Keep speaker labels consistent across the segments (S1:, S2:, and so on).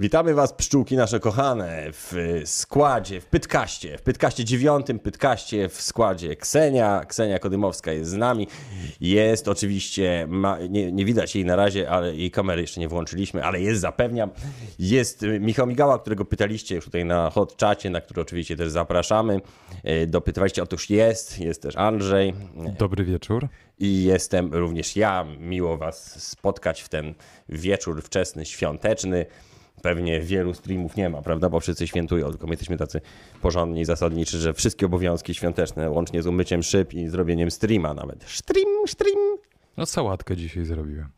S1: Witamy Was, pszczółki nasze kochane, w składzie, w Pytkaście, w Pytkaście dziewiątym, Pytkaście w składzie Ksenia. Ksenia Kodymowska jest z nami. Jest oczywiście, ma, nie, nie widać jej na razie, ale jej kamery jeszcze nie włączyliśmy, ale jest, zapewniam. Jest y, Michał Migała, którego pytaliście już tutaj na hot czacie, na który oczywiście też zapraszamy. Y, Dopytywaliście, otóż jest, jest też Andrzej
S2: Dobry wieczór.
S1: i jestem również ja. Miło Was spotkać w ten wieczór wczesny, świąteczny. Pewnie wielu streamów nie ma, prawda? Bo wszyscy świętują, tylko my jesteśmy tacy porządni i zasadniczy, że wszystkie obowiązki świąteczne, łącznie z umyciem szyb i zrobieniem streama nawet. Stream, stream!
S2: No sałatkę dzisiaj zrobiłem.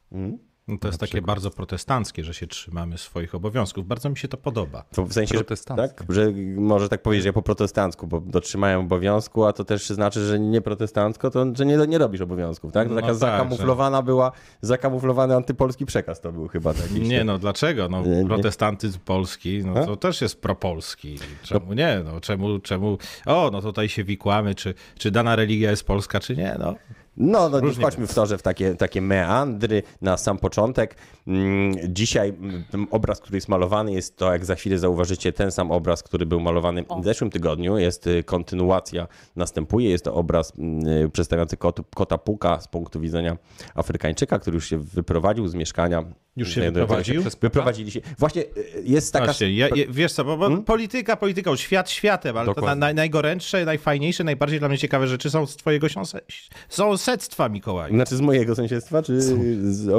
S3: No to jest takie bardzo protestanckie, że się trzymamy swoich obowiązków. Bardzo mi się to podoba.
S1: To w sensie, że,
S2: Protestanckie.
S1: tak, że może tak powiedzieć, że ja po protestancku, bo dotrzymają obowiązku, a to też znaczy, że nie protestancko, to że nie, nie robisz obowiązków, tak? To
S3: No
S1: taka
S3: tak, że-
S1: zakamuflowana była, zakamuflowany antypolski przekaz to był chyba taki.
S3: Nie no, dlaczego? No,
S1: nie.
S3: protestantyzm polski, no to też jest propolski. Czemu nie? No, czemu, czemu? O, no tutaj się wikłamy, czy, czy dana religia jest polska, czy nie? No,
S1: No, no nie wchodźmy w to, że w takie, takie meandry na sam początek. Mm, Dzisiaj mm, ten obraz, który jest malowany, jest to, jak za chwilę zauważycie, ten sam obraz, który był malowany w zeszłym tygodniu. Jest y, kontynuacja, następuje. Jest to obraz mm, przedstawiający kotu, kota puka z punktu widzenia Afrykańczyka, który już się wyprowadził z mieszkania.
S3: Już się
S1: Znajdującego
S3: wyprowadził?
S1: przez- Wyprowadzili się. Właśnie y, jest taka...
S3: Właśnie, ja, ja, wiesz co, bo, bo
S1: Hmm?
S3: polityka polityką, świat światem, ale to na,
S2: Dokładnie.
S3: na, najgorętsze, najfajniejsze, najbardziej dla mnie ciekawe rzeczy są z twojego siąse- sąsiedztwa, Mikołaj.
S1: Znaczy z mojego sąsiedztwa, czy z ogólnie?
S3: Z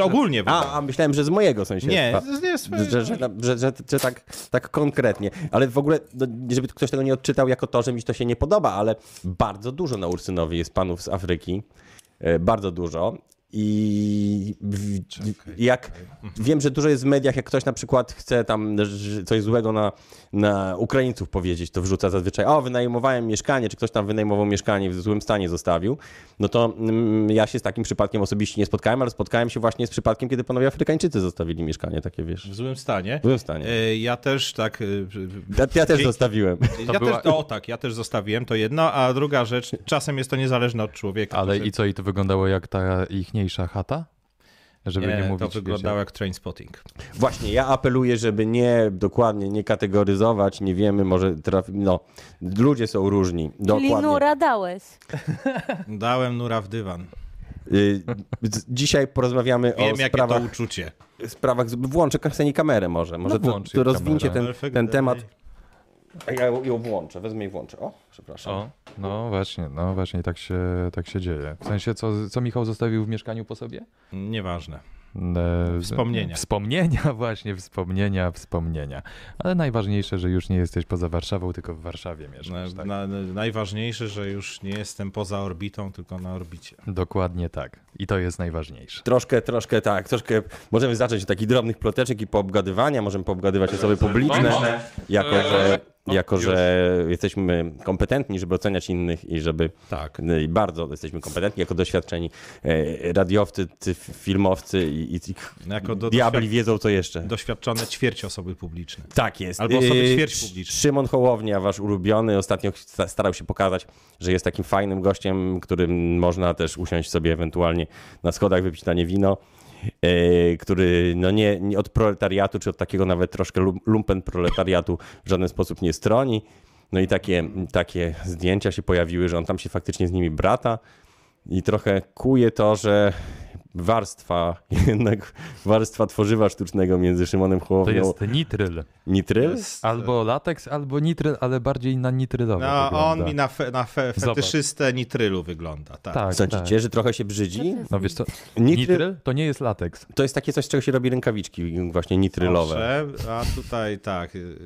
S3: ogólnie. w ogóle.
S1: No, A, a myślałem, że z mojego sąsiedztwa.
S3: Nie, z- nie, z mojego.
S1: że, że, że, że, że tak, tak konkretnie. Ale w ogóle, no, żeby ktoś tego nie odczytał jako to, że mi to się nie podoba, ale bardzo dużo na Ursynowie jest panów z Afryki. E, Bardzo dużo. I w, jak wiem, że dużo jest w mediach, jak ktoś na przykład chce tam że coś złego na, na Ukraińców powiedzieć, to wrzuca zazwyczaj, o, wynajmowałem mieszkanie, czy ktoś tam wynajmował mieszkanie, w złym stanie zostawił. No to mm, ja się z takim przypadkiem osobiście nie spotkałem, ale spotkałem się właśnie z przypadkiem, kiedy panowie Afrykańczycy zostawili mieszkanie takie, wiesz.
S3: W złym stanie.
S1: W złym stanie.
S3: E, Ja też tak. e,
S1: Ja, ja też
S3: Dzięki.
S1: zostawiłem.
S3: ja
S2: była-
S3: też, o tak, ja też zostawiłem to jedno, a druga rzecz, czasem jest to niezależne od człowieka.
S2: Ale
S3: To
S2: i co, i to wyglądało jak ta ichniejsza chata? Żeby nie,
S3: nie,
S2: mówić,
S3: to
S2: wiecie,
S3: wyglądało jak train spotting.
S1: Właśnie, ja apeluję, żeby nie dokładnie nie kategoryzować, nie wiemy, może trafi... No, ludzie są różni.
S4: Czyli
S1: Dokładnie.
S4: nura dałeś.
S3: Dałem nura w dywan.
S1: Y, z- Dzisiaj porozmawiamy
S3: Wiem,
S1: o
S3: jakie
S1: sprawach,
S3: to uczucie.
S1: sprawach. z- Włączę Kaseni kamerę może. Może to,
S2: włącz
S1: to
S2: jej
S1: rozwincie
S2: kamerę.
S1: ten, ten temat. Ja ją ją włączę, wezmę i włączę. O, przepraszam.
S2: O, no właśnie, no właśnie, tak się, tak się dzieje. W sensie, co, co Michał zostawił w mieszkaniu po sobie?
S3: Nieważne. Mm,
S2: E,
S3: Wspomnienia.
S2: Wspomnienia, właśnie, wspomnienia, wspomnienia. Ale najważniejsze, że już nie jesteś poza Warszawą, tylko w Warszawie
S3: Na,
S2: mieszkasz, tak?
S3: No, na, najważniejsze, że już nie jestem poza orbitą, tylko na orbicie.
S2: Dokładnie tak. I to jest najważniejsze.
S1: Troszkę, troszkę tak, troszkę możemy zacząć od takich drobnych ploteczek i poobgadywania, możemy poobgadywać osoby publiczne, jako że, jako, że jesteśmy kompetentni, żeby oceniać innych i żeby
S3: Tak.
S1: No i bardzo jesteśmy kompetentni, jako doświadczeni e, radiowcy, ty- filmowcy i, i, i
S3: Jako do,
S1: diabli
S3: doświad-
S1: wiedzą co jeszcze.
S3: doświadczone ćwierć osoby publiczne.
S1: Tak jest.
S3: Albo osoby
S1: Yy,
S3: ćwierć publiczne.
S1: Szymon Hołownia, wasz ulubiony, ostatnio sta- starał się pokazać, że jest takim fajnym gościem, którym można też usiąść sobie ewentualnie na schodach, wypić na nie wino. yy, Który no nie, nie od proletariatu, czy od takiego nawet troszkę lum- lumpen proletariatu w żaden sposób nie stroni. No i takie, takie zdjęcia się pojawiły, że on tam się faktycznie z nimi brata i trochę kuje to, że warstwa, jednak warstwa tworzywa sztucznego między Szymonem
S2: To
S1: Hołownią
S2: jest nitryl.
S1: Nitryl?
S2: Albo lateks, albo nitryl, ale bardziej na nitrylowy
S3: No, on
S2: wygląda.
S3: mi na, fe, na fe,
S2: Zobacz.
S3: fetyszystę nitrylu wygląda.
S2: Tak,
S3: Tak.
S2: tak.
S1: Sądzicie, że trochę się brzydzi?
S2: No wiesz co,
S1: Nitryl-
S2: nitryl to nie jest lateks.
S1: To jest takie coś, z czego się robi rękawiczki właśnie nitrylowe.
S3: Owszem, a tutaj tak. yy,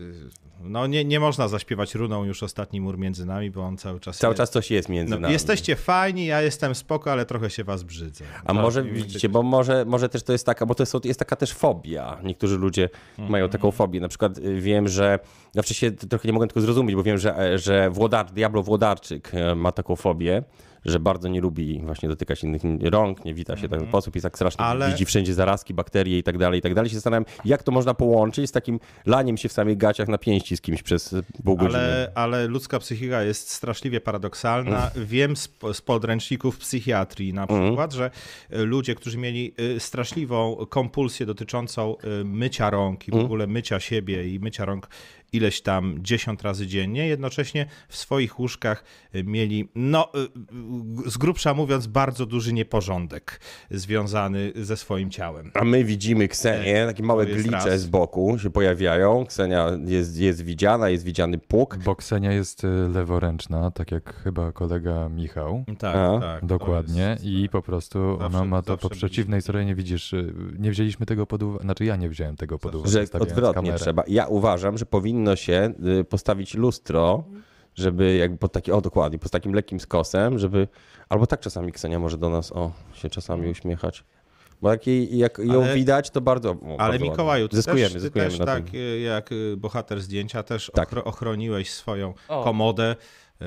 S3: No nie, nie można zaśpiewać runą już ostatni mur między nami, bo on cały czas.
S1: Cały
S3: jest.
S1: czas coś jest między
S3: No,
S1: nami.
S3: jesteście fajni, ja jestem spoko, ale trochę się was brzydzę.
S1: A może widzicie, bo może, może też to jest taka, bo to jest, jest taka też fobia. Niektórzy ludzie
S3: Mhm.
S1: mają taką fobię. Na przykład y, wiem, że znaczy się t- trochę nie mogę tego zrozumieć, bo wiem, że, e, że włodar, Diablo Włodarczyk e, ma taką fobię, że bardzo nie lubi właśnie dotykać innych rąk, nie wita się w ten sposób, jest tak strasznie,
S3: Mhm. Ale-
S1: widzi wszędzie zarazki, bakterie i tak dalej, i tak dalej. Się zastanawiam, jak to można połączyć z takim laniem się w samych gaciach na pięści z kimś przez pół godziny.
S3: Ale, ale ludzka psychika jest straszliwie paradoksalna. Wiem z, z podręczników psychiatrii na przykład, że y, ludzie, którzy mieli y, straszliwą kompulsję dotyczącą y, mycia rąk i w ogóle mycia siebie i mycia rąk ileś tam 10 razy dziennie, jednocześnie w swoich łóżkach y, mieli, no y, y, z grubsza mówiąc, bardzo duży nieporządek związany ze swoim ciałem.
S1: A my widzimy Ksenię, takie małe
S3: to jest
S1: glicze
S3: raz.
S1: z boku się pojawiają. Ksenia jest, jest widziana, jest widziany
S3: Mm.
S1: pług.
S2: Boksenia jest y, leworęczna, tak jak chyba kolega Michał.
S3: Tak,
S1: A,
S3: tak. to
S2: Dokładnie.
S3: jest-
S2: I po prostu
S3: tak. Zawsze-
S2: ona ma to
S3: zawsze
S2: po przeciwnej stronie, widzisz, y, nie wzięliśmy tego pod uwagę, znaczy ja nie wziąłem tego pod uwagę.
S1: Że
S2: stawiając
S1: odwrotnie
S2: kamerę.
S1: trzeba. Ja uważam, że powinno się y, postawić lustro, żeby jakby pod taki, o dokładnie, pod takim lekkim skosem, żeby, albo tak czasami Ksenia może do nas, o, się czasami uśmiechać. Bo jak, jej, jak ją
S3: Mm. Ale-
S1: widać, to bardzo. O,
S3: Ale
S1: bardzo
S3: Mikołaju,
S1: ładnie.
S3: ty
S1: zyskujemy,
S3: też,
S1: zyskujemy
S3: ty też
S1: na
S3: tak
S1: tym.
S3: y, jak y, bohater zdjęcia też
S1: Tak.
S3: ochro- ochroniłeś swoją
S2: O.
S3: komodę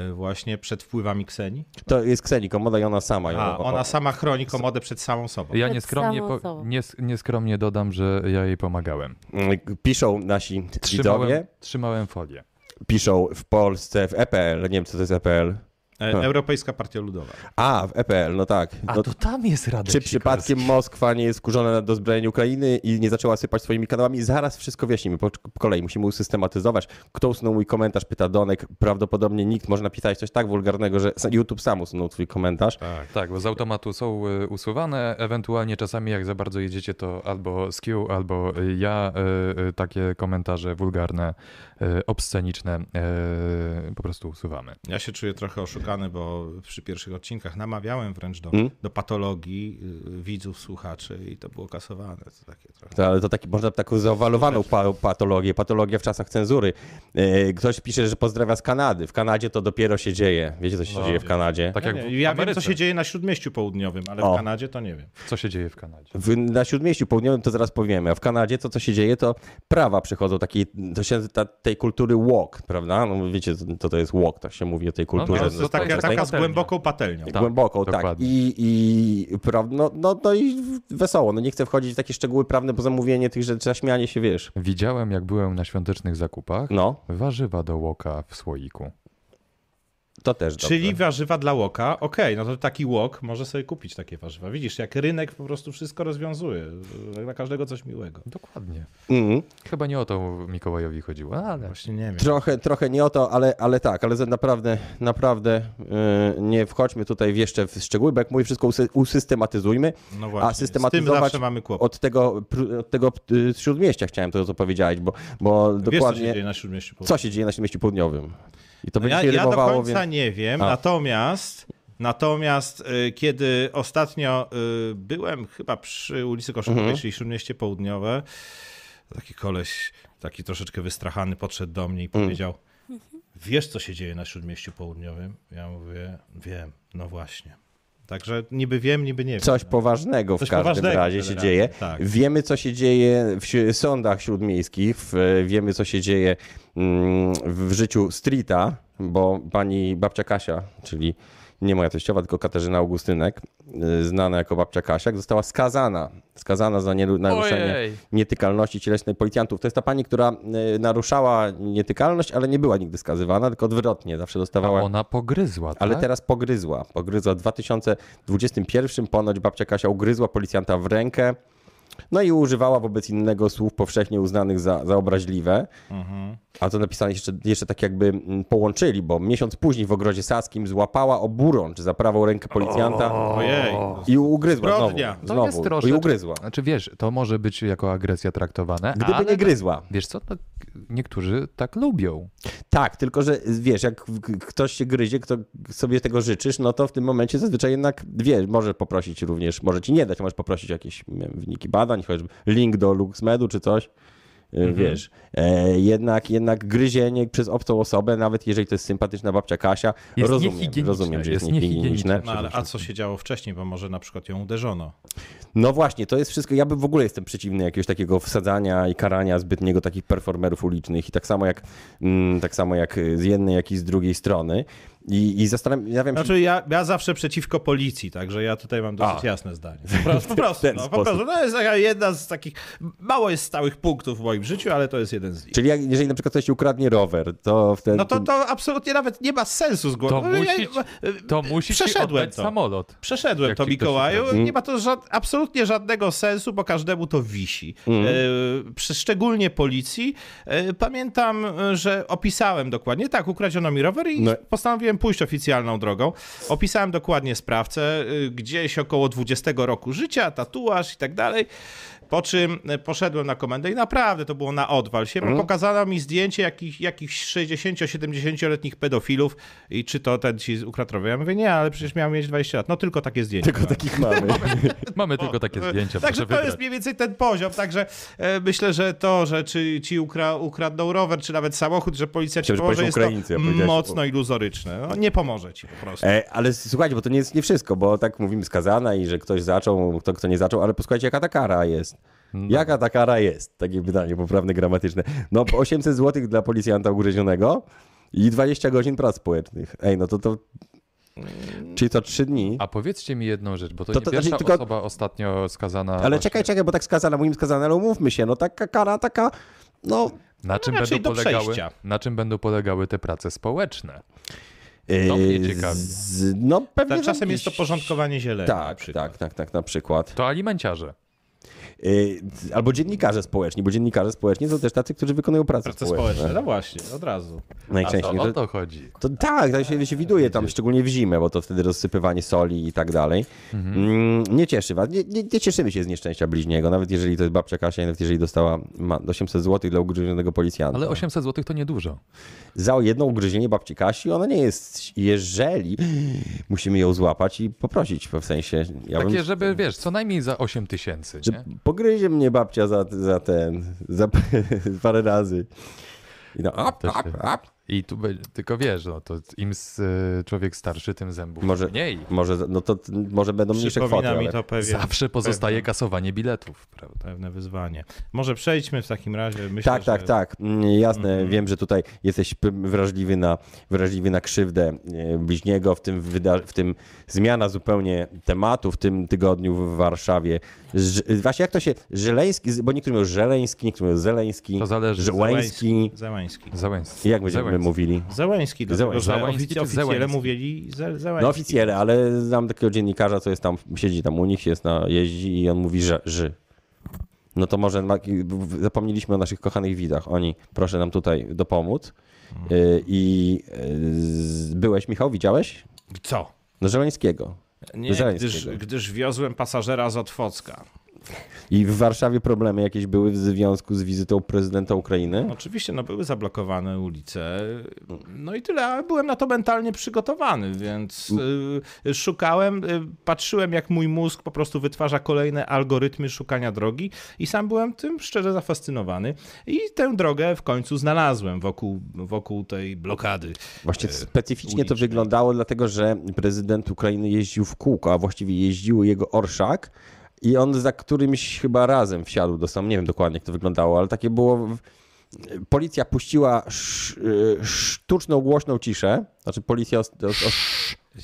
S3: y, właśnie przed wpływami Kseni.
S1: To jest Kseni, komoda i ona sama. ją-
S3: A
S1: o- o-
S3: ona sama chroni komodę przed samą sobą.
S2: Ja
S4: Przed
S2: nieskromnie,
S4: samą
S2: po,
S4: sobą.
S2: nies, nieskromnie dodam, że ja jej pomagałem.
S1: Mm, Piszą nasi widzowie,
S2: Trzymałem, trzymałem folię.
S1: piszą w Polsce, w EPL, nie wiem co to jest EPL.
S3: E,
S1: tak.
S3: Europejska Partia Ludowa.
S1: A, w EPL, no tak. No,
S2: tam jest Radek
S1: czy przypadkiem Moskwa nie jest skurzona na dozbrojenie Ukrainy i nie zaczęła sypać swoimi kanałami? Zaraz wszystko wyjaśnimy. Po, po kolei musimy usystematyzować. Kto usunął mój komentarz, pyta Donek. Prawdopodobnie nikt. Można napisać coś tak wulgarnego, że sa- YouTube sam usunął twój komentarz.
S2: Tak, bo z automatu są y, usuwane, ewentualnie czasami jak za bardzo jedziecie, to albo Skill, albo y, ja y, y, takie komentarze wulgarne, y, obsceniczne y, po prostu usuwamy.
S3: Ja się czuję trochę oszukany, bo przy pierwszych odcinkach namawiałem wręcz do,
S1: Mm.
S3: do patologii y, widzów, słuchaczy i to było kasowane. To takie trochę.
S1: To, ale to taki, można taką zaowalowaną
S2: Tak.
S1: pa patologię, patologię w czasach cenzury. E, ktoś pisze, że pozdrawia z Kanady. W Kanadzie to dopiero się dzieje. Wiecie, co się
S2: No,
S1: dzieje w Kanadzie?
S2: Tak
S3: Ja,
S2: jak w
S3: nie, ja wiem, co
S2: Ameryce.
S3: się dzieje na Śródmieściu Południowym, ale
S1: O.
S3: w Kanadzie to nie wiem.
S2: Co się dzieje w Kanadzie?
S1: W, na Śródmieściu Południowym to zaraz powiemy, a w Kanadzie to, co się dzieje, to prawa przychodzą takiej, to się, ta, tej kultury walk, prawda? No wiecie, co to jest walk, tak się mówi o tej kulturze.
S2: no,
S3: To
S2: to
S1: z-
S3: jest
S1: z-
S3: taka,
S1: tej-
S2: jest
S3: taka z
S2: patelnia.
S3: głęboką patelnią.
S2: Tak,
S1: głęboką, tak.
S2: dokładnie.
S1: I, i pra- no, no, no i wesoło. No nie chcę wchodzić w takie szczegóły prawne, bo zamówienie tych rzeczy, zaśmianie się, wiesz.
S2: Widziałem, jak byłem na świątecznych zakupach,
S1: No,
S2: warzywa do łoka w słoiku.
S1: to też dobrze.
S3: Czyli warzywa dla łoka, okej, no to taki łok może sobie kupić takie warzywa. Widzisz, jak rynek po prostu wszystko rozwiązuje. Dla każdego coś miłego.
S2: Dokładnie.
S1: Mhm.
S2: Chyba nie o to Mikołajowi chodziło, ale
S3: Właśnie nie wiem.
S1: Trochę, trochę nie o to, ale, ale tak, ale za- naprawdę, naprawdę yy, nie wchodźmy tutaj w jeszcze w szczegóły, bo jak mówię, wszystko usy- usystematyzujmy.
S3: No właśnie,
S1: A
S3: z tym
S1: systematyzować
S3: zawsze mamy kłopot.
S1: od tego, pr- od tego y, śródmieścia chciałem to, co powiedziałeś, bo, bo
S3: Wiesz, co się
S1: dokładnie
S3: dzieje na Śródmieściu Południowym.
S1: co się dzieje na Śródmieściu Południowym. I to
S3: No
S1: będzie
S3: ja,
S1: mnie
S3: ja do
S1: rymowało,
S3: końca
S1: więc...
S3: nie wiem,
S1: A.
S3: natomiast, natomiast y, kiedy ostatnio y, byłem chyba przy ulicy Koszykowej,
S1: Mhm.
S3: czyli Śródmieście Południowe, taki koleś, taki troszeczkę wystrachany, podszedł do mnie i
S1: Mm.
S3: powiedział, wiesz co się dzieje na Śródmieściu Południowym? Ja mówię, wiem, no właśnie. Także niby wiem, niby nie wiem.
S1: Coś
S3: No.
S1: poważnego w
S3: Coś
S1: każdym
S3: poważnego
S1: razie się
S3: generalnie,
S1: dzieje.
S3: tak.
S1: Wiemy, co się dzieje w si- sądach śródmiejskich, w, wiemy, co się dzieje mm, w życiu streeta, bo pani babcia Kasia, czyli nie moja teściowa, tylko Katarzyna Augustynek, y, znana jako babcia Kasia, została skazana, skazana za nielu- naruszenie
S2: Ojej.
S1: nietykalności cielesnej policjantów. To jest ta pani, która y, naruszała nietykalność, ale nie była nigdy skazywana, tylko odwrotnie, zawsze dostawała...
S2: ona pogryzła, tak?
S1: Ale teraz pogryzła. Pogryzła w 2021 ponoć babcia Kasia ugryzła policjanta w rękę. No i używała wobec innego słów powszechnie uznanych za, za obraźliwe.
S3: Mhm.
S1: A to napisane jeszcze, jeszcze tak jakby mm, połączyli, bo miesiąc później w ogrodzie saskim złapała oburącz za prawą rękę policjanta
S3: Ojej.
S1: i ugryzła znowu.
S3: Zbrodnia. To
S2: To
S1: znowu.
S2: jest troszeczkę...
S1: I ugryzła.
S2: Znaczy wiesz, to może być jako agresja traktowane,
S1: Gdyby
S2: ale...
S1: nie gryzła.
S2: Wiesz co, no, niektórzy tak lubią.
S1: Tak, tylko że wiesz, jak k- ktoś się gryzie, kto sobie tego życzysz, no to w tym momencie zazwyczaj jednak wiesz, może poprosić również, może ci nie dać, możesz poprosić o jakieś nie wiem, wyniki badań, choćby link do LuxMedu czy coś. y, Wiesz, e, jednak, jednak gryzienie przez obcą osobę, nawet jeżeli to jest sympatyczna babcia Kasia,
S2: Jest
S1: rozumiem,
S2: niehigieniczne,
S1: rozumiem, że jest,
S2: jest
S1: niehigieniczne.
S2: niehigieniczne.
S3: No, ale a co się działo wcześniej, bo może na przykład ją uderzono.
S1: No właśnie, to jest wszystko. Ja bym w ogóle jestem przeciwny jakiegoś takiego wsadzania i karania zbytniego takich performerów ulicznych. I tak samo jak, mm, tak samo jak y, z jednej, jak i z drugiej strony. I, i zastanawiam się...
S3: Znaczy ja, ja zawsze przeciwko policji, także ja tutaj mam dosyć
S1: A.
S3: jasne zdanie. Po prostu, po prostu,
S1: ten
S3: no, po
S1: sposób.
S3: prostu. No, jest taka jedna z takich, mało jest stałych punktów w moim życiu, ale to jest jeden z nich.
S1: Czyli jak, jeżeli na przykład ktoś ci ukradnie rower, to wtedy...
S3: No to, to absolutnie nawet nie ma sensu z głowy.
S2: To
S3: No, ja-
S2: musi, to musi ci
S3: Przeszedłem
S2: oddać
S3: to.
S2: samolot.
S3: Przeszedłem
S2: Jak
S3: to,
S2: ci ktoś
S3: Mikołaju.
S2: ukradnie.
S3: Nie ma to żad, absolutnie żadnego sensu, bo każdemu to wisi.
S1: Mhm.
S3: E, przy- szczególnie policji. E, pamiętam, e, że opisałem dokładnie, tak, ukradziono mi rower i
S1: No.
S3: postanowiłem pójść oficjalną drogą. Opisałem dokładnie sprawcę, e, gdzieś około 20 roku życia, tatuaż i tak dalej. Po czym e, poszedłem na komendę i naprawdę to było na odwal się, bo pokazano mi zdjęcie jakich, jakichś 60-70-letnich pedofilów i czy to ten ci ukradł rower. Ja mówię, nie, ale przecież miałem mieć 20 lat. No tylko takie zdjęcie.
S1: Tylko takich
S3: No
S1: mamy.
S2: Mamy tylko takie
S3: E,
S2: zdjęcia,
S3: Także
S2: proszę
S3: to
S2: wybrać.
S3: jest mniej więcej ten poziom. Także e, myślę, że to, że czy ci ukra ukradną rower, czy nawet samochód, że policja ci
S1: Chciałem, że
S3: pomoże,
S1: powiesz
S3: jest
S1: Ukraińcy,
S3: to
S1: a powiedziałeś-
S3: mocno iluzoryczne. No, nie pomoże ci po prostu.
S1: E, ale słuchajcie, bo to nie jest nie wszystko, bo tak mówimy skazana i że ktoś zaczął, kto, kto nie zaczął, ale posłuchajcie, jaka ta kara jest. Jaka ta kara jest? Takie pytanie poprawne gramatyczne. No po 800 zł dla policjanta ugryzionego i 20 godzin prac społecznych. Ej, no to to... Czyli to 3 dni.
S2: A powiedzcie mi jedną rzecz, bo to,
S1: To-
S2: nie
S1: to
S2: pierwsza
S1: znaczy tylko-
S2: osoba ostatnio skazana.
S1: Ale
S2: właśnie.
S1: czekaj, czekaj, bo tak skazana, moim skazana, ale umówmy się, no taka kara, taka... No,
S2: Na czym,
S3: raczej
S2: będą
S3: do
S2: polegały,
S3: przejścia.
S2: na czym będą polegały te prace społeczne?
S1: yy,
S2: mnie ciekawi.
S1: z- no pewnie...
S3: Ta, Znaczy, czasem
S1: tam
S3: jest to
S1: jakiś-
S3: porządkowanie zieleni. na
S1: Tak,
S3: przykład.
S1: tak, tak, tak, na przykład.
S2: To alimenciarze.
S1: Yy, albo dziennikarze społeczni, bo dziennikarze społeczni są też tacy, którzy wykonują pracę,
S3: Prace
S1: społeczną. Tak,
S3: społeczne, no właśnie, od razu.
S2: A to,
S1: Najczęściej.
S2: o
S1: To,
S2: to chodzi.
S1: to tak, to się, się widuje tam, szczególnie w zimę, bo to wtedy rozsypywanie soli i tak dalej. Mm, nie cieszy was, nie, nie, nie cieszymy się z nieszczęścia bliźniego, nawet jeżeli to jest babcia Kasia, i nawet jeżeli dostała ma 800 zł dla ugryzionego policjanta.
S2: Ale 800 zł to niedużo.
S1: Za jedno ugryzienie babci Kasi, ona nie jest, jeżeli musimy ją złapać i poprosić, w sensie, ja bym
S2: Takie, żeby wiesz, co najmniej za 8 tysięcy.
S1: Że
S2: nie?
S1: pogryzie mnie babcia za, za ten, za parę razy. I no, op,
S2: To się-
S1: op, op.
S2: I tu be- tylko wiesz, no, to im s- y, człowiek starszy, tym zębów
S1: Może,
S2: mniej.
S1: może, no to, może będą mniejsze kwoty,
S3: Przypomina mi
S1: ale...
S3: to pewien,
S2: Zawsze pozostaje kasowanie biletów, prawda?
S3: pewne wyzwanie. Może przejdźmy w takim razie. Myślę,
S1: Tak, tak,
S3: że...
S1: tak. Mm, Jasne,
S2: Mhm.
S1: wiem, że tutaj jesteś p- wrażliwy na, wrażliwy na krzywdę e, bliźniego, w tym, wyda- w tym zmiana zupełnie tematu w tym tygodniu w Warszawie. Ż- właśnie jak to się, Żeleński, bo niektórzy mówią Żeleński, niektórzy mówią Zeleński,
S2: To zależy.
S1: Żeleński.
S3: Zeleński.
S2: Załęski.
S1: Jak będziemy
S2: Załęski.
S1: mówili?
S3: Zeleński, dlatego że
S2: Zeleński
S3: ofic-
S2: czy
S3: oficjele
S2: Zeleński?
S3: mówili Ze- Zeleński.
S1: No oficjele, ale znam takiego dziennikarza, co jest tam, siedzi tam u nich, jest na, jeździ i on mówi, że ży. No to może ma- zapomnieliśmy o naszych kochanych widzach. Oni, proszę nam tutaj dopomóc. Y, I y, byłeś, Michał, widziałeś?
S3: Co?
S1: No Żeleńskiego.
S3: Nie,
S1: Zeleńskiego.
S3: gdyż, gdyż wiozłem pasażera z Otwocka.
S1: I w Warszawie problemy jakieś były w związku z wizytą prezydenta Ukrainy?
S3: Oczywiście, no były zablokowane ulice,
S1: Mm.
S3: no i tyle, ale byłem na to mentalnie przygotowany, więc
S1: Mm.
S3: y, szukałem, y, patrzyłem jak mój mózg po prostu wytwarza kolejne algorytmy szukania drogi i sam byłem tym szczerze zafascynowany i tę drogę w końcu znalazłem wokół, wokół tej blokady. E,
S1: Właśnie specyficznie to
S3: ulicznej.
S1: wyglądało, dlatego że prezydent Ukrainy jeździł w kółko, a właściwie jeździł jego orszak i on za którymś chyba razem wsiadł do sam. Nie wiem dokładnie, jak to wyglądało, ale takie było. w- Policja puściła sz, y, sztuczną, głośną ciszę. Znaczy, policja. Os, os, os,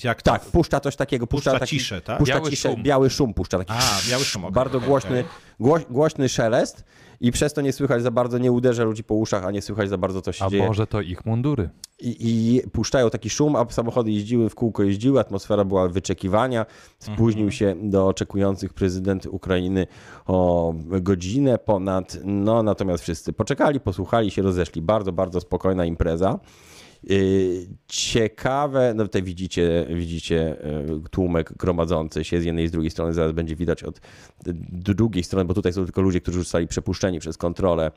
S3: Jak
S1: tak, puszcza coś takiego. Puszcza,
S3: Puszcza
S1: taki,
S3: ciszę, tak?
S1: Puszcza
S2: Biały
S1: biały ciszę,
S2: szum.
S1: biały szum puszcza. Taki
S3: A, biały szum, okej,
S1: Bardzo
S3: okej,
S1: głośny, głoś, głośny szelest i przez to nie słychać za bardzo, nie uderza ludzi po uszach, a nie słychać za bardzo, co się
S2: A
S1: dzieje
S2: może to ich mundury?
S1: i, i puszczają taki szum, a samochody jeździły, w kółko jeździły, atmosfera była wyczekiwania. Spóźnił się do oczekujących prezydent Ukrainy o godzinę ponad. No natomiast wszyscy poczekali, posłuchali się, rozeszli. Bardzo, bardzo spokojna impreza. Yy, Ciekawe, no tutaj widzicie, widzicie yy, tłumek gromadzący się z jednej i z drugiej strony, zaraz będzie widać od drugiej strony, bo tutaj są tylko ludzie, którzy zostali przepuszczeni przez kontrolę.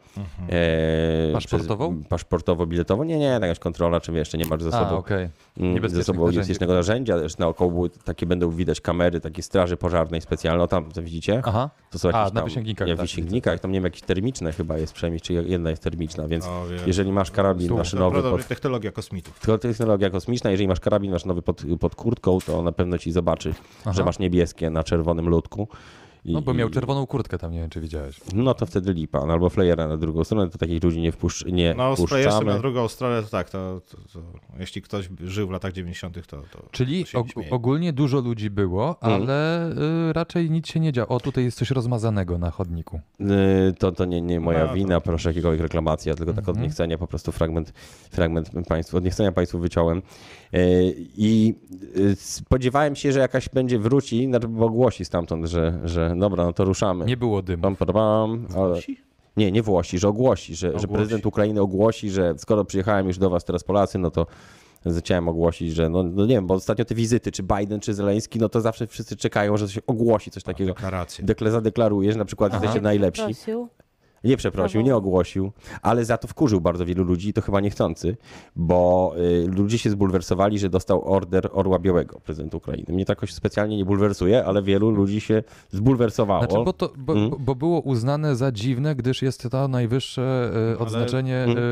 S1: yy,
S2: Paszportową?
S1: Przez, paszportowo-biletowo? Nie, nie, jakaś kontrola, czy wiesz, czy nie masz ze
S2: A,
S1: sobą,
S2: okej.
S1: okay. ze
S2: Niebezpiecznych
S1: sobą
S2: narzędzi.
S1: niebezpiecznego narzędzia, też naokoło były takie będą widać kamery, takie straży pożarnej specjalne, o tam, co widzicie?
S2: Aha.
S1: To są
S2: A,
S1: jakieś
S2: na
S1: tam,
S2: wysięgnikach,
S1: Nie,
S2: tak,
S1: wysięgnikach, tam nie wiem, jakieś termiczne chyba jest przynajmniej, czy jedna jest termiczna, więc
S3: O, wiem.
S1: jeżeli masz karabin
S3: To
S1: maszynowy
S3: prawdopodobnie
S1: pod
S3: technologia kosmitów.
S1: to technologia kosmiczna, jeżeli masz karabin maszynowy pod, pod kurtką, to na pewno ci zobaczy, że masz niebieskie na czerwonym ludku. I-
S2: No bo miał
S1: i-
S2: czerwoną kurtkę tam, nie wiem czy widziałeś.
S1: No to wtedy lipa, no, albo flejera na drugą stronę, to takich ludzi nie, wpuszcz, nie
S3: No, z projektem na
S1: puszczamy.
S3: drugą stronę, to tak, to, to, to, jeśli ktoś żył w latach 90., to. to
S2: Czyli
S3: się nie
S2: og-
S3: śmieje.
S2: ogólnie dużo ludzi było,
S1: Mm.
S2: ale y, raczej nic się nie działo. O, tutaj jest coś rozmazanego na chodniku.
S1: Y, To, to nie, nie moja
S3: No, to-
S1: wina, proszę jakiegoś reklamacja, tylko tak od
S2: Mhm.
S1: niechcenia po prostu fragment, fragment państwu, od niechcenia Państwu wyciąłem. Y, I y, spodziewałem się, że jakaś będzie wróci, znaczy bo ogłosi stamtąd, że, że dobra, no to ruszamy.
S2: Nie było dymu.
S1: Pam, pam, pam, ale...
S3: Włosi?
S1: Nie, nie Włosi, że ogłosi, że, że
S2: Ogłosi.
S1: prezydent Ukrainy ogłosi, że skoro przyjechałem już do was teraz Polacy, no to chciałem ogłosić, że no, no nie wiem, bo ostatnio te wizyty, czy Biden, czy Zeleński, no to zawsze wszyscy czekają, że się ogłosi coś takiego.
S3: Deklaracje.
S1: Dekle, zadeklaruje, że na przykład jesteście najlepsi.
S4: Prosił.
S1: Nie przeprosił, nie ogłosił, ale za to wkurzył bardzo wielu ludzi i to chyba niechcący, bo y, ludzie się zbulwersowali, że dostał order Orła Białego, prezydent Ukrainy. Mnie to jakoś specjalnie nie bulwersuje, ale wielu ludzi się zbulwersowało.
S2: Znaczy, bo, to, bo,
S1: Mm.
S2: bo- bo było uznane za dziwne, gdyż jest to najwyższe y, odznaczenie
S1: Mm.
S2: y,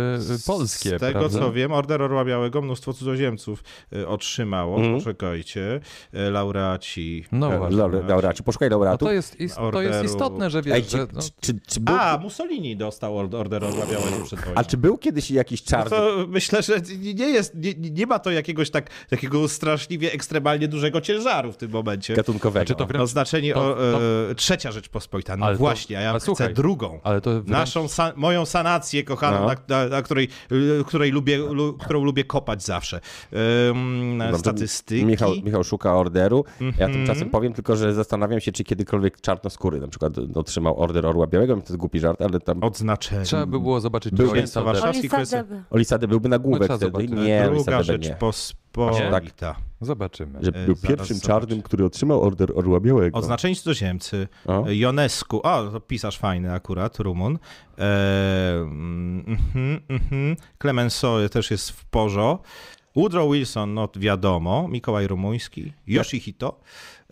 S2: y, polskie.
S3: Z tego
S2: prawda?
S3: co wiem, Order Orła Białego mnóstwo cudzoziemców y, otrzymało.
S1: Mhm.
S3: Poczekajcie, y, laureaci.
S2: No właśnie.
S1: Laure- Laureaci, poszukaj
S2: No
S1: laureatów.
S2: to, jest ist, to jest
S3: Orderu.
S2: istotne, że
S1: Ej,
S2: wiesz,
S1: czy,
S2: że, no,
S1: czy, czy, czy był,
S3: A, Mussolini dostał Ord- Order Orła Białego przed wojną.
S1: a czy był kiedyś jakiś czarny?
S3: No To myślę, że nie jest, nie, nie ma to jakiegoś tak, takiego straszliwie ekstremalnie dużego ciężaru w tym momencie.
S1: gatunkowego.
S2: Znaczy to wręcz-
S3: No znaczenie
S2: to-
S3: o,
S2: to-
S3: e, trzecia Rzeczpospolita. No
S2: Ale to-
S3: właśnie, a ja
S2: a
S3: chcę
S2: słuchaj,
S3: drugą.
S2: ale to wręcz-
S3: Naszą, sa, moją sanację kochaną,
S1: No.
S3: na, na, na której, l- której lubię, lu, którą lubię kopać zawsze. Ym,
S1: Dobra, to
S3: statystyki. Mhm.
S1: Michał, Michał szuka orderu. Ja tymczasem powiem tylko, że zastanawiam się, czy kiedykolwiek czarnoskóry na przykład e, otrzymał order Orła Białego. To jest głupi żart, ale tam
S3: Odznaczenie.
S2: trzeba by było zobaczyć, czy
S1: Był
S2: to jest
S3: Często
S2: prawda.
S3: Warszawa.
S4: Oli
S3: Warszawski
S4: Sadeb.
S1: Olisady byłby na główek
S2: No trzeba
S1: wtedy.
S2: zobaczyć.
S1: Nie,
S3: Druga
S1: Olisady nie. Tak.
S3: Rzeczpospolita.
S2: Zobaczymy.
S1: Że
S3: E,
S1: był
S3: zaraz
S1: pierwszym
S3: zobaczę.
S1: czarnym, który otrzymał order Orła Białego.
S3: Oznaczeni cudzoziemcy.
S1: O.
S3: Jonesku. O, to pisarz fajny akurat, Rumun. E, mm, mhm, mhm. Clemenceau też jest w porzo. Woodrow Wilson, no wiadomo, Mikołaj Rumuński, Yoshihito.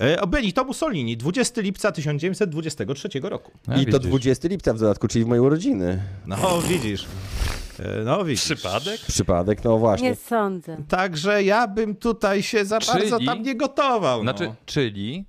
S3: E, o, Benito Mussolini, 20 lipca 1923 roku.
S2: A,
S1: I to
S2: No widzisz.
S1: 20 lipca w dodatku, czyli w mojej urodziny.
S3: No widzisz. E, No widzisz.
S2: Przypadek?
S1: Przypadek, no właśnie.
S4: Nie sądzę.
S3: Także ja bym tutaj się za
S2: Czyli-
S3: bardzo tam nie gotował.
S2: Znaczy,
S3: no.
S2: czyli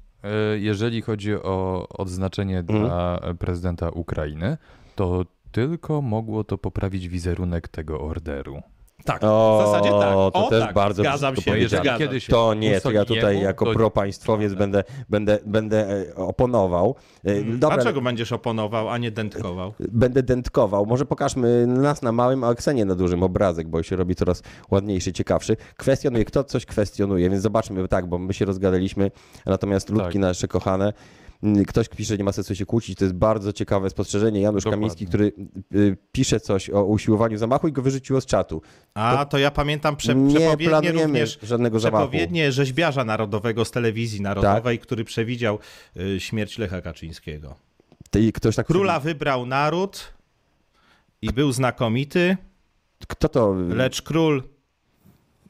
S2: y, jeżeli chodzi o odznaczenie dla
S1: Mhm.
S2: prezydenta Ukrainy, to tylko mogło to poprawić wizerunek tego orderu.
S3: Tak,
S1: O,
S3: w zasadzie tak.
S1: to
S3: o,
S1: też
S3: tak.
S1: bardzo
S3: Zgadzam
S1: brzydko
S3: się,
S1: powiedziane.
S3: zgadzam
S2: Kiedyś-
S3: się.
S1: To nie, to ja tutaj
S2: Mussoliniemu
S1: jako
S2: to-
S1: propaństwowiec będę, będę, będę e, oponował. E, Dobra,
S3: Dlaczego będziesz oponował, a nie dętkował?
S1: będę dętkował. Może pokażmy nas na małym, a Ksenię na dużym obrazek, bo się robi coraz ładniejszy, ciekawszy. Kwestionuje, kto coś kwestionuje, więc zobaczmy, tak, bo my się rozgadaliśmy, natomiast ludki
S2: Tak.
S1: nasze kochane, mm, ktoś pisze, że nie ma sensu się kłócić, to jest bardzo ciekawe spostrzeżenie. Janusz
S2: Dokładnie.
S1: Kamiński, który y, pisze coś o usiłowaniu zamachu i go wyrzuciło z czatu.
S3: A, to ja pamiętam prze,
S1: nie
S3: przepowiednie
S1: planujemy
S3: również,
S1: żadnego zamachu.
S3: przepowiednie rzeźbiarza narodowego z telewizji narodowej,
S1: Tak.
S3: który przewidział y, śmierć Lecha Kaczyńskiego.
S1: Ty- I ktoś tak...
S3: Króla wybrał naród i był znakomity,
S1: Kto to...
S3: lecz król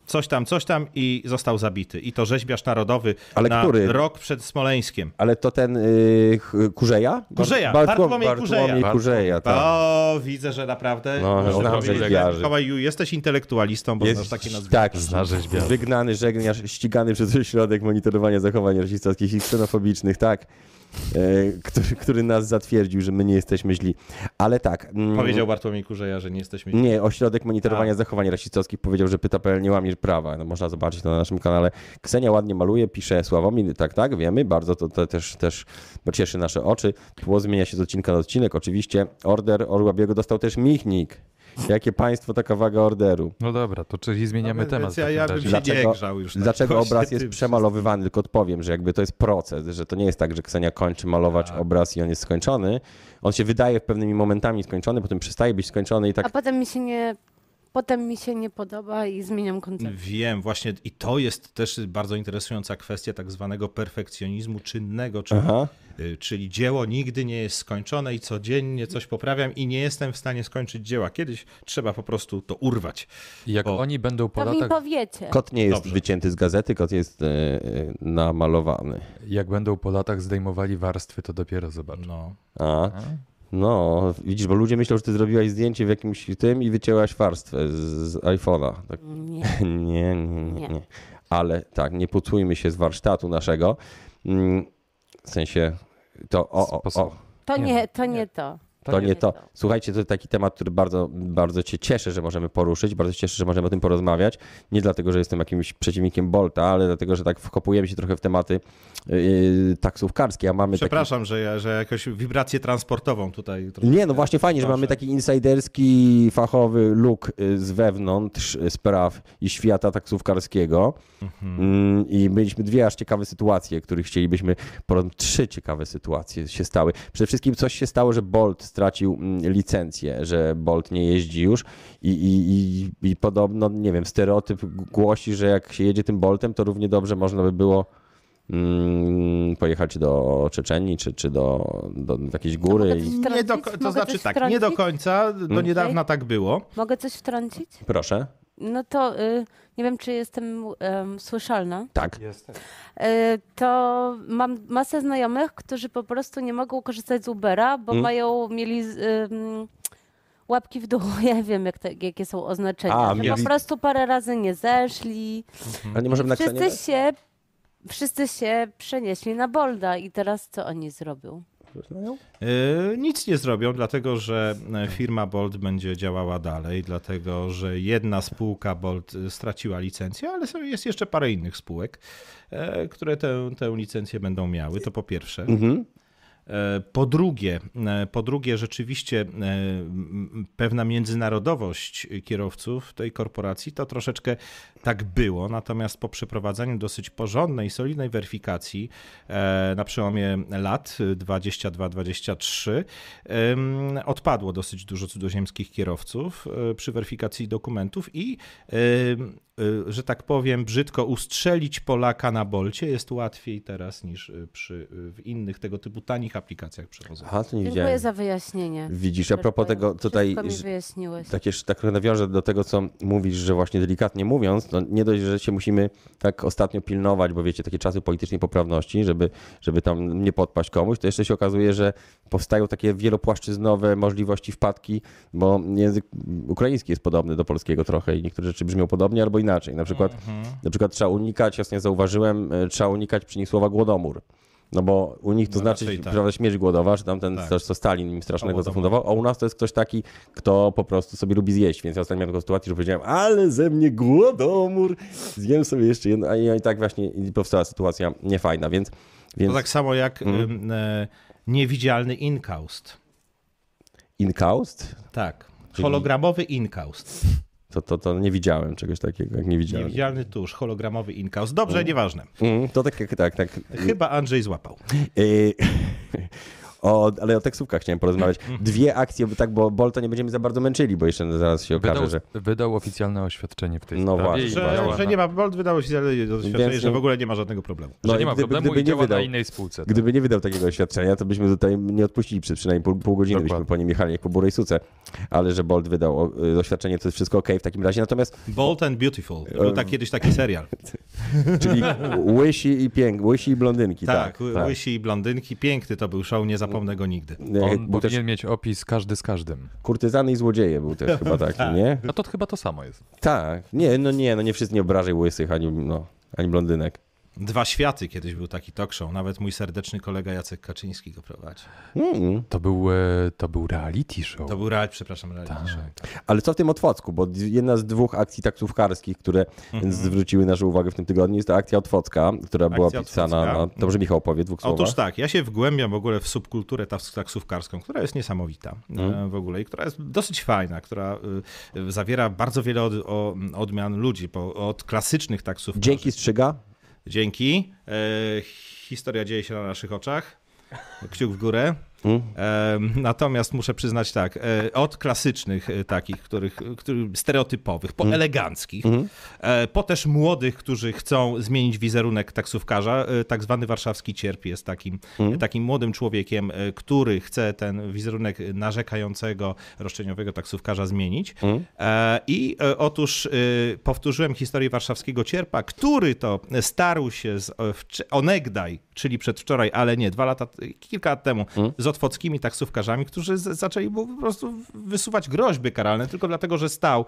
S3: coś tam, coś tam i został zabity. I to rzeźbiarz narodowy
S1: Ale
S3: na
S1: który?
S3: rok przed Smoleńskiem.
S1: Ale to ten y, ch- Kurzeja?
S3: Kurzeja,
S1: Bartłom-
S3: Bartłomiej Kurzeja.
S1: Bartłomiej Kurzeja, tak.
S3: O, widzę, że naprawdę...
S1: No,
S3: muszę
S1: znam
S3: powiedzieć,
S1: rzeźbiarzy.
S3: Mikołaj, Ju, jesteś intelektualistą, bo znasz takie nazwisko.
S1: tak,
S2: Znasz rzeźbiarza.
S1: wygnany żegniarz, ścigany przez ośrodek monitorowania zachowań rasistowskich i ksenofobicznych, tak, e, który, który nas zatwierdził, że my nie jesteśmy źli. Ale tak, mm,
S3: Powiedział Bartłomiej Kurzeja, że nie jesteśmy...
S1: nie, ośrodek monitorowania zachowań rasistowskich powiedział, że pyta.pl nie łamie prawa. No, można zobaczyć to na naszym kanale. Ksenia ładnie maluje, pisze Sławomir, tak, tak, wiemy, bardzo to, to też, też cieszy nasze oczy. Tło zmienia się z odcinka na odcinek, oczywiście. Order Orłabiego dostał też Michnik. Jakie państwo taka waga orderu?
S2: No dobra, to czyli zmieniamy
S1: No,
S3: Więc
S2: temat. w
S3: ja-
S2: takim
S3: ja bym
S2: razie.
S3: się- nie grzał już tak.
S1: dlaczego
S3: Właśnie
S1: obraz
S3: ty
S1: jest
S3: wszystko.
S1: przemalowywany? Tylko odpowiem, że jakby to jest proces, że to nie jest tak, że Ksenia kończy malować
S3: Tak.
S1: obraz i on jest skończony. On się wydaje pewnymi momentami skończony, potem przestaje być skończony i
S4: A
S1: tak.
S4: potem mi się nie... Potem mi się nie podoba i zmieniam koncept.
S3: Wiem, właśnie i to jest też bardzo interesująca kwestia tak zwanego perfekcjonizmu czynnego, czyli,
S1: Aha.
S3: y, czyli dzieło nigdy nie jest skończone i codziennie coś poprawiam i nie jestem w stanie skończyć dzieła. Kiedyś trzeba po prostu to urwać.
S2: I Jak
S3: O.
S2: oni będą po
S4: To mi
S2: latach,
S4: powiecie.
S1: Kot nie jest
S3: Dobrze.
S1: wycięty z gazety, kot jest e, e, namalowany.
S2: jak będą po latach zdejmowali warstwy, to dopiero zobaczą.
S3: No.
S1: A. No, widzisz, bo ludzie myślą, że ty zrobiłaś zdjęcie w jakimś tym i wycięłaś warstwę z, z iPhone'a. Tak.
S4: Nie.
S1: Nie, nie, nie,
S4: Nie.
S1: nie. Ale tak, nie pucujmy się z warsztatu naszego. Mm, W sensie To, o, o, o,
S2: sposobu.
S4: To
S2: Nie,
S4: nie, to nie to.
S1: To nie to.
S4: to.
S1: Słuchajcie, to taki temat, który bardzo, bardzo cię cieszę, że możemy poruszyć, bardzo się cieszę, że możemy o tym porozmawiać. Nie dlatego, że jestem jakimś przeciwnikiem Bolta, ale dlatego, że tak wkopujemy się trochę w tematy yy, taksówkarskie, a mamy taki...
S3: Przepraszam, że, ja, że jakoś wibrację transportową tutaj. trochę-
S1: Nie, no właśnie fajnie, że
S3: Proszę.
S1: mamy taki insiderski, fachowy luk y, z wewnątrz y, spraw i świata taksówkarskiego. Mm, I mieliśmy dwie aż ciekawe sytuacje, których chcielibyśmy, porą- trzy ciekawe sytuacje się stały. Przede wszystkim coś się stało, że Bolt stracił mm, licencję, że Bolt nie jeździ już i, i, i, i podobno, nie wiem, stereotyp głosi, że jak się jedzie tym Boltem, to równie dobrze można by było mm, pojechać do Czeczenii czy, czy do, do jakiejś góry.
S4: mogę
S1: i...
S4: coś
S3: Nie do,
S4: Wtrącić?
S3: ko- to
S4: Mogę
S3: znaczy
S4: coś
S3: tak, nie
S4: wtrącić?
S3: do końca, do
S1: Mm.
S3: niedawna tak było.
S4: Mogę coś wtrącić?
S1: Proszę.
S4: No to y, nie wiem, czy jestem em, słyszalna.
S1: Tak.
S4: Y, to mam masę znajomych, którzy po prostu nie mogą korzystać z Ubera,
S1: Mm.
S4: bo mają, mieli z- ym, łapki w dół. Ja wiem, jak te, jakie są oznaczenia.
S1: A,
S4: że
S1: mieli-
S4: po prostu parę razy nie zeszli.
S1: Ale nie możemy tak na ksenie...
S4: Wszyscy się, wszyscy się przenieśli na Bolda i teraz co oni zrobią?
S3: Yy, Nic nie zrobią, dlatego że e, firma Bolt będzie działała dalej, dlatego że jedna spółka Bolt e, straciła licencję, ale są- jest jeszcze parę innych spółek, e, które tę, tę licencję będą miały, to po pierwsze. E, Po drugie, e, po drugie, rzeczywiście e, m, m, pewna międzynarodowość kierowców tej korporacji to troszeczkę tak było, natomiast po przeprowadzeniu dosyć porządnej, solidnej weryfikacji e, na przełomie lat 22-23 em, odpadło dosyć dużo cudzoziemskich kierowców e, przy weryfikacji dokumentów i em, e, że tak powiem brzydko ustrzelić Polaka na bolcie jest łatwiej teraz niż e, przy, w innych tego typu tanich aplikacjach przewozowych.
S1: Aha, to nie
S4: Dziękuję
S1: widziałem.
S4: za wyjaśnienie.
S1: Widzisz, a propos tego tutaj,
S4: Wszystko mi
S1: że-
S4: wyjaśniłeś.
S1: Takież tak nawiążę do tego, co mówisz, że właśnie delikatnie mówiąc, no nie dość, że się musimy tak ostatnio pilnować, bo wiecie, takie czasy politycznej poprawności, żeby, żeby tam nie podpaść komuś, to jeszcze się okazuje, że powstają takie wielopłaszczyznowe możliwości wpadki, bo język ukraiński jest podobny do polskiego trochę i niektóre rzeczy brzmią podobnie albo inaczej. Na przykład,
S3: Mhm.
S1: na przykład trzeba unikać, jasno zauważyłem, e, trzeba unikać przy nich słowa głodomór. No bo u nich to
S3: No
S1: znaczy,
S3: raczej tak.
S1: prawda, śmierć głodowa, czy tamten,
S3: Tak.
S1: coś, co Stalin im strasznego
S3: Głodomor.
S1: zafundował, a u nas to jest ktoś taki, kto po prostu sobie lubi zjeść, więc ja ostatnio miałem taką sytuację, że powiedziałem, ale ze mnie głodomór, zjem sobie jeszcze jedno, a i i tak właśnie i powstała sytuacja niefajna, więc,
S3: To
S1: więc Mhm.
S3: tak samo jak em, e, niewidzialny inkaust.
S1: inkaust,
S3: Tak.
S1: Czyli-
S3: Hologramowy inkaust.
S1: to, to, to nie widziałem czegoś takiego, jak nie widziałem.
S3: Niewidzialny tusz, hologramowy inkaust. Dobrze, nieważne.
S1: Mm, to tak, jak- tak, tak.
S3: Chyba Andrzej złapał.
S1: Yy, O, ale o taksówkach chciałem porozmawiać.
S2: Mhm.
S1: Dwie akcje, bo tak, bo Bolta nie będziemy za bardzo męczyli, bo jeszcze zaraz się okaże,
S2: Wydał,
S1: że...
S2: wydał oficjalne oświadczenie w tej
S1: No
S2: sprawie.
S1: właśnie,
S2: i
S1: właśnie.
S3: Że,
S2: działa
S3: że
S2: na-
S3: nie ma, Bolt wydało się doświadczenie,
S1: Więc-
S3: że w ogóle nie ma żadnego problemu.
S2: że
S1: No
S2: nie
S1: i
S2: ma
S1: gdyby-
S2: problemu
S1: gdyby
S2: i
S1: nie
S2: działa
S1: wydał-
S2: na innej spółce. tak.
S1: Gdyby nie wydał takiego oświadczenia, to byśmy tutaj nie odpuścili przez przynajmniej pół, pół godziny,
S2: Dokładnie.
S1: byśmy po nim jechali jak po burej suce. Ale że Bolt wydał o- y, oświadczenie, to jest wszystko okej w takim razie. Natomiast,
S3: Bolt and Beautiful. Był tak kiedyś taki serial.
S1: czyli łysi i pięk, łysi i blondynki, tak.
S3: Tak, ły- łysi i blondynki. Piękny to był show, nie zapomnę go nigdy.
S1: Y,
S2: On
S1: Był też
S2: powinien mieć opis każdy z każdym.
S1: kurtyzany i złodzieje był też chyba
S3: Tak.
S1: taki, nie?
S2: No to chyba to samo jest.
S1: Tak. Nie, no nie, no nie wszyscy nie obrażaj łysych ani, no, ani blondynek.
S3: Dwa światy kiedyś był taki talk show. Nawet mój serdeczny kolega Jacek Kaczyński go prowadzi.
S1: Mm.
S2: To był, e, to był reality show.
S3: To był real, przepraszam, reality show.
S1: Ale co w tym Otwocku? Bo d- jedna z dwóch akcji taksówkarskich, które
S3: Mhm.
S1: zwróciły naszą uwagę w tym tygodniu, jest to akcja Otwocka, która była
S3: Akcja
S1: pisana
S3: Otwocka.
S1: na... Dobrze, Michał, powie w dwóch słowach.
S3: Otóż tak, ja się wgłębiam w ogóle w subkulturę taks- taksówkarską, która jest niesamowita e, w ogóle i która jest dosyć fajna, która y, y, zawiera bardzo wiele od, o, odmian ludzi, po, od klasycznych taksówkarzy.
S1: Dzięki Strzyga.
S3: Dzięki. E, historia dzieje się na naszych oczach. Kciuk w górę. E, natomiast muszę przyznać tak, e, od klasycznych e, takich, których, których stereotypowych, po eleganckich, e, po też młodych, którzy chcą zmienić wizerunek taksówkarza, e, tak zwany warszawski cierp jest takim, takim młodym człowiekiem, e, który chce ten wizerunek narzekającego, roszczeniowego taksówkarza zmienić. E, I e, otóż e, powtórzyłem historię warszawskiego cierpa, który to starł się z, e, wcz- onegdaj, czyli przedwczoraj, ale nie, dwa lata, kilka lat temu, z otwockimi taksówkarzami, którzy z- zaczęli mu po prostu wysuwać groźby karalne tylko dlatego, że stał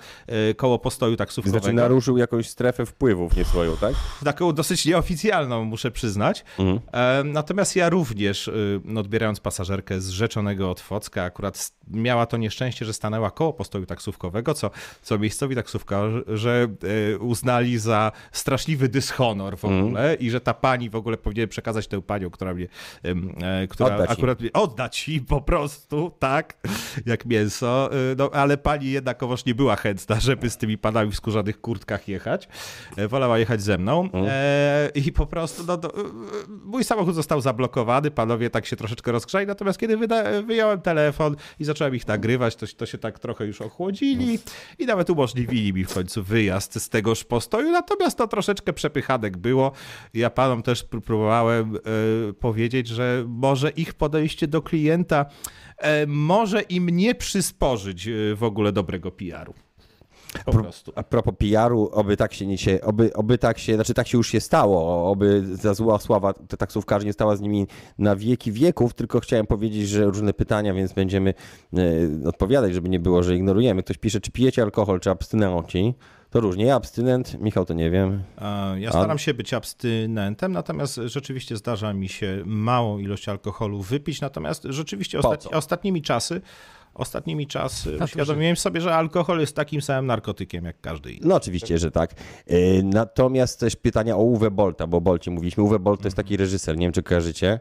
S3: y, koło postoju taksówkowego.
S1: Znaczy naruszył jakąś strefę wpływów nie swoją, tak?
S3: taką dosyć nieoficjalną, muszę przyznać.
S1: Mhm.
S3: E, Natomiast ja również, y, no, odbierając pasażerkę z rzeczonego od Focka, akurat s- miała to nieszczęście, że stanęła koło postoju taksówkowego, co, co miejscowi taksówkarze y, uznali za straszliwy dyshonor w
S1: Mhm.
S3: ogóle i że ta pani w ogóle powinien przekazać tę panią, która mnie, ym, e, która
S1: Oddać im.
S3: akurat mi- oddać im po prostu, tak, jak mięso, y, no ale pani jednakowoż nie była chętna, żeby z tymi panami w skórzanych kurtkach jechać. E, Wolała jechać ze mną e, i po prostu, no to, y, y, mój samochód został zablokowany, panowie tak się troszeczkę rozgrzali, natomiast kiedy wyda- wyjąłem telefon i zacząłem ich nagrywać, to, się- to się tak trochę już ochłodzili i nawet umożliwili mi w końcu wyjazd z tegoż postoju, natomiast to troszeczkę przepychanek było. Ja panom też pró- próbowałem e, powiedzieć, że może ich podejście do klienta e, może im nie przysporzyć e, w ogóle dobrego PR-u. Po prostu.
S1: A propos PR-u, oby tak się nie się, oby, oby tak się, znaczy tak się już się stało, oby za zła sława ta taksówkarzy nie stała z nimi na wieki wieków, tylko chciałem powiedzieć, że różne pytania, więc będziemy e, odpowiadać, żeby nie było, że ignorujemy. Ktoś pisze, czy pijecie alkohol, czy abstynenci? To różnie, ja abstynent, Michał to nie wiem.
S3: E, Ja staram się być abstynentem, natomiast rzeczywiście zdarza mi się małą ilość alkoholu wypić, natomiast rzeczywiście
S1: Po
S3: ostatni,
S1: co?
S3: ostatnimi czasy Ostatnimi czasy
S2: to
S3: uświadomiłem sobie, że alkohol jest takim samym narkotykiem jak każdy inny.
S1: No oczywiście, że tak. E, Natomiast też pytania o Uwe Bolta, bo o Bolcie mówiliśmy. Uwe Bolt to jest taki reżyser, nie wiem czy kojarzycie.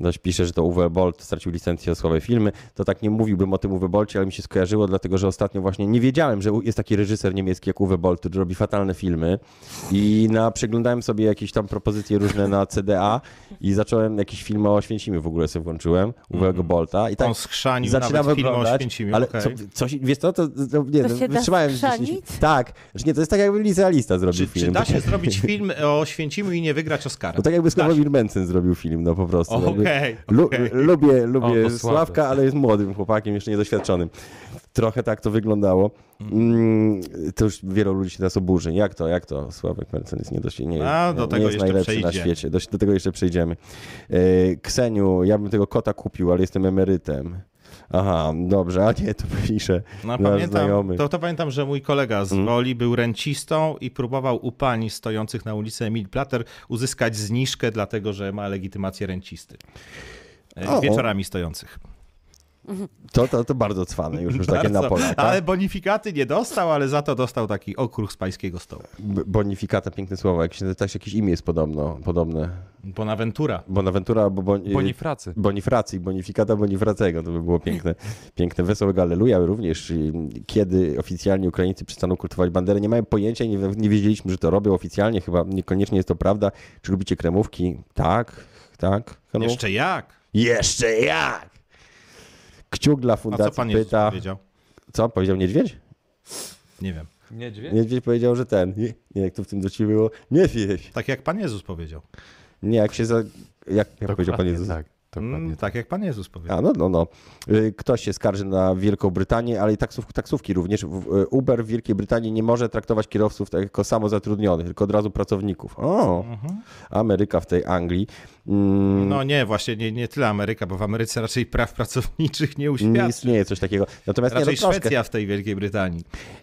S1: Ktoś pisze, że to Uwe Bolt stracił licencję na słabe filmy. To tak nie mówiłbym o tym Uwe Bolcie, ale mi się skojarzyło, dlatego że ostatnio właśnie nie wiedziałem, że u- jest taki reżyser niemiecki jak Uwe Bolt, który robi fatalne filmy. I na, przeglądałem sobie jakieś tam propozycje różne na CDA i zacząłem jakiś film o Święcimiu w ogóle sobie włączyłem, Uwego Bolta. I tak
S3: On schrzanił
S1: zaczynam
S3: nawet film o
S1: oglądać,
S3: Święcimiu.
S1: ale
S3: okej.
S1: co, coś, wiesz co, to, to nie,
S4: To
S1: no,
S4: się da
S1: wytrzymałem
S4: schrzanić?
S1: 10 Tak, że nie, to jest tak jakby licealista zrobił
S3: Czy,
S1: film.
S3: czy da się zrobić film o Święcimiu i nie wygrać Oscara?
S1: No tak jakby
S3: Da się.
S1: Sławomir Mencen zrobił film, no po prostu.
S3: Okej,
S1: Jakby lu,
S3: okej.
S1: Lubię, lubię
S2: O, to słabe.
S1: Sławka, ale jest młodym chłopakiem, jeszcze niedoświadczonym. Trochę tak to wyglądało. Mm, to już wielu ludzi się teraz oburzy. Jak to, jak to? Sławek Mencen jest niedoświadczony. Nie,
S3: A,
S1: nie,
S3: do
S1: nie
S3: tego
S1: jest
S3: jeszcze
S1: najlepszy na
S3: przejdziemy.
S1: świecie. Do, do tego jeszcze przejdziemy. E, Kseniu, ja bym tego kota kupił, ale jestem emerytem. Aha, dobrze, a nie, to pisze
S3: No,
S1: nasz
S3: pamiętam,
S1: znajomy.
S3: to, to pamiętam, że mój kolega z
S1: Mhm.
S3: Woli był rencistą i próbował u pań stojących na ulicy Emil Plater uzyskać zniżkę, dlatego że ma legitymację rencisty. E,
S1: O.
S3: Wieczorami stojących.
S1: To, to, to bardzo cwane, już, już takie tak? na
S3: Bardzo.
S1: Polaka.
S3: Ale bonifikaty nie dostał, ale za to dostał taki okruch z pańskiego stołu.
S1: B- Bonifikata, piękne słowo. Jak się też jakieś imię jest podobno, podobne.
S3: Bonaventura.
S1: Bonaventura albo bon...
S2: Bonifracy.
S1: Bonifracji, Bonifikata Bonifracego, to by było piękne. Piękne, wesołe Galeluja również. y, Kiedy oficjalnie Ukraińcy przestaną kultywować banderę, nie mają pojęcia, nie, nie wiedzieliśmy, że to robią oficjalnie, chyba niekoniecznie jest to prawda. Czy lubicie kremówki? Tak, tak. Kremów-
S3: Jeszcze jak?
S1: Jeszcze jak? Kciuk dla
S3: A co
S1: fundacji
S3: pan Jezus
S1: pyta...
S3: powiedział?
S1: Co? Powiedział niedźwiedź?
S3: Nie wiem.
S2: Niedźwiedź?
S1: Niedźwiedź powiedział, że ten. Nie, nie jak to w tym do ciebie było. Nie wieś.
S3: Tak jak pan Jezus powiedział.
S1: Tak Nie, jak się za... Jak, jak powiedział pan Jezus?
S2: Tak, dokładnie.
S3: Mm, tak jak pan Jezus powiedział.
S1: A, no, no, no. Y, Ktoś się skarży na Wielką Brytanię, ale i taksów, taksówki również. W- y, Uber w Wielkiej Brytanii nie może traktować kierowców tak jako samozatrudnionych, tylko od razu pracowników. O, Ameryka w tej Anglii. Mm,
S3: Mhm. No nie, właśnie nie, nie tyle Ameryka, bo w Ameryce raczej praw pracowniczych nie
S1: nie
S3: uświadczy.
S1: istnieje coś takiego. Natomiast nie, no,
S3: Raczej
S1: troszkę.
S3: Szwecja w tej Wielkiej Brytanii.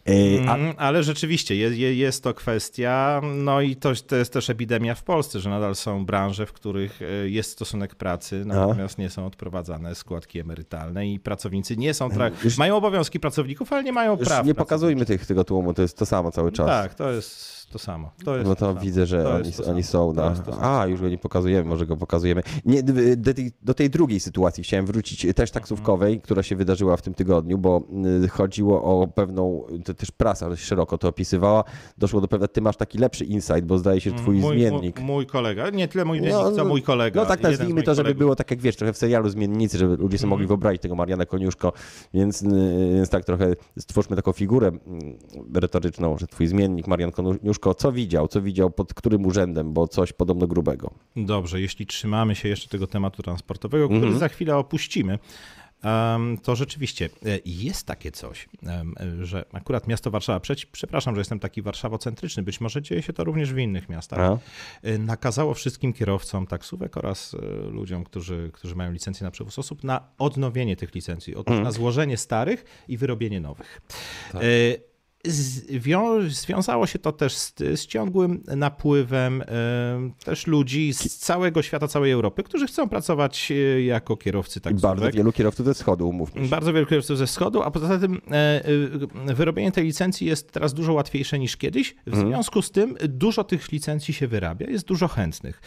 S1: Y, a,
S3: Mm, ale rzeczywiście je, je, jest to kwestia, no i to, to jest też epidemia w Polsce, że nadal są branże, w których e, jest stosunek pracy, natomiast nie są odprowadzane składki emerytalne i pracownicy nie są, tra- mają obowiązki pracowników, ale nie mają
S1: już
S3: praw.
S1: nie
S3: pracowników.
S1: pokazujmy tych, tego tłumu, to jest to samo cały czas.
S3: Tak, to jest to samo. To jest
S1: No to
S3: samo.
S1: widzę, że
S3: To
S1: oni,
S3: jest to
S1: oni
S3: samo.
S1: są
S3: To
S1: na.
S3: jest to samo.
S1: A, już go nie pokazujemy, może go pokazujemy. Nie, d- y, do, tej, do tej drugiej sytuacji chciałem wrócić, y, też taksówkowej, która się wydarzyła w tym tygodniu, bo y, chodziło o pewną, to też prasa dość szeroko to opisywała. Doszło do pewnego, ty masz taki lepszy insight, bo zdaje się, że twój
S3: Mm, mój,
S1: zmiennik.
S3: Mój, mój kolega, nie tyle mój zmiennik, co mój kolega.
S1: No tak
S3: jeden z
S1: nazwijmy
S3: moich
S1: to, żeby
S3: kolegów. Mhm.
S1: było tak jak wiesz, trochę w serialu Zmiennicy, żeby ludzie sobie mogli wyobrazić tego Mariana Koniuszko, więc, y, więc tak trochę stwórzmy taką figurę mm, retoryczną, że twój zmiennik Marian Koniuszko, co widział, co widział pod którym urzędem, bo coś podobno grubego.
S3: Dobrze, jeśli trzymamy się jeszcze tego tematu transportowego, który za chwilę opuścimy, em, to rzeczywiście e, jest takie coś, em, e, że akurat miasto Warszawa, przeci- przepraszam, że jestem taki warszawocentryczny, być może dzieje się to również w innych miastach,
S1: A?
S3: e, nakazało wszystkim kierowcom taksówek oraz e, ludziom, którzy, którzy mają licencję na przewóz osób, na odnowienie tych licencji, otóż na złożenie starych i wyrobienie nowych. E, z- wią- Związało się to też z, z ciągłym napływem e, też ludzi z całego świata, całej Europy, którzy chcą pracować e, jako kierowcy
S1: I bardzo
S3: taksówek.
S1: wielu kierowców ze wschodu, umówmy się.
S3: Bardzo wielu kierowców ze wschodu, a poza tym e, e, wyrobienie tej licencji jest teraz dużo łatwiejsze niż kiedyś. W związku z tym dużo tych licencji się wyrabia, jest dużo chętnych.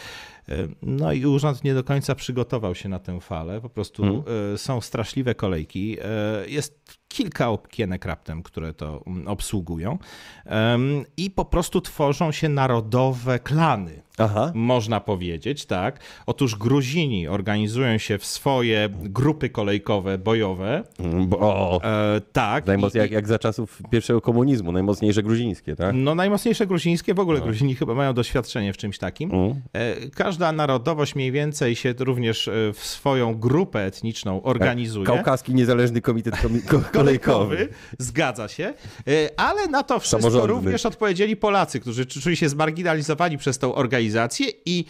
S3: E, No i urząd nie do końca przygotował się na tę falę. Po prostu e, są straszliwe kolejki. E, Jest kilka okienek raptem, które to mm, obsługują. Em, I po prostu tworzą się narodowe klany
S1: Aha.
S3: można powiedzieć, tak. Otóż Gruzini organizują się w swoje grupy kolejkowe bojowe.
S1: Mm, Bo, o,
S3: E, tak.
S1: najmocniej,
S3: I-
S1: jak, jak za czasów pierwszego komunizmu, najmocniejsze gruzińskie, tak?
S3: No najmocniejsze gruzińskie, w ogóle Gruzini chyba mają doświadczenie w czymś takim.
S1: No. Mm.
S3: E, Każda narodowość mniej więcej się również e, w swoją grupę etniczną
S1: Tak.
S3: organizuje.
S1: Kaukaski Niezależny Komitet Komi- Ko- Kolejkowy.
S3: Kolejkowy, zgadza się, E, ale na to wszystko
S1: Samorządny.
S3: również odpowiedzieli Polacy, którzy czu- czuli się zmarginalizowani przez tą organizację i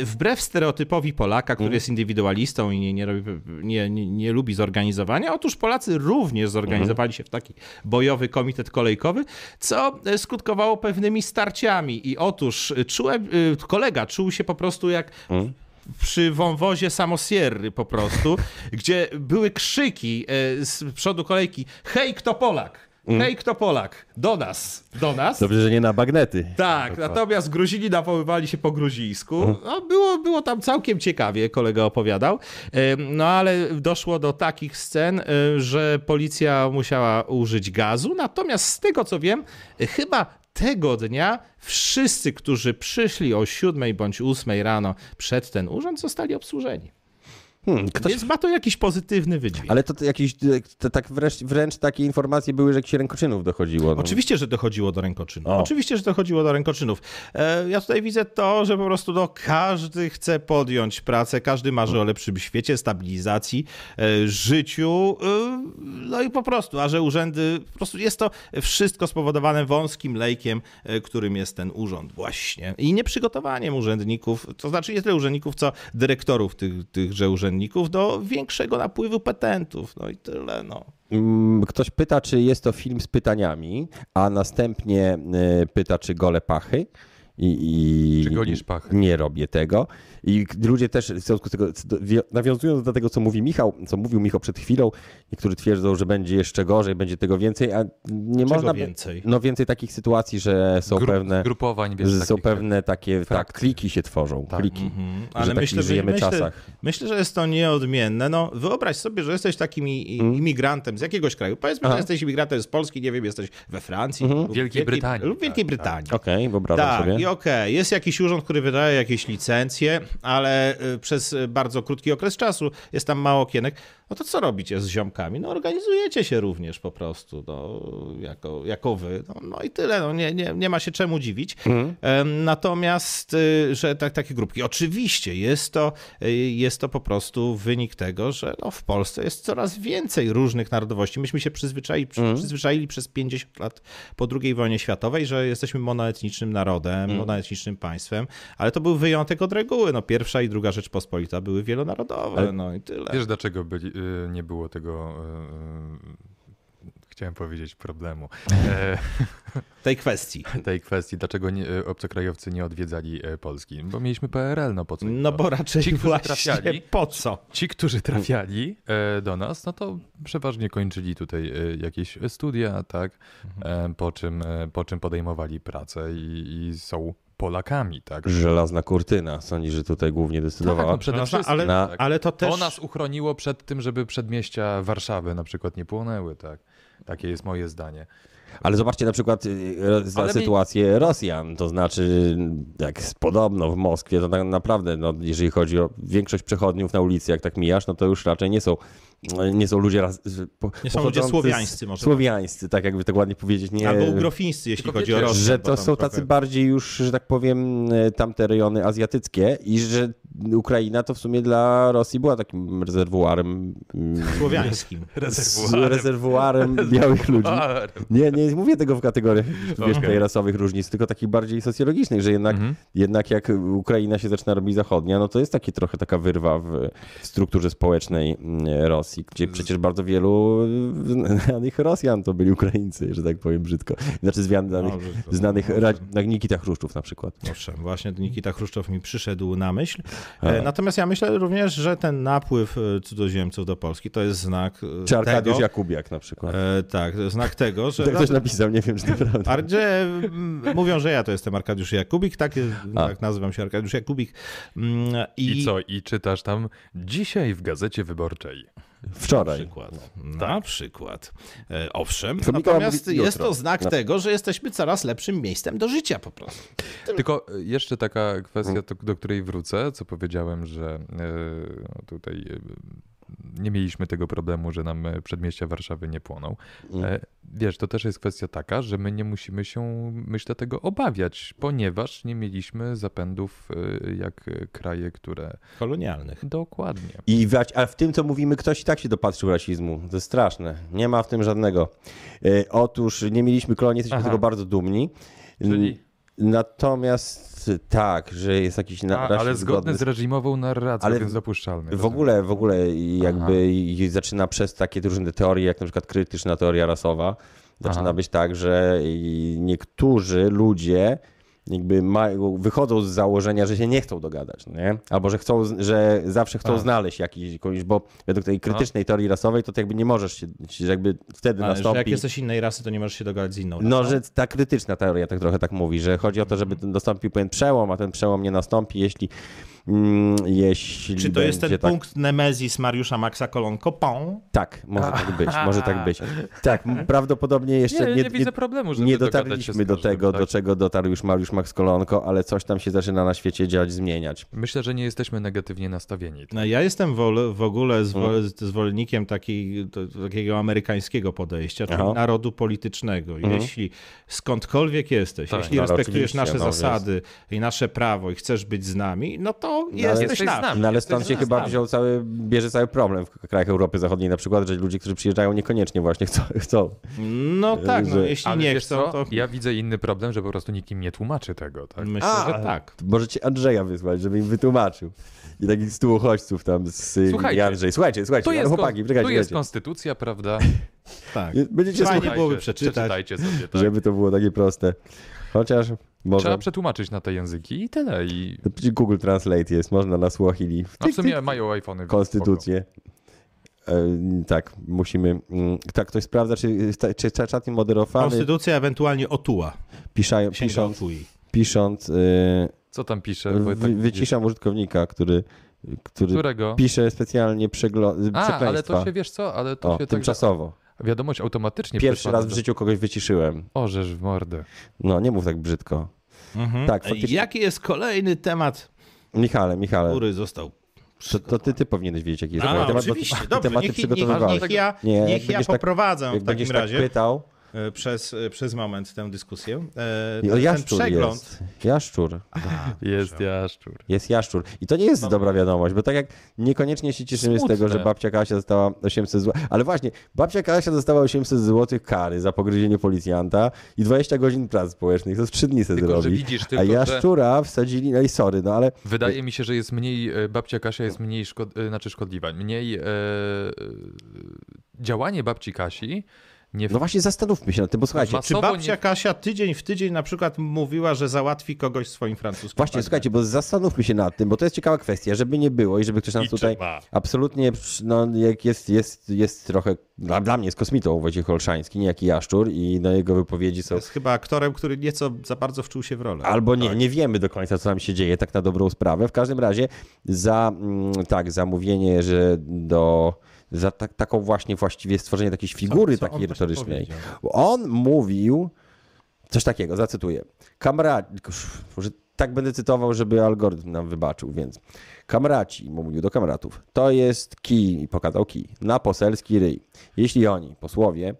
S3: e, wbrew stereotypowi Polaka, który jest indywidualistą i nie, nie, robi, nie, nie, nie lubi zorganizowania, otóż Polacy również zorganizowali się w taki bojowy komitet kolejkowy, co e, skutkowało pewnymi starciami i otóż e, czułem, e, kolega czuł się po prostu jak przy wąwozie samosierry po prostu, gdzie były krzyki e, z przodu kolejki hej, kto Polak? Hej, kto Polak? Do nas, do nas.
S1: Dobrze, że nie na bagnety.
S3: Tak, natomiast Gruzini nawoływali się po gruzińsku. No, było, było tam całkiem ciekawie, kolega opowiadał. Em, No ale doszło do takich scen, e, że policja musiała użyć gazu. Natomiast z tego co wiem, e, chyba tego dnia wszyscy, którzy przyszli o 7 bądź 8 rano przed ten urząd, zostali obsłużeni.
S1: Hmm, ktoś...
S3: Więc ma to jakiś pozytywny wydźwięk.
S1: Ale to, to jakieś, to, tak wręcz, wręcz takie informacje były, że jakichś rękoczynów dochodziło. No.
S3: Oczywiście, że dochodziło do rękoczynów.
S1: O.
S3: Oczywiście, że dochodziło do rękoczynów. E, ja tutaj widzę to, że po prostu no, każdy chce podjąć pracę, każdy marzy o lepszym świecie, stabilizacji, e, życiu. E, no i po prostu, a że urzędy, po prostu jest to wszystko spowodowane wąskim lejkiem, e, którym jest ten urząd właśnie. I nieprzygotowaniem urzędników, to znaczy nie tyle urzędników, co dyrektorów tych, tychże urzędników do większego napływu petentów. No i tyle, no.
S1: Mm, Ktoś pyta, czy jest to film z pytaniami, a następnie y, pyta, czy gole pachy. I, i,
S2: Czy golisz pachy?
S1: Nie robię tego. I k- ludzie też, w związku z tego, c- do- wio- nawiązując do tego, co mówi Michał, co mówił Michał przed chwilą, niektórzy twierdzą, że będzie jeszcze gorzej, będzie tego więcej, a nie
S3: Czego
S1: można. by-
S3: więcej?
S1: No więcej takich sytuacji, że są
S2: Gru-
S1: pewne.
S2: Grupowań, wiesz,
S1: Że są
S2: takich, Tak,
S1: pewne takie, tak,
S2: frakcje.
S1: kliki się tworzą, kliki.
S2: mhm.
S3: Ale
S1: że
S3: myślę,
S1: takich
S3: że-
S1: żyjemy
S3: myślę-
S1: czasach.
S3: Myślę, że jest to nieodmienne. No, wyobraź sobie, że jesteś takim i- i- imigrantem z jakiegoś kraju. Powiedzmy,
S1: Mhm. Aha. Mhm.
S3: że jesteś imigrantem z Polski, nie wiem, jesteś we Francji, lub
S2: Wielkiej Brytanii.
S3: Lub
S1: Tak,
S3: Wielkiej Brytanii.
S1: Okej, wyobrażam
S3: Tak,
S1: sobie.
S3: i okej, jest jakiś urząd, który wydaje jakieś licencje, ale y, przez y, bardzo krótki okres czasu jest tam mało okienek. No to co robicie z ziomkami? No organizujecie się również po prostu, no, jako, jako wy. No, no i tyle, no, nie, nie, nie ma się czemu dziwić.
S1: Mhm.
S3: Em, Natomiast, y, że tak, takie grupki, oczywiście jest to, y, jest to po prostu wynik tego, że no, w Polsce jest coraz więcej różnych narodowości. Myśmy się przyzwyczaili, przy-
S1: Mhm.
S3: przyzwyczaili przez 50 lat po II wojnie światowej, że jesteśmy monoetnicznym narodem,
S2: Mm.
S3: monoetnicznym państwem, ale to był wyjątek od reguły. No, pierwsza i druga Rzeczpospolita były wielonarodowe, no i tyle.
S2: Wiesz, dlaczego byli, y, nie było tego, y, y, chciałem powiedzieć, problemu. E,
S3: tej kwestii.
S2: tej kwestii, dlaczego nie, y, obcokrajowcy nie odwiedzali y, Polski. Bo mieliśmy PRL, no po co? im
S3: No
S2: to?
S3: bo raczej
S2: Ci, którzy
S3: właśnie
S2: trafiali,
S3: po co?
S2: Ci, którzy trafiali e, do nas, no to przeważnie kończyli tutaj e, jakieś studia, tak, e, po, czym, e, po czym podejmowali pracę i, i są Polakami, tak.
S1: Żelazna kurtyna. Sądzi, że tutaj głównie
S2: Tak,
S1: decydowała.
S2: no przede
S3: Przepraszam,
S2: wszystkim.
S3: ale,
S1: Na-
S2: tak.
S3: ale to też...
S2: To nas uchroniło przed tym, żeby przedmieścia Warszawy na przykład nie płonęły, tak. Takie jest moje zdanie.
S1: Ale zobaczcie na przykład y, ro- za
S2: Ale mi-
S1: sytuację Rosjan, to znaczy jak jest podobno w Moskwie, to tak naprawdę, no, jeżeli chodzi o większość przechodniów na ulicy, jak tak mijasz, no to już raczej nie są, nie są ludzie raz, z- po,
S3: Nie są
S1: pochodzący
S3: ludzie słowiańscy
S1: z-
S3: może
S1: Słowiańscy, tak jakby tak ładnie powiedzieć. Nie,
S3: Albo ugrofińscy, jeśli
S2: Tylko
S3: chodzi
S2: wiecie,
S3: o Rosjan.
S1: że
S3: bo
S1: to
S3: tam
S1: są
S3: trochę-
S1: tacy bardziej już, że tak powiem, y, tamte rejony azjatyckie i że Ukraina to w sumie dla Rosji była takim rezerwuarem. mm,
S3: Słowiańskim.
S1: z rezerwuarem białych ludzi. Nie, nie mówię tego w kategoriach wiesz, tej rasowych różnic, tylko takich bardziej socjologicznych, że jednak,
S3: Mhm.
S1: jednak jak Ukraina się zaczyna robić zachodnia, no to jest takie trochę taka wyrwa w strukturze społecznej mm, Rosji, gdzie przecież bardzo wielu znanych Rosjan to byli Ukraińcy, że tak powiem brzydko. Znaczy znanych,
S3: No, brzydko.
S1: znanych ra- jak Nikita Chruszczów na przykład.
S3: Owszem, właśnie Nikita Chruszczow mi przyszedł na myśl. E, Natomiast ja myślę również, że ten napływ e, cudzoziemców do Polski to jest znak e,
S1: Czy Arkadiusz
S3: tego,
S1: Jakubiak na przykład.
S3: e, tak, to jest znak tego, że...
S1: Tak ktoś napisał, nie wiem czy to prawda.
S3: A gdzie m, mówią, że ja to jestem Arkadiusz Jakubik, tak, jest- tak nazywam się Arkadiusz Jakubik. Mm, I,
S2: I co? I czytasz tam dzisiaj w Gazecie Wyborczej.
S3: Na
S1: Wczoraj.
S3: przykład. Na przykład. E, owszem,
S1: Co Mikołaj
S3: natomiast
S1: mówi
S3: jest
S1: jutro.
S3: to znak
S1: No.
S3: tego, że jesteśmy coraz lepszym miejscem do życia po prostu.
S2: Tylko e, jeszcze taka kwestia, do, do której wrócę, co powiedziałem, że e, no tutaj e, nie mieliśmy tego problemu, że nam e, przedmieścia Warszawy nie płoną.
S3: Mm.
S2: E, Wiesz, to też jest kwestia taka, że my nie musimy się, myślę, tego obawiać, ponieważ nie mieliśmy zapędów e, jak e, kraje, które...
S3: Kolonialnych.
S2: Dokładnie.
S1: I wać, a w tym, co mówimy, ktoś i tak się dopatrzył rasizmu. To jest straszne. Nie ma w tym żadnego. E, otóż nie mieliśmy kolonii, jesteśmy
S2: Aha.
S1: z tego bardzo dumni.
S2: Czyli-
S1: N- Natomiast tak, że jest jakiś na,
S2: A,
S1: rasizm
S2: ale zgodny z reżimową narracją,
S1: Ale
S2: więc dopuszczalny.
S1: W ogóle, w ogóle jakby i- zaczyna przez takie różne teorie, jak na przykład krytyczna teoria rasowa, zaczyna
S2: Aha.
S1: być tak, że i niektórzy ludzie jakby mają, wychodzą z założenia, że się nie chcą dogadać, no nie? albo że chcą, z- że zawsze chcą znaleźć jakiś, kogoś, bo według tej krytycznej teorii rasowej to ty jakby nie możesz się, się jakby wtedy
S3: Ale że jak
S1: nastąpi...
S3: jesteś innej rasy, to nie możesz się dogadać z inną rasą.
S1: No, że ta krytyczna teoria tak trochę tak mówi, że chodzi o to, żeby ten nastąpił pewien przełom, a ten przełom nie nastąpi, jeśli... Mm, jeśli
S3: Czy to jest ten
S1: będzie tak...
S3: punkt Nemezis Mariusza Maxa Colon Copon?
S1: Tak, może tak być, może tak być. Tak, m- prawdopodobnie jeszcze
S2: Nie, nie widzę problemu, żeby
S1: nie
S2: dogadać się
S1: dotarliśmy
S2: z
S1: do
S2: każdym,
S1: tego,
S2: tak?
S1: do czego dotarł już Mariusz Max Kolonko, ale coś tam się zaczyna na świecie dziać, zmieniać.
S2: Myślę, że nie jesteśmy negatywnie nastawieni.
S3: No, ja jestem wol, w ogóle
S1: Mhm.
S3: zwol, zwolennikiem takiej, to, takiego amerykańskiego podejścia, czyli
S1: Aha. Mhm.
S3: narodu politycznego. I Jeśli skądkolwiek jesteś,
S2: Tak,
S3: jeśli
S1: no, ale
S3: respektujesz
S1: oczywiście,
S3: nasze
S1: no, więc-
S3: zasady i nasze prawo i chcesz być z nami, no to jesteś,
S2: jesteś z
S3: nasz.
S2: nami.
S1: No ale stąd się chyba wziął cały, bierze cały problem w k- krajach Europy Zachodniej na przykład, że ludzie, którzy przyjeżdżają niekoniecznie właśnie chcą. chcą.
S3: No tak, no,
S1: Że-
S3: jeśli
S2: Ale
S3: nie
S2: wiesz
S3: chcą,
S2: co?
S3: to
S2: Ja widzę inny problem, że po prostu nikt im nie tłumaczy tego, tak?
S3: myślę, że tak.
S1: To Możecie Andrzeja wysłać, żeby im wytłumaczył. I takich stu uchodźców tam z y, i
S2: Słuchajcie.
S1: Andrzej. Słuchajcie, słuchajcie,
S2: Tu
S1: ale
S2: jest,
S1: chłopaki,
S2: kon-
S1: czekajcie,
S2: tu jest
S1: czekajcie.
S2: konstytucja, prawda?
S3: tak.
S1: Będziecie
S3: Fajnie.
S1: słuchać,
S2: Słuchajcie,
S3: byłoby przeczytać.
S2: Przeczytajcie sobie, tak.
S1: żeby to było takie proste. Chociaż może...
S2: Trzeba przetłumaczyć na te języki i tyle. I...
S1: Google Translate jest, można na Swahili.
S2: A No w sumie mają iPhony.
S1: Konstytucję. E, Tak, musimy. mm, Tak, ktoś sprawdza, czy, czy czat nie moderowany.
S3: Konstytucja ewentualnie otuła.
S1: Piszają,
S3: Księga
S1: pisząc,
S3: otui.
S1: pisząc e,
S2: Co tam pisze? Bo
S1: wy,
S2: tak
S1: wyciszam użytkownika, który, który
S2: Którego?
S1: pisze specjalnie przeglo-
S2: A, ale to
S1: przekleństwa.
S2: się, wiesz co, ale to
S1: o,
S2: się tak...
S1: tymczasowo.
S2: Wiadomość automatycznie
S1: Pierwszy
S2: przesłana
S1: raz w
S2: do-
S1: życiu kogoś wyciszyłem.
S2: Orzesz w mordę.
S1: No, nie mów tak brzydko.
S2: Mhm.
S1: Tak, faktycznie.
S3: Jaki jest kolejny temat,
S1: Michale, Michale,
S3: który został
S1: to, to ty, ty powinieneś wiedzieć, jaki jest
S3: A,
S1: twój temat, bo
S3: oczywiście,
S1: ty
S3: dobrze,
S1: tematy
S3: niech, niech,
S1: przygotowywałeś.
S3: niech ja,
S1: Nie, jak
S3: niech ja
S1: będziesz tak-
S3: poprowadzę
S1: Jak
S3: w takim
S1: będziesz
S3: razie
S1: tak pytał,
S3: e, przez, e, przez moment tę dyskusję. E,
S1: I o,
S3: ten- ten
S1: no, jaszczur
S3: przegląd.
S1: jest. Jaszczur.
S2: Jest jaszczur.
S1: Jest jaszczur. I to nie
S3: No.
S1: jest dobra wiadomość, bo tak jak niekoniecznie się cieszymy
S2: Smutne.
S1: z tego, że babcia Kasia dostała 800 zł. Ale właśnie, babcia Kasia dostała 800 zł kary za pogryzienie policjanta i 20 godzin prac społecznych. To z 3 dni se
S2: Tylko, że
S1: zrobi.
S2: widzisz,
S1: A
S2: tylko, że-
S1: jaszczura wsadzili, no i sorry, no ale
S2: Wydaje mi się, że jest mniej, e, babcia Kasia jest mniej szkod, e, znaczy szkodliwa, mniej e, e, działanie babci Kasi nie
S1: no właśnie zastanówmy się nad tym, bo słuchajcie,
S2: Mas-
S3: Czy
S2: Masowo
S3: babcia
S2: nie-
S3: Kasia tydzień w tydzień na przykład mówiła, że załatwi kogoś swoim francuskim?
S1: Właśnie,
S3: bagnem?
S1: słuchajcie, bo zastanówmy się nad tym, bo to jest ciekawa kwestia, żeby nie było i żeby ktoś nam tutaj absolutnie, przy- no jak jest, jest, jest trochę, dla, dla mnie jest kosmitą Wojciech Olszański, niejaki Jaszczur i no, jego wypowiedzi są
S3: Jest chyba aktorem, który nieco za bardzo wczuł się w rolę.
S1: Albo nie, nie wiemy do końca, co tam się dzieje, tak na dobrą sprawę. W każdym razie za mm, tak, zamówienie, że do. Za ta, taką właśnie właściwie stworzenie takiej figury
S3: co on
S1: takiej
S3: właśnie
S1: retorycznej.
S3: powiedział?
S1: On mówił coś takiego, zacytuję. Kamraci, może tak będę cytował, żeby algorytm nam wybaczył, więc. Kamraci, mówił do kamratów, to jest kij, i pokazał kij, na poselski ryj. Jeśli oni, posłowie,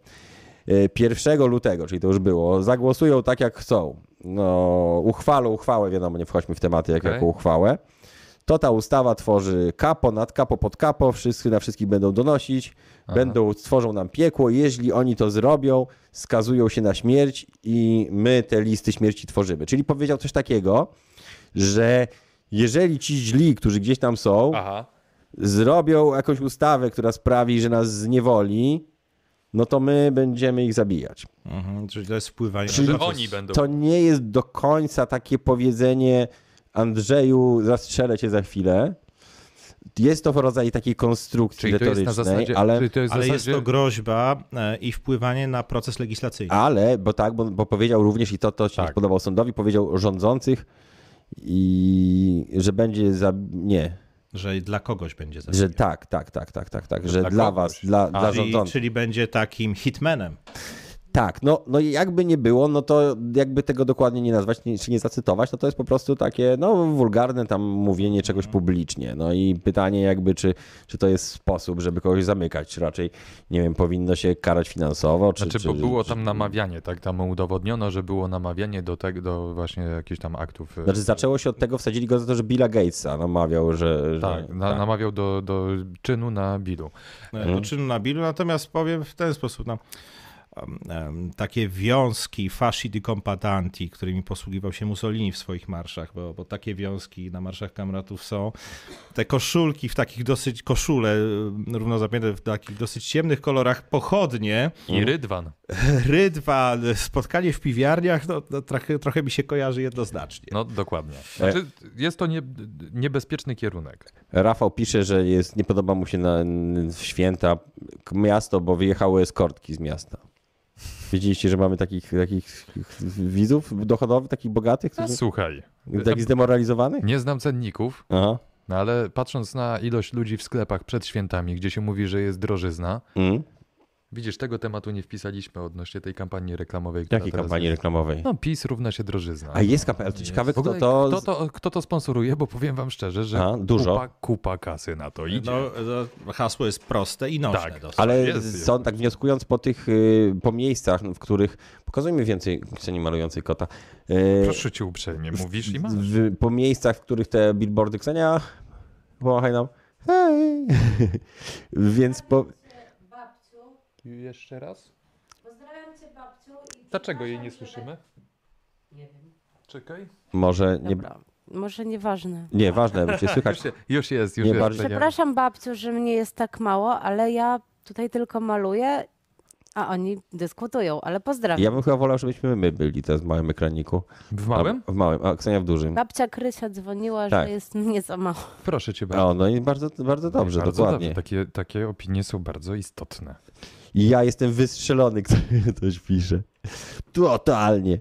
S1: y, 1 lutego, czyli to już było, zagłosują tak jak chcą, no uchwalą uchwałę, wiadomo, nie wchodźmy w tematy jak
S2: Okej.
S1: jaką uchwałę, to ta ustawa tworzy kapo, nad kapo, pod kapo, wszyscy na wszystkich będą donosić, będą, stworzą nam piekło, jeśli oni to zrobią, skazują się na śmierć i my te listy śmierci tworzymy. Czyli powiedział coś takiego, że jeżeli ci źli, którzy gdzieś tam są,
S2: Aha.
S1: zrobią jakąś ustawę, która sprawi, że nas zniewoli, no to my będziemy ich zabijać.
S3: Mhm, czyli to jest wpływanie. na
S2: Że
S3: proces.
S2: oni będą.
S1: To nie jest do końca takie powiedzenie Andrzeju, zastrzelę cię za chwilę. Jest to rodzaj takiej konstrukcji
S2: Czyli to jest
S1: retorycznej,
S2: na zasadzie.
S1: ale,
S2: czyli to jest
S3: Ale
S2: zasadzie,
S3: jest to groźba e, i wpływanie na proces legislacyjny.
S1: ale, bo tak, bo, bo powiedział również i to, to
S2: Tak.
S1: się nie podobał sądowi, powiedział rządzących i że będzie za... nie,
S3: Że dla kogoś będzie
S1: że
S3: zabijał.
S1: tak, tak, tak, tak, tak, tak, że
S2: Dla
S1: dla,
S2: kogoś.
S1: was, dla, dla
S3: Czyli,
S1: rządzących.
S3: czyli będzie takim hitmanem.
S1: Tak, no, no i jakby nie było, no to jakby tego dokładnie nie nazwać, nie, czy nie zacytować, no to jest po prostu takie, no, wulgarne tam mówienie
S2: Mhm.
S1: czegoś publicznie. No i pytanie jakby, czy, czy to jest sposób, żeby kogoś zamykać. Raczej, nie wiem, powinno się karać finansowo, czy...
S2: Znaczy,
S1: czy,
S2: bo było tam
S1: czy-
S2: namawianie, tak? Tam udowodniono, że było namawianie do tego, do właśnie jakichś tam aktów. e,
S1: Znaczy zaczęło się od tego, wsadzili go za to, że Billa Gatesa namawiał, że... że
S2: tak, na, namawiał do, do czynu na bilu.
S3: do czynu Nabilu, E, natomiast powiem w ten sposób, no, em, em, takie wiązki fasci di compatanti, którymi posługiwał się Mussolini w swoich marszach, bo, bo takie wiązki na marszach kamratów są. Te koszulki w takich dosyć, koszule em, równo zapięte w takich dosyć ciemnych kolorach, pochodnie,
S2: I Rydwan.
S3: rydwa, e, spotkanie w piwiarniach, no, no trochę, trochę mi się kojarzy jednoznacznie.
S2: No dokładnie. Znaczy, jest to nie, niebezpieczny kierunek.
S1: Rafał pisze, że jest, nie podoba mu się na w święta k- miasto, bo wyjechały eskortki z miasta. Wiedzieliście, że mamy takich, takich widzów dochodowych, takich bogatych, którzy,
S2: Słuchaj, Tak
S1: takich zdemoralizowanych?
S2: nie znam cenników,
S1: Aha.
S2: no ale patrząc na ilość ludzi w sklepach przed świętami, gdzie się mówi, że jest drożyzna,
S1: Mm.
S2: widzisz, tego tematu nie wpisaliśmy odnośnie tej kampanii reklamowej. która
S1: Jakiej
S2: teraz
S1: kampanii
S2: jest.
S1: reklamowej?
S2: No PiS równa się drożyzna.
S1: A jest kampania, ale to ciekawe,
S2: W ogóle
S1: kto to...
S2: Kto, to, kto to sponsoruje, bo powiem wam szczerze, że
S1: A, dużo.
S2: Kupa, kupa kasy na to idzie.
S3: No, no, hasło jest proste i nośne
S2: Tak.
S3: dosyć.
S1: Ale
S2: Jest,
S1: są tak wnioskując po tych, y, po miejscach, w których... Pokazujmy więcej sceny malującej kota. Y,
S2: Proszę cię uprzejmie, mówisz i masz.
S1: w, po miejscach, w których te billboardy Ksenia, pomachaj nam. Hej! Więc po...
S4: Babciu,
S2: Jeszcze raz?
S4: pozdrawiam cię babciu.
S2: Dlaczego jej nie słyszymy?
S4: Nie wiem.
S2: Czekaj.
S1: Może nie...
S4: Dobra, może nieważne.
S1: Nie, ważne, bo cię słychać.
S2: Już, je- już jest, już
S1: Nie
S2: jest.
S1: bardziej.
S2: Ja-
S4: Przepraszam babciu, że mnie jest tak mało, ale ja tutaj tylko maluję, a oni dyskutują, ale pozdrawiam.
S1: Ja bym chyba wolał, żebyśmy my byli teraz w małym ekraniku.
S2: W małym?
S1: A, w małym, a Ksenia w dużym.
S4: Babcia Krysia dzwoniła,
S1: Tak.
S4: że jest mnie za mało.
S2: Proszę cię bardzo.
S1: O, no i bardzo, bardzo dobrze,
S2: bardzo
S1: dokładnie.
S2: dobrze. Takie, takie opinie są bardzo istotne.
S1: I ja jestem wystrzelony, ktoś pisze. Totalnie.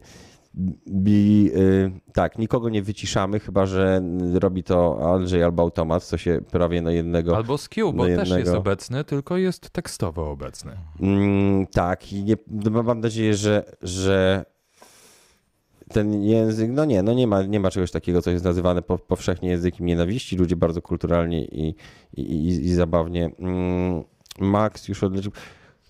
S1: I, y, tak, nikogo nie wyciszamy, chyba że robi to Andrzej albo automat, co się prawie na jednego.
S2: Albo skill, bo
S1: do
S2: też jest
S1: jednego.
S2: obecny, tylko jest tekstowo obecny.
S1: Mm, tak, i nie, no, mam- mam nadzieję, że, że ten język, no nie, no nie ma, nie ma czegoś takiego, co jest nazywane po, powszechnie językiem nienawiści. Ludzie bardzo kulturalnie i, i, i, i zabawnie. Mm, Max już odleczył.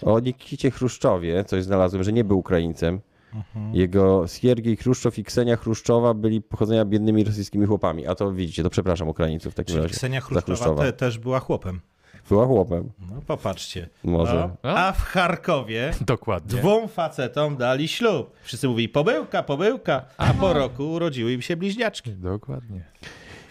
S1: O Nikicie Chruszczowie coś znalazłem, że nie był Ukraińcem.
S3: Mhm.
S1: Jego Siergiej Chruszczow i Ksenia Chruszczowa byli pochodzenia biednymi rosyjskimi chłopami. A to widzicie, to przepraszam Ukraińców w takim
S3: Czyli
S1: razie.
S3: Ksenia
S1: Za
S3: Chruszczowa te, też była chłopem.
S1: Była chłopem,
S3: No popatrzcie.
S1: może.
S3: No, a w Charkowie
S2: Dokładnie.
S3: dwóm facetom dali ślub. Wszyscy mówili pobyłka, pobyłka, a po roku urodziły im się bliźniaczki.
S2: Dokładnie.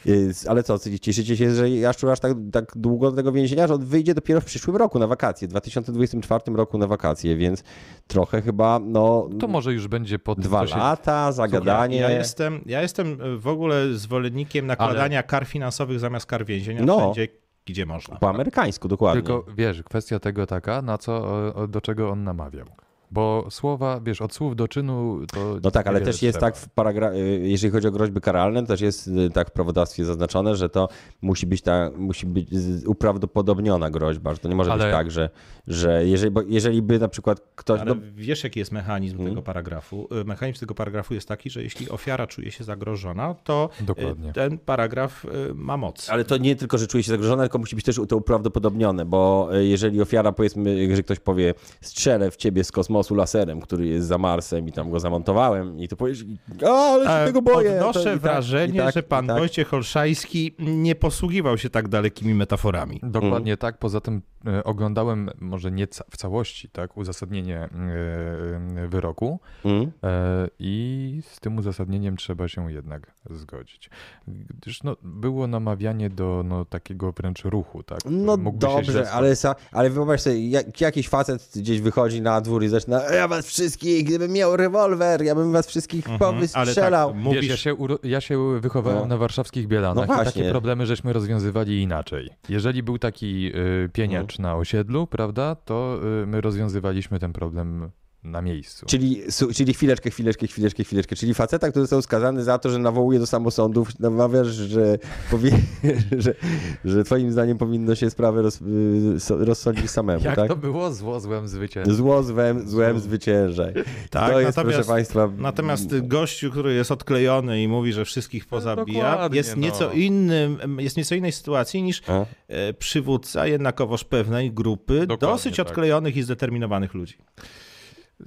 S1: Jest, Y, Ale co, cieszycie się, że Jaszczur aż tak, tak długo do tego więzienia, że on wyjdzie dopiero w przyszłym roku na wakacje, w 2024 roku na wakacje, więc trochę chyba, no,
S2: To może już będzie po tym,
S1: dwa
S2: co się...
S1: lata, zagadanie.
S3: Ja jestem, ja jestem w ogóle zwolennikiem nakładania kar finansowych zamiast kar więzienia
S1: No.
S3: wszędzie, gdzie można.
S1: Po amerykańsku, dokładnie.
S2: Tylko wiesz, kwestia tego taka, na co, o- o- do czego on namawiał. Bo słowa, wiesz, od słów do czynu to.
S1: No tak, ale
S2: niewiele
S1: też jest
S2: trzeba.
S1: tak, w paragra- y, jeżeli chodzi o groźby karalne, też jest y, tak w prawodawstwie zaznaczone, że to musi być, ta, musi być z- uprawdopodobniona groźba, że to nie może
S2: Ale-
S1: być tak, że, że jeżeli, bo jeżeli by na przykład ktoś...
S3: Ale
S1: no,
S3: wiesz, jaki jest mechanizm
S1: Hmm?
S3: tego paragrafu? Y, Mechanizm tego paragrafu jest taki, że jeśli ofiara czuje się zagrożona, to y,
S2: Dokładnie.
S3: ten paragraf y, ma moc.
S1: Ale to nie tylko, że czuje się zagrożona, tylko musi być też to uprawdopodobnione, bo e, jeżeli ofiara, powiedzmy, że ktoś powie, strzelę w ciebie z lamusu laserem, który jest za Marsem i tam go zamontowałem i to powiesz, a, ale się
S3: E,
S1: tego boję.
S3: Odnoszę
S1: to, i tak,
S3: wrażenie,
S1: i tak,
S3: że pan
S1: i tak.
S3: Wojciech Olszajski nie posługiwał się tak dalekimi metaforami.
S2: Dokładnie
S1: Mm.
S2: tak. Poza tym e, oglądałem może nie ca- w całości tak uzasadnienie e, wyroku
S1: Mm.
S2: e, i z tym uzasadnieniem trzeba się jednak zgodzić. Gdyż no, było namawianie do no, takiego wręcz ruchu, tak?
S1: No
S2: Mógłby się źle
S1: dobrze, ale, sa, ale wyobraź sobie, jak, jakiś facet gdzieś wychodzi na dwór i zaczyna, ja was wszystkich, gdybym miał rewolwer, ja bym was wszystkich powystrzelał.
S3: Mhm, Ale tak,
S2: Mówisz... Wiesz, ja
S3: mówisz,
S2: się, uro- ja się wychowałem
S1: No.
S2: na warszawskich Bielanach
S1: No
S2: i
S1: właśnie.
S2: takie problemy żeśmy rozwiązywali inaczej. Jeżeli był taki y, pieniacz
S1: No.
S2: na osiedlu, prawda, to y, my rozwiązywaliśmy ten problem na miejscu.
S1: Czyli, su- czyli chwileczkę, chwileczkę, chwileczkę, chwileczkę. Czyli faceta, który został skazany za to, że nawołuje do samosądów, namawiasz, że, powie, że, że twoim zdaniem powinno się sprawę roz, y, so- rozsądzić samemu,
S2: Jak
S1: tak?
S2: to było? Zło złem zwycięstwo.
S1: Zło złem, złem zwyciężaj.
S3: Tak,
S1: to jest,
S3: natomiast-
S1: proszę państwa...
S3: Natomiast gościu, który jest odklejony i mówi, że
S1: No,
S3: wszystkich pozabija,
S2: dokładnie,
S3: jest
S2: no.
S3: nieco innym, jest nieco innej sytuacji niż
S1: A?
S3: e, przywódca jednakowoż pewnej grupy
S2: Dokładnie
S3: dosyć
S2: tak.
S3: odklejonych i zdeterminowanych ludzi.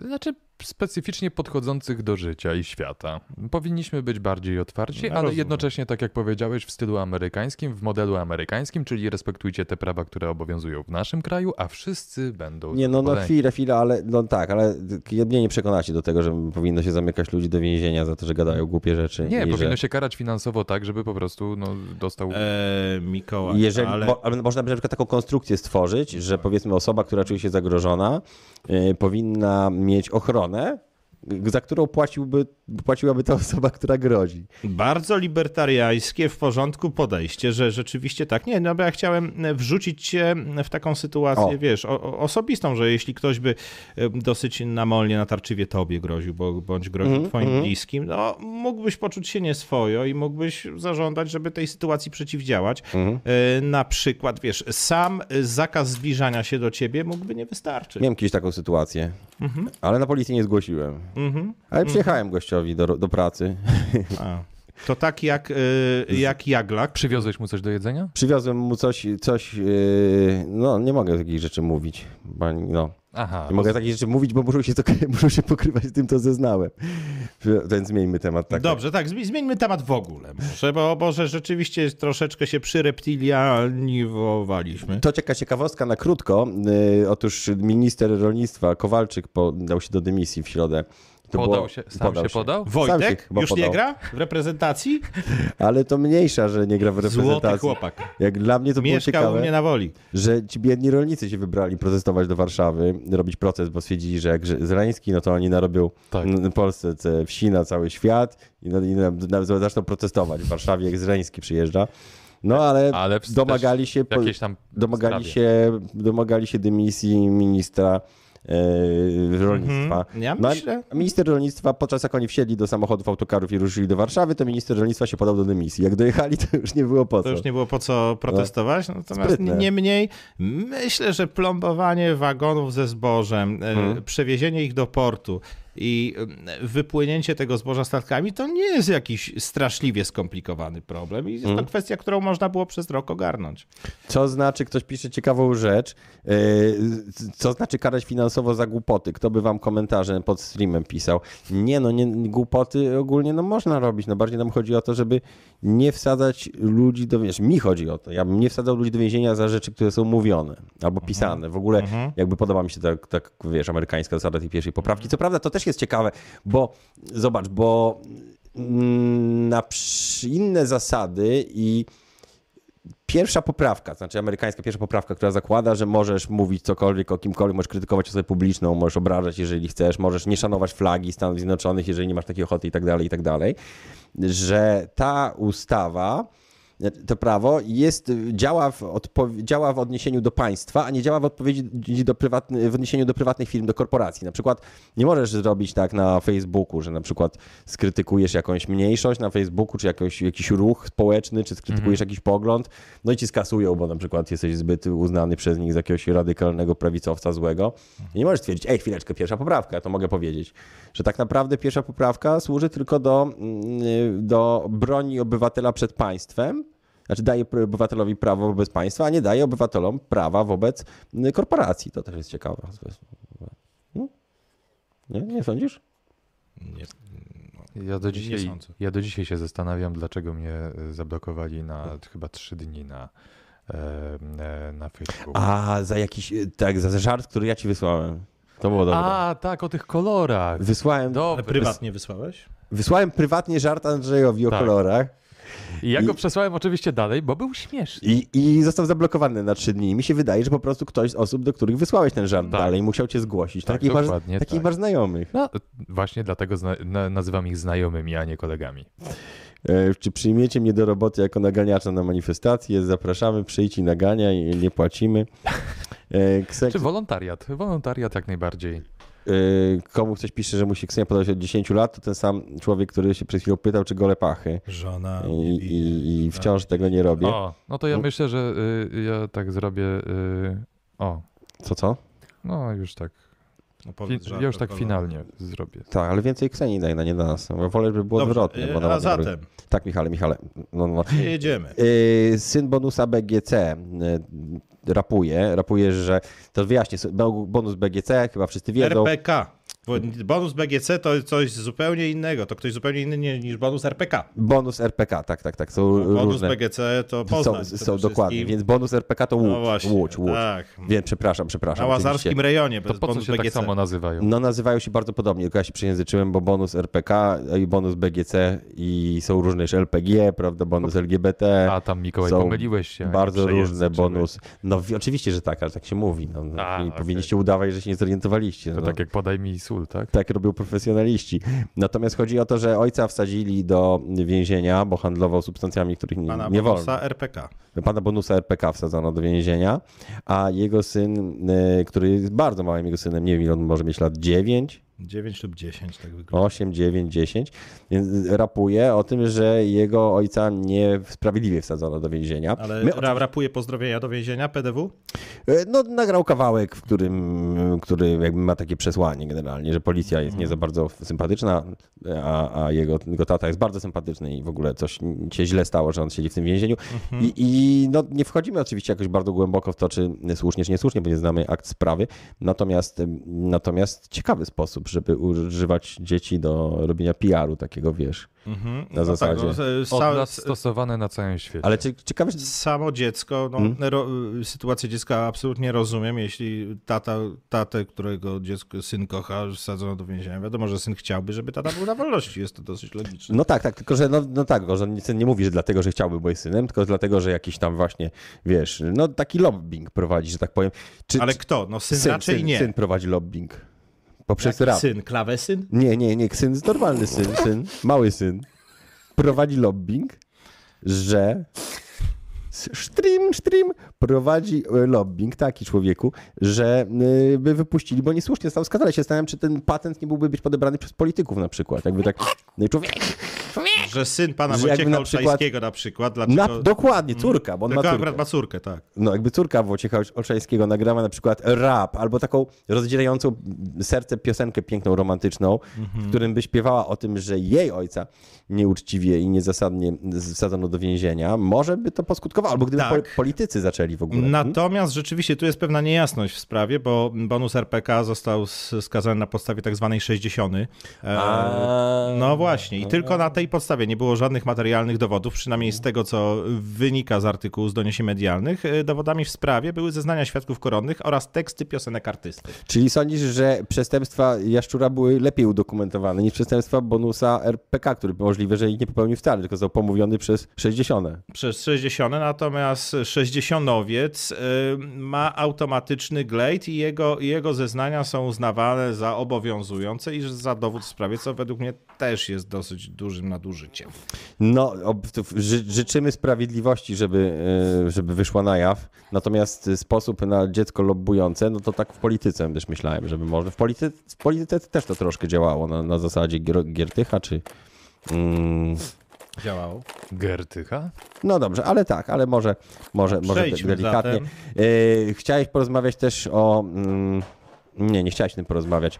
S2: Znaczy specyficznie podchodzących do życia i świata. Powinniśmy być bardziej otwarci,
S3: No,
S2: ale
S3: rozumiem.
S2: jednocześnie, tak jak powiedziałeś, w stylu amerykańskim, w modelu amerykańskim, czyli respektujcie te prawa, które obowiązują w naszym kraju, a wszyscy będą
S1: Nie, no, no
S2: zadowoleni.
S1: chwilę, chwilę, ale no tak, ale mnie nie przekonacie do tego, że powinno się zamykać ludzi do więzienia za to, że gadają głupie rzeczy.
S2: Nie,
S1: i
S2: powinno
S1: że...
S2: się karać finansowo tak, żeby po prostu no, dostał.
S3: E, Mikołaj,
S1: Jeżeli,
S3: ale...
S1: bo, ale można by na przykład taką konstrukcję stworzyć, że powiedzmy osoba, która czuje się zagrożona, y, powinna mieć ochronę, y, za którą płaciłby, płaciłaby ta osoba, która grozi.
S3: Bardzo libertariańskie w porządku podejście, że rzeczywiście tak. Nie, no bo ja chciałem wrzucić cię e, w taką sytuację,
S1: O.
S3: wiesz, o, o- osobistą, że jeśli ktoś by em, dosyć namolnie, natarczywie tobie groził, bo, bądź groził twoim bliskim, no mógłbyś poczuć się nieswojo i mógłbyś zażądać, żeby tej sytuacji przeciwdziałać. E, Na przykład, wiesz, sam zakaz zbliżania się do ciebie mógłby nie wystarczyć.
S1: Miałem kiedyś taką sytuację,
S3: Mhm.
S1: ale na policję nie zgłosiłem. Ale przyjechałem gościowi do, do pracy,
S3: A. To tak jak, e, jak Jaglak.
S2: Przywiozłeś mu coś do jedzenia?
S1: przywiozłem mu coś, coś y, no nie mogę takich rzeczy mówić, bo no.
S2: Aha.
S1: Nie mogę takich rzeczy mówić, bo muszą się, to, muszą się pokrywać z tym, co zeznałem. Więc zmieńmy temat. Tak,
S3: Dobrze, tak, zmi- zmieńmy temat w ogóle. Może, bo, bo że rzeczywiście troszeczkę się przyreptilianiwowaliśmy.
S1: To cieka ciekawostka na krótko. Yy, otóż minister rolnictwa Kowalczyk podał się do dymisji w środę. To
S2: podał
S1: było-
S2: się, sam się podał?
S1: Sam się
S3: Wojtek
S1: chyba
S3: już
S1: podał.
S3: nie gra w reprezentacji?
S1: Ale to mniejsza, że nie gra w
S3: Złoty
S1: reprezentacji.
S3: chłopak.
S1: Jak dla mnie to było
S3: Mieszkał u
S1: ciekawe,
S3: mnie na woli.
S1: że ci biedni rolnicy się wybrali protestować do Warszawy, robić proces, bo stwierdzili, że jak Grze- Zeleński, no to oni narobią
S2: Tak.
S1: n- Polsce te wsi na cały świat i, no, i na, na, zaczną protestować w Warszawie, jak Zeleński przyjeżdża. No ale,
S2: Ale w-
S1: domagali
S2: też
S1: się... po-
S2: Jakieś tam
S1: domagali
S2: sprawie.
S1: się, domagali się dymisji ministra e, rolnictwa.
S3: Mhm. Ja
S1: No, a
S3: myślę-
S1: Minister rolnictwa, podczas jak oni wsiedli do samochodów autokarów i ruszyli do Warszawy, to minister rolnictwa się podał do dymisji. Jak dojechali, to już nie było po co.
S3: To już nie było po co protestować, natomiast
S1: Sprytne.
S3: niemniej myślę, że plombowanie wagonów ze zbożem, e,
S1: Mhm.
S3: przewiezienie ich do portu i e, wypłynięcie tego zboża statkami to nie jest jakiś straszliwie skomplikowany problem i jest
S1: Mhm.
S3: to kwestia, którą można było przez rok ogarnąć.
S1: Co znaczy, ktoś pisze ciekawą rzecz, e, co znaczy karać finansowo za głupoty? Kto by wam komentarze pod streamem pisał? Nie no, nie, głupoty ogólnie no można robić, no bardziej nam chodzi o to, żeby nie wsadzać ludzi do, wiesz, mi chodzi o to, ja bym nie wsadzał ludzi do więzienia za rzeczy, które są mówione albo pisane. W ogóle jakby podoba mi się tak, tak, wiesz, amerykańska zasada tej pierwszej poprawki. Co prawda to też jest ciekawe, bo zobacz, bo mm, na przy- inne zasady i Pierwsza poprawka, znaczy amerykańska pierwsza poprawka, która zakłada, że możesz mówić cokolwiek o kimkolwiek, możesz krytykować osobę publiczną, możesz obrażać, jeżeli chcesz, możesz nie szanować flagi Stanów Zjednoczonych, jeżeli nie masz takiej ochoty i tak dalej, i tak dalej, że ta ustawa, to prawo jest, działa w, odpo- działa w odniesieniu do państwa, a nie działa w, odpowiedzi do prywatny, w odniesieniu do prywatnych firm, do korporacji. Na przykład nie możesz zrobić tak na Facebooku, że na przykład skrytykujesz jakąś mniejszość na Facebooku, czy jakąś, jakiś ruch społeczny, czy skrytykujesz jakiś pogląd, no i ci skasują, bo na przykład jesteś zbyt uznany przez nich za jakiegoś radykalnego prawicowca złego. I nie możesz stwierdzić, ej, chwileczkę, pierwsza poprawka, to mogę powiedzieć, że tak naprawdę pierwsza poprawka służy tylko do, mm, do broni obywatela przed państwem, znaczy daje pr- obywatelowi prawo wobec państwa, a nie daje mm, obywatelom prawa wobec y, korporacji. To też jest ciekawe. Nie, nie sądzisz?
S3: Nie,
S2: Ja do, dzisiaj,
S3: sądzę.
S2: ja do dzisiaj się zastanawiam, dlaczego mnie y, zablokowali na chyba trzy dni na, e, e, na Facebooku.
S1: A, za jakiś, tak, za żart, który ja ci wysłałem. To było dobre.
S2: A, tak, o tych kolorach.
S1: Wysłałem,
S2: Dobry.
S3: Ale prywatnie wysłałeś?
S1: wysłałem prywatnie żart Andrzejowi o
S2: Tak.
S1: kolorach
S2: I ja go
S1: I-
S2: przesłałem oczywiście dalej, bo był śmieszny.
S1: i, i został zablokowany na trzy dni. Mi się wydaje, że po prostu ktoś z osób, do których wysłałeś ten żart
S2: Tak.
S1: dalej, musiał cię zgłosić.
S2: Tak,
S1: Takich masz,
S2: dokładnie
S1: takich
S2: tak.
S1: masz znajomych.
S2: No, właśnie dlatego zna- na- nazywam ich znajomymi, a nie kolegami.
S1: E, Czy przyjmiecie mnie do roboty jako naganiacza na manifestację? Zapraszamy, przyjdź i naganiaj, nie płacimy. E, Ksek,
S2: Czy wolontariat? Wolontariat jak najbardziej.
S1: e, komu ktoś pisze, że musi Ksenia podać od 10 lat, to ten sam człowiek, który się przed chwilą pytał, czy gole pachy.
S3: Żona.
S1: I,
S3: nie bije.
S1: i, i wciąż tego nie robię.
S2: O, no to ja
S1: No.
S2: myślę, że y, ja tak zrobię. Y, o,
S1: Co, co?
S2: no już tak.
S3: No
S2: Fi,
S3: powiedz żart
S2: ja już
S3: o
S2: tak
S3: kolorach.
S2: finalnie zrobię.
S1: Tak, ale więcej Ksenii daj na nie do nas. Bo wolę, żeby było
S3: Dobrze,
S1: odwrotnie. Bo
S3: y,
S1: ona
S3: A
S1: ładnie robi.
S3: zatem,
S1: Tak, Michale, Michale. No, no.
S3: jedziemy.
S1: Yy, Syn bonusa BGC yy, rapuje, rapuje, że to wyjaśnię, sobie, bo- bonus BGC, chyba wszyscy wiedzą.
S3: RPK. Bo Bonus BGC to coś zupełnie innego. To ktoś zupełnie inny nie- niż bonus RPK.
S1: Bonus RPK, tak, tak, tak, są
S3: No, Bonus
S1: różne.
S3: BGC to
S1: są
S3: Poznań. przede
S1: są dokładnie,
S3: wszystkim.
S1: więc bonus RPK to Łódź,
S3: No właśnie,
S1: Łódź, Łódź.
S3: tak.
S1: Wiem, przepraszam, przepraszam.
S3: Na Łazarskim
S1: oczywiście.
S3: rejonie
S2: To
S3: bez
S2: po co
S3: bonus
S2: się tak
S3: BGC.
S2: samo nazywają?
S1: No nazywają się bardzo podobnie, tylko ja się przejęzyczyłem, bo bonus RPK i bonus BGC i są różne jeszcze LPG, prawda, bonus LGBT.
S2: A tam Mikołaj,
S1: są
S2: pomyliłeś No, się.
S1: Bardzo
S2: Przejęzyczyłeś.
S1: różne bonusy. No wi- oczywiście, że tak, ale tak się mówi. No, no,
S2: A,
S1: i
S2: okej.
S1: Powinniście udawać, że się nie zorientowaliście.
S2: To
S1: no.
S2: tak jak podaj mi sól, tak?
S1: Tak robią profesjonaliści. Natomiast chodzi o to, że ojca wsadzili do więzienia, bo handlował substancjami, których nie,
S3: Pana
S1: nie wolno.
S3: bonusa RPK.
S1: Pana bonusa RPK wsadzono do więzienia, a jego syn, y, który jest bardzo małym jego synem, nie wiem ile on może mieć lat, 9,
S3: 9 lub 10 tak wygląda.
S1: 8, 9, 10, więc rapuje o tym, że jego ojca niesprawiedliwie wsadzono do więzienia.
S3: Ale
S1: My
S3: ra- rapuje pozdrowienia do więzienia PDW?
S1: E, No, nagrał kawałek, w którym, który jakby ma takie przesłanie generalnie, że policja jest
S3: Mhm.
S1: nie za bardzo sympatyczna, a, a jego, jego tata jest bardzo sympatyczny i w ogóle coś się źle stało, że on siedzi w tym więzieniu.
S3: Mhm.
S1: I, I no, nie wchodzimy oczywiście jakoś bardzo głęboko w to, czy słusznie, czy niesłusznie, bo nie znamy akt sprawy. Natomiast, natomiast ciekawy sposób, żeby używać dzieci do robienia PR-u takiego, wiesz,
S3: Mhm.
S1: na zasadzie.
S3: Tak, no, z-
S2: Od
S3: całe-
S2: nas stosowane na całym świecie.
S1: Ale czy, ciekawe, że
S3: samo dziecko, no,
S1: Hmm?
S3: ro, sytuację dziecka absolutnie rozumiem, jeśli tata, tatę, którego dziecko, syn kocha, wsadzono do więzienia. Wiadomo, że syn chciałby, żeby tata był na wolności, jest to dosyć logiczne.
S1: No tak, tak, tylko że no, no tak, że on syn nie mówi, że dlatego, że chciałby być synem, tylko dlatego, że jakiś tam właśnie, wiesz, no taki lobbying prowadzi, że tak powiem. Czy,
S3: Ale
S1: czy-
S3: kto? No syn,
S1: syn,
S3: raczej
S1: syn,
S3: nie.
S1: syn prowadzi lobbying. Poprzez
S3: Jaki
S1: rap.
S3: syn, klawesyn?
S1: Nie, nie, nie, syn, normalny syn, syn, mały syn prowadzi lobbying, że stream, stream prowadzi e, lobbying, taki człowieku, że y, by wypuścili, bo niesłusznie został skazany. Ja się zastanawiam, czy ten patent nie byłby być podebrany przez polityków na przykład. Jakby tak, no i człowiek,
S3: Że syn pana
S1: Że jakby
S3: Wojciecha
S1: na przykład-
S3: Olszańskiego na przykład,
S1: na,
S3: dlaczego...
S1: dokładnie, córka, bo on ma
S3: Tylko
S1: córkę.
S3: akurat ma córkę, tak.
S1: no jakby córka Wojciecha Olszańskiego nagrała na przykład rap, albo taką rozdzierającą serce piosenkę piękną, romantyczną, w którym by śpiewała o tym, że jej ojca nieuczciwie i niezasadnie wsadzono do więzienia, może by to poskutkowało, albo gdyby
S3: Tak.
S1: pol- politycy zaczęli w ogóle. Hmm?
S3: Natomiast rzeczywiście tu jest pewna niejasność w sprawie, bo bonus RPK został s- skazany na podstawie tak zwanej 60. E,
S1: A.
S3: No właśnie, i tylko na tej podstawie nie było żadnych materialnych dowodów, przynajmniej z tego, co wynika z artykułu z doniesień medialnych. E, Dowodami w sprawie były zeznania świadków koronnych oraz teksty piosenek artysty.
S1: Czyli sądzisz, że przestępstwa Jaszczura były lepiej udokumentowane niż przestępstwa bonusa RPK, który możliwe, że ich nie popełnił wcale, tylko został pomówiony przez 60.
S3: Przez 60, natomiast 60-nowiec e, ma automatyczny glejt i jego, i jego zeznania są uznawane za obowiązujące i za dowód w sprawie, co według mnie też jest dosyć dużym nadużyciem.
S1: No, ob- tu ży- życzymy sprawiedliwości, żeby, e, żeby wyszła na jaw. Natomiast e, sposób na dziecko lobbujące, no to tak w polityce też myślałem, żeby może. W polityce, w polityce też to troszkę działało na, na zasadzie Gier, Giertycha, czy. Mm,
S3: Działało.
S2: Gertycha?
S1: no dobrze, ale tak, ale może, może, może de-
S3: Przejdźmy
S1: delikatnie.
S3: zatem.
S1: E, chciałeś porozmawiać też o. Mm, Nie, nie chciałaś o tym porozmawiać.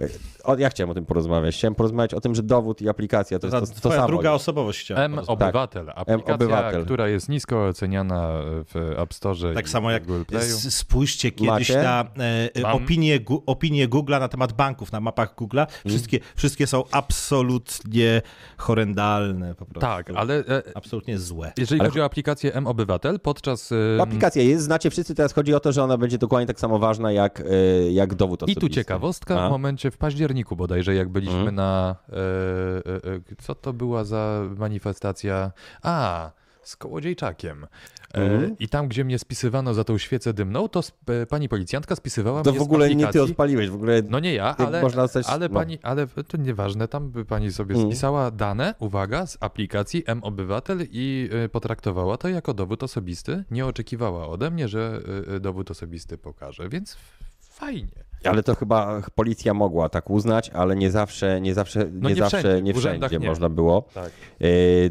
S1: E, O, ja chciałem o tym porozmawiać. Chciałem porozmawiać o tym, że dowód i aplikacja to,
S3: Ta,
S1: jest to, to
S3: twoja
S1: samo.
S3: druga osobowość chciała.
S2: M Obywatel, aplikacja,
S1: tak. Obywatel.
S2: która jest nisko oceniana w App Store
S3: Tak
S2: i
S3: samo jak
S2: Google Playu.
S3: s- spójrzcie kiedyś
S1: Macie?
S3: na e, e,
S2: Mam.
S3: opinie, gu, opinie Google'a na temat banków, na mapach
S2: Mm.
S3: Google'a. Wszystkie, wszystkie są absolutnie horrendalne po prostu.
S2: Tak, ale e,
S3: Absolutnie złe.
S2: jeżeli chodzi o aplikację M Obywatel, podczas e,
S1: Aplikacja jest, znacie wszyscy, teraz chodzi o to, że ona będzie dokładnie tak samo ważna jak, y, jak dowód
S2: I
S1: osobisty.
S2: tu ciekawostka,
S1: A? Mhm.
S2: w momencie w październiku bodajże, jak byliśmy na. E, e, e, co to była za manifestacja? A, z kołodziejczakiem. E,
S1: Mhm.
S2: I tam, gdzie mnie spisywano za tą świecę dymną, to sp- e, pani policjantka spisywała
S1: To
S2: mnie
S1: w ogóle
S2: z
S1: nie ty
S2: aplikacji.
S1: odpaliłeś, w ogóle
S2: No nie ja,
S1: Jak
S2: ale,
S1: można zostać-
S2: ale
S1: no. Mhm.
S2: pani, ale to nieważne, tam by pani sobie spisała dane, uwaga, z aplikacji M-Obywatel i y, potraktowała to jako dowód osobisty. Nie oczekiwała ode mnie, że y, y, dowód osobisty pokaże, więc f- fajnie.
S1: Ale to chyba policja mogła tak uznać, ale nie zawsze, nie zawsze, nie,
S2: No nie
S1: zawsze,
S2: wszędzie,
S1: nie
S2: w urzędach
S1: wszędzie
S2: nie.
S1: można było.
S2: Tak.
S1: E,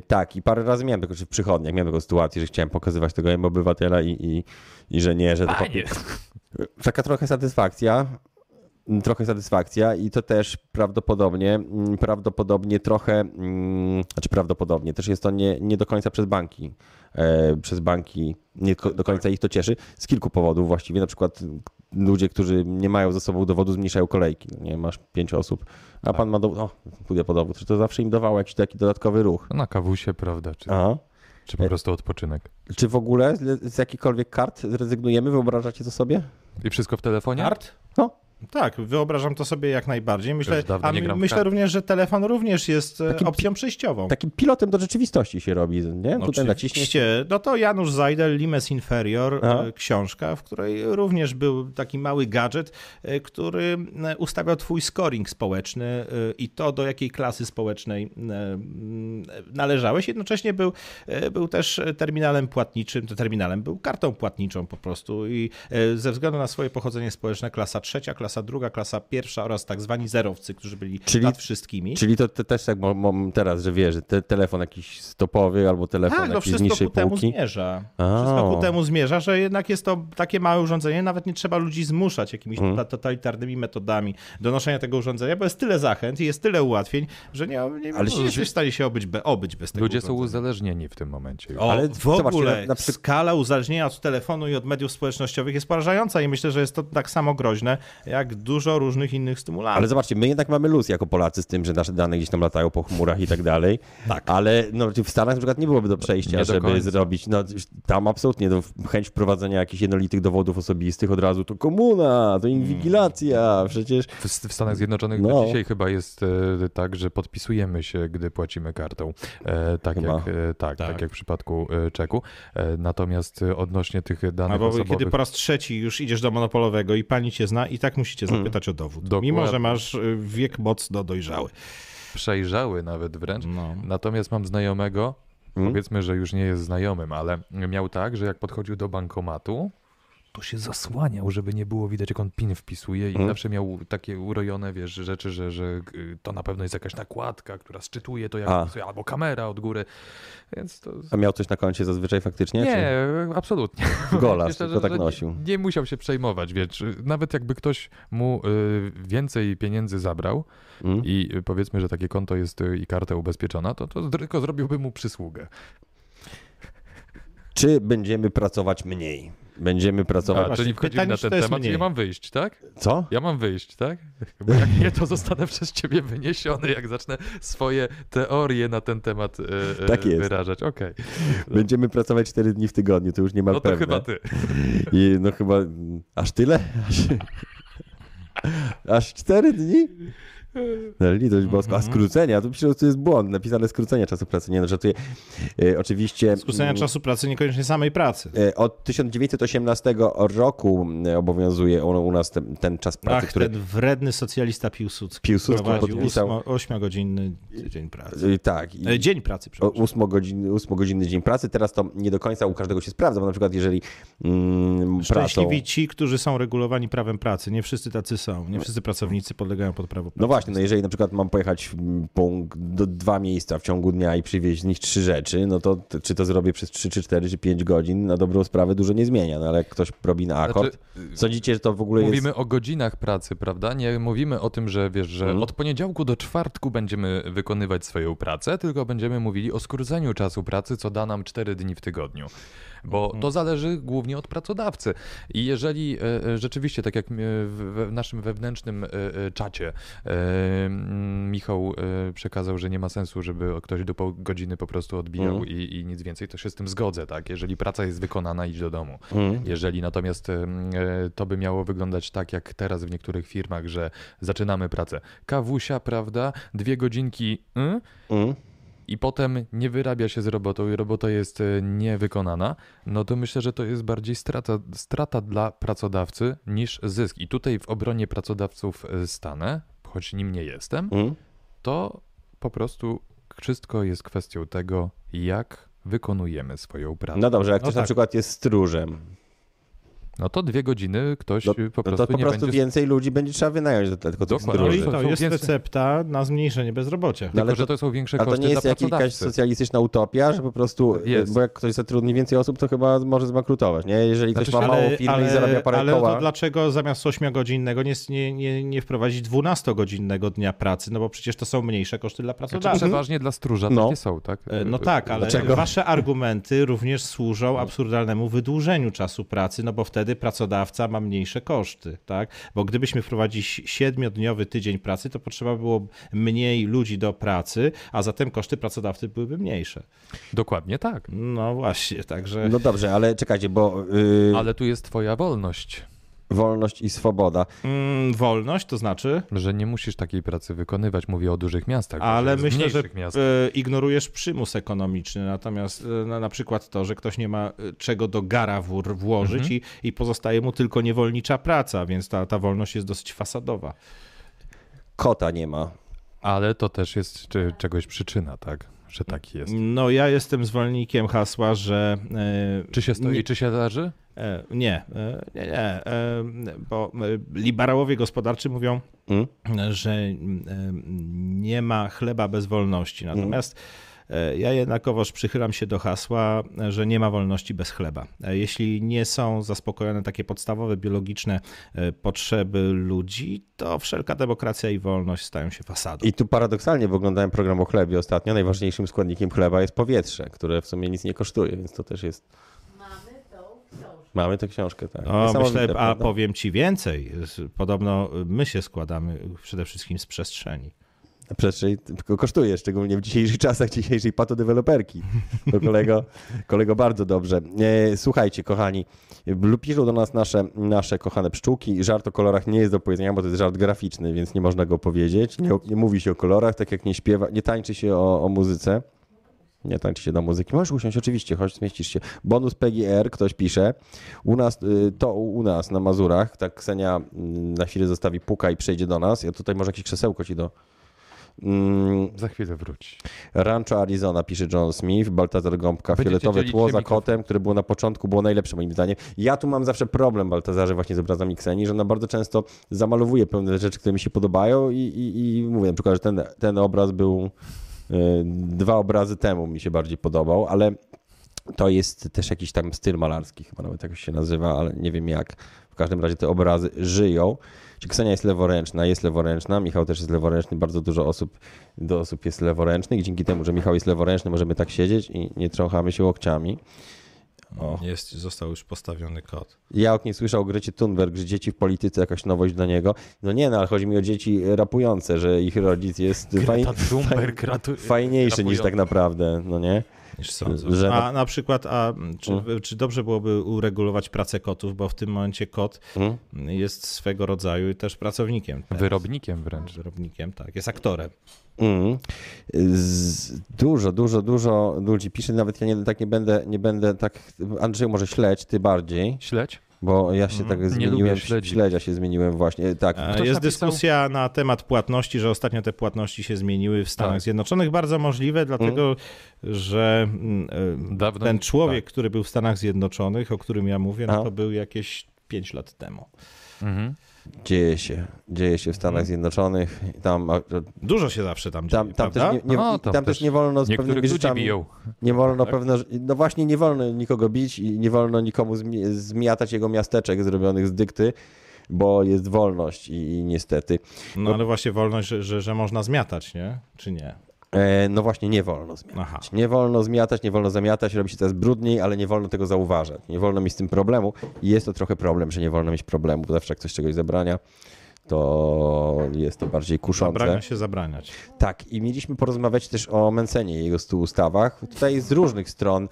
S1: tak, i parę razy miałem taką, czy w przychodniach miałem taką sytuację, że chciałem pokazywać tego em obywatela i, i, i że nie, że to
S2: Panie!
S1: Taka trochę satysfakcja. mm, Trochę satysfakcja i to też prawdopodobnie, mm, prawdopodobnie trochę, mm, znaczy prawdopodobnie, też jest to nie, nie do końca przez banki. E, przez banki nie ko- do końca ich to cieszy z kilku powodów właściwie. Na przykład ludzie, którzy nie mają ze sobą dowodu, zmniejszają kolejki. No nie masz pięć osób, a pan ma dowód, o, pójdę po dowód. Że To zawsze im dawało jakiś taki dodatkowy ruch.
S2: Na kawusie, prawda? Czy,
S1: Aha.
S2: czy po prostu odpoczynek.
S1: Czy w ogóle z, z jakichkolwiek kart zrezygnujemy? Wyobrażacie to sobie?
S2: I wszystko w telefonie?
S3: Kart?
S1: No.
S3: Tak, wyobrażam to sobie jak najbardziej. Myślę,
S2: Też dawno
S3: a
S2: nie gram w
S3: myślę
S2: karty.
S3: również, że telefon również jest e,
S1: Takim
S3: opcją przejściową.
S1: Takim pilotem do rzeczywistości się robi, nie?
S3: No,
S1: Tutaj naciśniesz
S3: oczywiście. No to Janusz Zajdel, Limes Inferior,
S1: Aha.
S3: e, książka, w której również był taki mały gadżet, e, który e, ustawiał twój scoring społeczny e, i to, do jakiej klasy społecznej e, m, e, należałeś. Jednocześnie był, e, był też terminalem płatniczym, to terminalem był kartą płatniczą po prostu i e, ze względu na swoje pochodzenie społeczne klasa trzecia, klasa druga, klasa pierwsza oraz tak zwani zerowcy, którzy byli
S1: Czyli-
S3: nad wszystkimi.
S1: Czyli to, to też tak mam- mam teraz, że wiesz, że te, telefon jakiś stopowy albo telefon
S3: Tak, no
S1: jakiś z
S3: wszystko
S1: niższej
S3: ku temu
S1: półki.
S3: zmierza.
S1: A.
S3: Wszystko ku temu zmierza, że jednak jest to takie małe urządzenie, nawet nie trzeba ludzi zmuszać jakimiś
S1: Mhm.
S3: tota- totalitarnymi metodami do noszenia tego urządzenia, bo jest tyle zachęt i jest tyle ułatwień, że nie, nie,
S1: Ale
S3: nie
S1: się-
S3: jesteś w stanie się obyć, be, obyć bez tego
S2: Ludzie są
S3: urządzenia.
S2: uzależnieni w tym momencie. już.
S3: O,
S1: Ale
S3: Ale w
S1: zobaczcie,
S3: ogóle
S1: na- na przy-
S3: skala uzależnienia od telefonu i od mediów społecznościowych jest porażająca i myślę, że jest to tak samo groźne jak dużo różnych innych stymulacji.
S1: Ale zobaczcie, my jednak mamy luz jako Polacy z tym, że nasze dane gdzieś tam latają po chmurach i tak dalej.
S3: Tak.
S1: Ale no, w Stanach na przykład nie byłoby do przejścia,
S2: Nie do
S1: żeby
S2: końca.
S1: zrobić. No, tam absolutnie no, chęć wprowadzenia jakichś jednolitych dowodów osobistych od razu to komuna, to
S3: Hmm.
S1: inwigilacja, przecież.
S2: W, w Stanach Zjednoczonych
S1: No.
S2: do dzisiaj chyba jest e, tak, że podpisujemy się, gdy płacimy kartą. E, tak,
S1: Chyba.
S2: jak, e, tak, tak.
S3: Tak.
S2: jak w przypadku e, czeku. E, natomiast e, odnośnie tych danych
S3: Albo
S2: osobowych...
S3: kiedy po raz trzeci już idziesz do monopolowego i pani cię zna i tak musicie
S1: Mm.
S3: zapytać o dowód.
S2: Dokładnie.
S3: Mimo, że masz y, wiek mocno dojrzały.
S2: przejrzały nawet wręcz.
S3: No.
S2: Natomiast mam znajomego,
S1: Hmm?
S2: powiedzmy, że już nie jest znajomym, ale miał tak, że jak podchodził do bankomatu, to się zasłaniał, żeby nie było widać, jak on PIN wpisuje i
S1: Hmm?
S2: zawsze miał takie urojone, wiesz, rzeczy, że, że y, to na pewno jest jakaś nakładka, która sczytuje to, jak
S1: A.
S2: wpisuje, albo kamera od góry, więc to...
S1: A miał coś na koncie zazwyczaj faktycznie?
S2: Nie, absolutnie.
S1: Czy golas,
S2: Myślę,
S1: tylko tak
S2: nie-
S1: nosił.
S2: Nie musiał się przejmować, wiesz, nawet jakby ktoś mu y, więcej pieniędzy zabrał
S1: Mm.
S2: i y, powiedzmy, że takie konto jest y, i karta ubezpieczona, to, to tylko zrobiłby mu przysługę.
S1: Czy będziemy pracować mniej? Będziemy pracować.
S3: właśnie,
S2: czyli wchodzimy
S3: pytanie,
S2: na
S3: czy
S2: ten
S3: to jest
S2: temat,
S3: mniej?
S2: ja mam wyjść, tak?
S1: Co?
S2: Ja mam wyjść, tak? Bo jak nie, to zostanę przez ciebie wyniesiony, jak zacznę swoje teorie na ten temat y, y,
S1: Tak jest.
S2: wyrażać. Okej,
S1: Będziemy pracować 4 dni w tygodniu, to już niemal
S2: no to
S1: pewne.
S2: chyba ty.
S1: I no chyba aż tyle? Aż, aż cztery dni? No litość boska. A
S2: Mhm.
S1: skrócenia, to przecież to jest błąd, napisane skrócenia czasu pracy. Nie no, żartuję. E, oczywiście...
S3: Skrócenia
S1: mm,
S3: czasu pracy, niekoniecznie samej pracy.
S1: e, Od 1918 roku e, obowiązuje on u nas ten, ten czas pracy,
S3: Ach,
S1: który...
S3: ten wredny socjalista Piłsudski
S1: Piłsudski
S3: prowadził
S1: podpisał-
S3: ósmo- ośmiogodzinny dzień pracy.
S1: e, Tak. i-
S3: E, Dzień pracy,
S1: O-
S3: przepraszam.
S1: ósmogodzinny ósmogodzinny dzień pracy. Teraz to nie do końca u każdego się sprawdza, bo na przykład jeżeli mm, pracą...
S3: Szczęśliwi ci, którzy są regulowani prawem pracy. Nie wszyscy tacy są. Nie wszyscy pracownicy podlegają pod prawo pracy.
S1: No właśnie, no jeżeli na przykład mam pojechać mm, punkt do dwa miejsca w ciągu dnia i przywieźć z nich trzy rzeczy, no to t- czy to zrobię przez 3, czy 4, czy 5 godzin, na dobrą sprawę dużo nie zmienia, no ale jak ktoś robi na akord.
S2: Znaczy,
S1: Sądzicie, że to w ogóle
S2: Mówimy
S1: jest...
S2: o godzinach pracy, prawda? Nie mówimy o tym, że wiesz, że
S1: Mhm.
S2: od poniedziałku do czwartku będziemy wykonywać swoją pracę, tylko będziemy mówili o skróceniu czasu pracy, co da nam 4 dni w tygodniu. Bo to zależy głównie od pracodawcy. I jeżeli e, e, rzeczywiście, tak jak e, w we- w naszym wewnętrznym e, e, czacie e, mm, Michał e, przekazał, że nie ma sensu, żeby ktoś do pół godziny po prostu odbijał
S1: Mhm.
S2: i, i nic więcej, to się z tym zgodzę, tak? Jeżeli praca jest wykonana, idź do domu.
S1: Mm.
S2: Jeżeli natomiast em, e, to by miało wyglądać tak, jak teraz w niektórych firmach, że zaczynamy pracę. Kawusia, prawda? Dwie godzinki mm,
S1: Mm.
S2: i potem nie wyrabia się z robotą i robota jest e, niewykonana, no to myślę, że to jest bardziej strata, strata dla pracodawcy niż zysk. I tutaj w obronie pracodawców e, stanę, choć nim nie jestem,
S1: Mm.
S2: to po prostu wszystko jest kwestią tego, jak wykonujemy swoją pracę.
S1: No dobrze, jak
S3: No
S1: ktoś na
S3: tak.
S1: przykład jest stróżem,
S2: No to dwie godziny ktoś
S1: no,
S2: e, po
S1: no
S2: prostu
S1: to po
S2: nie
S1: prostu
S2: będzie
S1: więcej ludzi będzie trzeba wynająć do tego tych
S2: Dokładnie.
S3: No
S1: stróży.
S3: i
S2: Są-
S3: to
S2: są
S3: jest
S2: piękne-
S3: recepta na zmniejszenie bezrobocia.
S1: No
S2: Tylko,
S1: ale
S2: że
S1: to-
S2: to są większe
S1: A to
S2: koszty
S1: nie jest
S2: dla
S1: jakaś
S2: pracodawcy.
S1: socjalistyczna utopia, że po prostu, y,
S2: Jest.
S1: bo jak ktoś zatrudni więcej osób, to chyba może zbankrutować, nie? Jeżeli ktoś
S2: Znaczy,
S1: ma małą firmę i zarabia parę
S3: ale
S1: koła.
S3: to dlaczego zamiast 8-godzinnego nie, nie, nie, nie wprowadzić 12-godzinnego dnia pracy? No bo przecież to są mniejsze koszty dla
S2: Znaczy,
S3: pracodawcy.
S2: przeważnie dla stróża
S1: No.
S2: takie są, tak?
S3: E, No tak, ale
S1: Dlaczego? No.
S3: wasze argumenty również służą absurdalnemu wydłużeniu czasu pracy, no bo wtedy pracodawca ma mniejsze koszty, tak? Bo gdybyśmy wprowadzili siedmiodniowy tydzień pracy, to potrzeba było mniej ludzi do pracy, a zatem koszty pracodawcy byłyby mniejsze.
S2: Dokładnie tak.
S3: No właśnie, także...
S1: No dobrze, ale czekajcie, bo yy,
S2: Ale tu jest twoja wolność,
S1: wolność i swoboda.
S3: Mm, wolność to znaczy...
S2: że nie musisz takiej pracy wykonywać. Mówię o dużych miastach.
S3: Ale
S2: że z
S3: myślę, że
S2: mniejszych miast.
S3: e, ignorujesz przymus ekonomiczny, natomiast e, na, na przykład to, że ktoś nie ma e, czego do gara wór włożyć
S2: Mhm.
S3: i, i pozostaje mu tylko niewolnicza praca, więc ta, ta wolność jest dosyć fasadowa.
S1: Kota nie ma.
S2: Ale to też jest czy, czegoś przyczyna, tak? Że tak jest.
S3: No ja jestem zwolennikiem hasła, że... e,
S2: Czy się stoi,
S3: Nie,
S2: czy się leży?
S3: e, nie, e, nie, nie e, bo e, liberałowie gospodarczy mówią,
S1: Mm?
S3: że mm, em, nie ma chleba bez wolności.
S1: Mm.
S3: Natomiast e, ja jednakowoż przychylam się do hasła, e, że nie ma wolności bez chleba. E, Jeśli nie są zaspokojone takie podstawowe biologiczne e, potrzeby ludzi, to wszelka demokracja i wolność stają się fasadą.
S1: I tu paradoksalnie, bo oglądałem program o chlebie ostatnio, najważniejszym składnikiem chleba jest powietrze, które w sumie nic nie kosztuje, więc to też jest... Mamy tą książkę. Mamy tę książkę, tak.
S3: O,
S1: Niesamowite,
S3: myślę, a
S1: prawda?
S3: powiem ci więcej. Z- Podobno my się składamy przede wszystkim z przestrzeni.
S1: Przestrzeń tylko kosztuje, szczególnie w dzisiejszych czasach dzisiejszej patodeweloperki. To kolego, kolego bardzo dobrze. E, słuchajcie, kochani, lub piszą do nas nasze, nasze kochane pszczółki. Żart o kolorach nie jest do powiedzenia, bo to jest żart graficzny, więc nie można go powiedzieć. Nie, nie mówi się o kolorach, tak jak nie śpiewa, nie tańczy się o, o muzyce. Nie tańczy się do muzyki. Możesz usiąść, oczywiście, chodź, zmieścisz się. Bonus PGR, ktoś pisze. U nas, y, to u nas na Mazurach, tak Ksenia mm, na chwilę zostawi puka i przejdzie do nas. Ja tutaj może jakieś krzesełko ci do... Mm,
S2: Za chwilę wróci.
S1: Rancho Arizona, pisze John Smith, Baltazar Gąbka,
S2: Będziecie
S1: fioletowe
S2: dzielić
S1: tło
S2: się
S1: za
S2: mikrofon.
S1: kotem, które było na początku, było najlepsze moim zdaniem. Ja tu mam zawsze problem, Baltazarze, właśnie z obrazami Ksenii, że ona bardzo często zamalowuje pewne rzeczy, które mi się podobają i, i, i mówię na przykład, że ten, ten obraz był y, dwa obrazy temu mi się bardziej podobał, ale to jest też jakiś tam styl malarski, chyba nawet jakoś się nazywa, ale nie wiem jak. W każdym razie te obrazy żyją. Czy Ksenia jest leworęczna? Jest leworęczna. Michał też jest leworęczny. Bardzo dużo osób do osób jest leworęcznych. Dzięki temu, że Michał jest leworęczny, możemy tak siedzieć i nie trąchamy się łokciami. O.
S3: Jest, został już postawiony kod.
S1: Ja nie słyszał o Grecie Thunberg, że dzieci w polityce jakaś nowość dla niego. No nie, no ale chodzi mi o dzieci rapujące, że ich rodzic jest faj...
S2: Thunberg ratu-
S1: fajniejszy niż tak naprawdę, no nie?
S3: Niż
S1: sądzą. Że na-
S3: A na przykład, a czy, czy dobrze byłoby uregulować pracę kotów, bo w tym momencie kot
S1: Mhm.
S3: jest swego rodzaju też pracownikiem. tak?
S2: Wyrobnikiem wręcz.
S3: Wyrobnikiem, tak. Jest aktorem.
S1: Mm. Z, dużo, dużo, dużo ludzi pisze, nawet ja nie, tak nie będę, nie będę tak, Andrzeju może śledź, ty bardziej,
S2: Śledź?
S1: bo ja się tak zmieniłem,
S2: Mhm. lubię śledzi.
S1: śledzia się zmieniłem właśnie, e, tak.
S3: E,
S2: Ktoś
S3: Jest
S2: napisał-
S3: dyskusja na temat płatności, że ostatnio te płatności się zmieniły w Stanach
S2: Tak.
S3: Zjednoczonych. Bardzo możliwe, dlatego że mm, e,
S2: Dawno-
S3: ten człowiek, który był w Stanach Zjednoczonych, o którym ja mówię,
S1: A.
S3: no to był jakieś 5 lat temu.
S2: Mhm.
S1: Dzieje się. Dzieje się w Stanach Zjednoczonych. Tam, a-
S3: Dużo się zawsze tam dzieje,
S1: tam, tam, też,
S3: prawda?
S1: nie, nie,
S2: No,
S1: tam,
S2: tam
S1: też
S2: też
S1: nie wolno z
S2: Niektórych
S1: pewnymi
S2: ludzi
S1: rzeczami...
S2: biją. Tak?
S1: Nie wolno pewne, rze- no właśnie nie wolno nikogo bić i nie wolno nikomu zmi- zmiatać jego miasteczek zrobionych z dykty, bo jest wolność i, i niestety.
S3: No ale właśnie wolność, że, że, że można zmiatać, nie? Czy nie?
S1: E, no właśnie nie wolno zmiatać.
S3: Aha.
S1: Znaczy, Nie wolno zmiatać, nie wolno zamiatać, robi się teraz brudniej, ale nie wolno tego zauważać. Nie wolno mieć z tym problemu i jest to trochę problem, że nie wolno mieć problemu, bo zawsze jak ktoś czegoś zabrania, to jest to bardziej kuszące.
S3: Zabrania się zabraniać.
S1: Tak, i mieliśmy porozmawiać też o Mensenie i jego 100 ustawach. Tutaj z różnych stron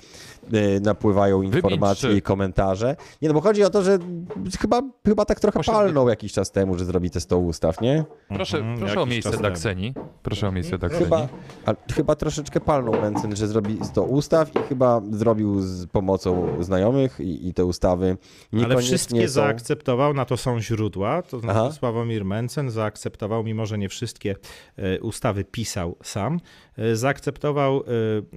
S1: y, napływają informacje
S2: trzy.
S1: i komentarze. Nie, no bo chodzi o to, że chyba, chyba tak trochę
S2: Osiem-
S1: palnął jakiś czas temu, że zrobi te 100 ustaw, nie?
S2: Proszę,
S3: Mhm,
S2: proszę o
S3: jakiś
S2: miejsce
S3: czas
S2: dla
S3: temu.
S2: Kseni. Proszę o miejsce dla Kseni.
S1: Mhm. Chyba, a, chyba troszeczkę palnął Mensen, że zrobi 100 ustaw i chyba zrobił z pomocą znajomych i, i te ustawy niekoniecznie
S3: Ale wszystkie
S1: są...
S3: zaakceptował, na to są źródła, to znaczy
S1: Aha.
S3: Sławomir Mencen zaakceptował, mimo że nie wszystkie e, ustawy pisał sam, e, zaakceptował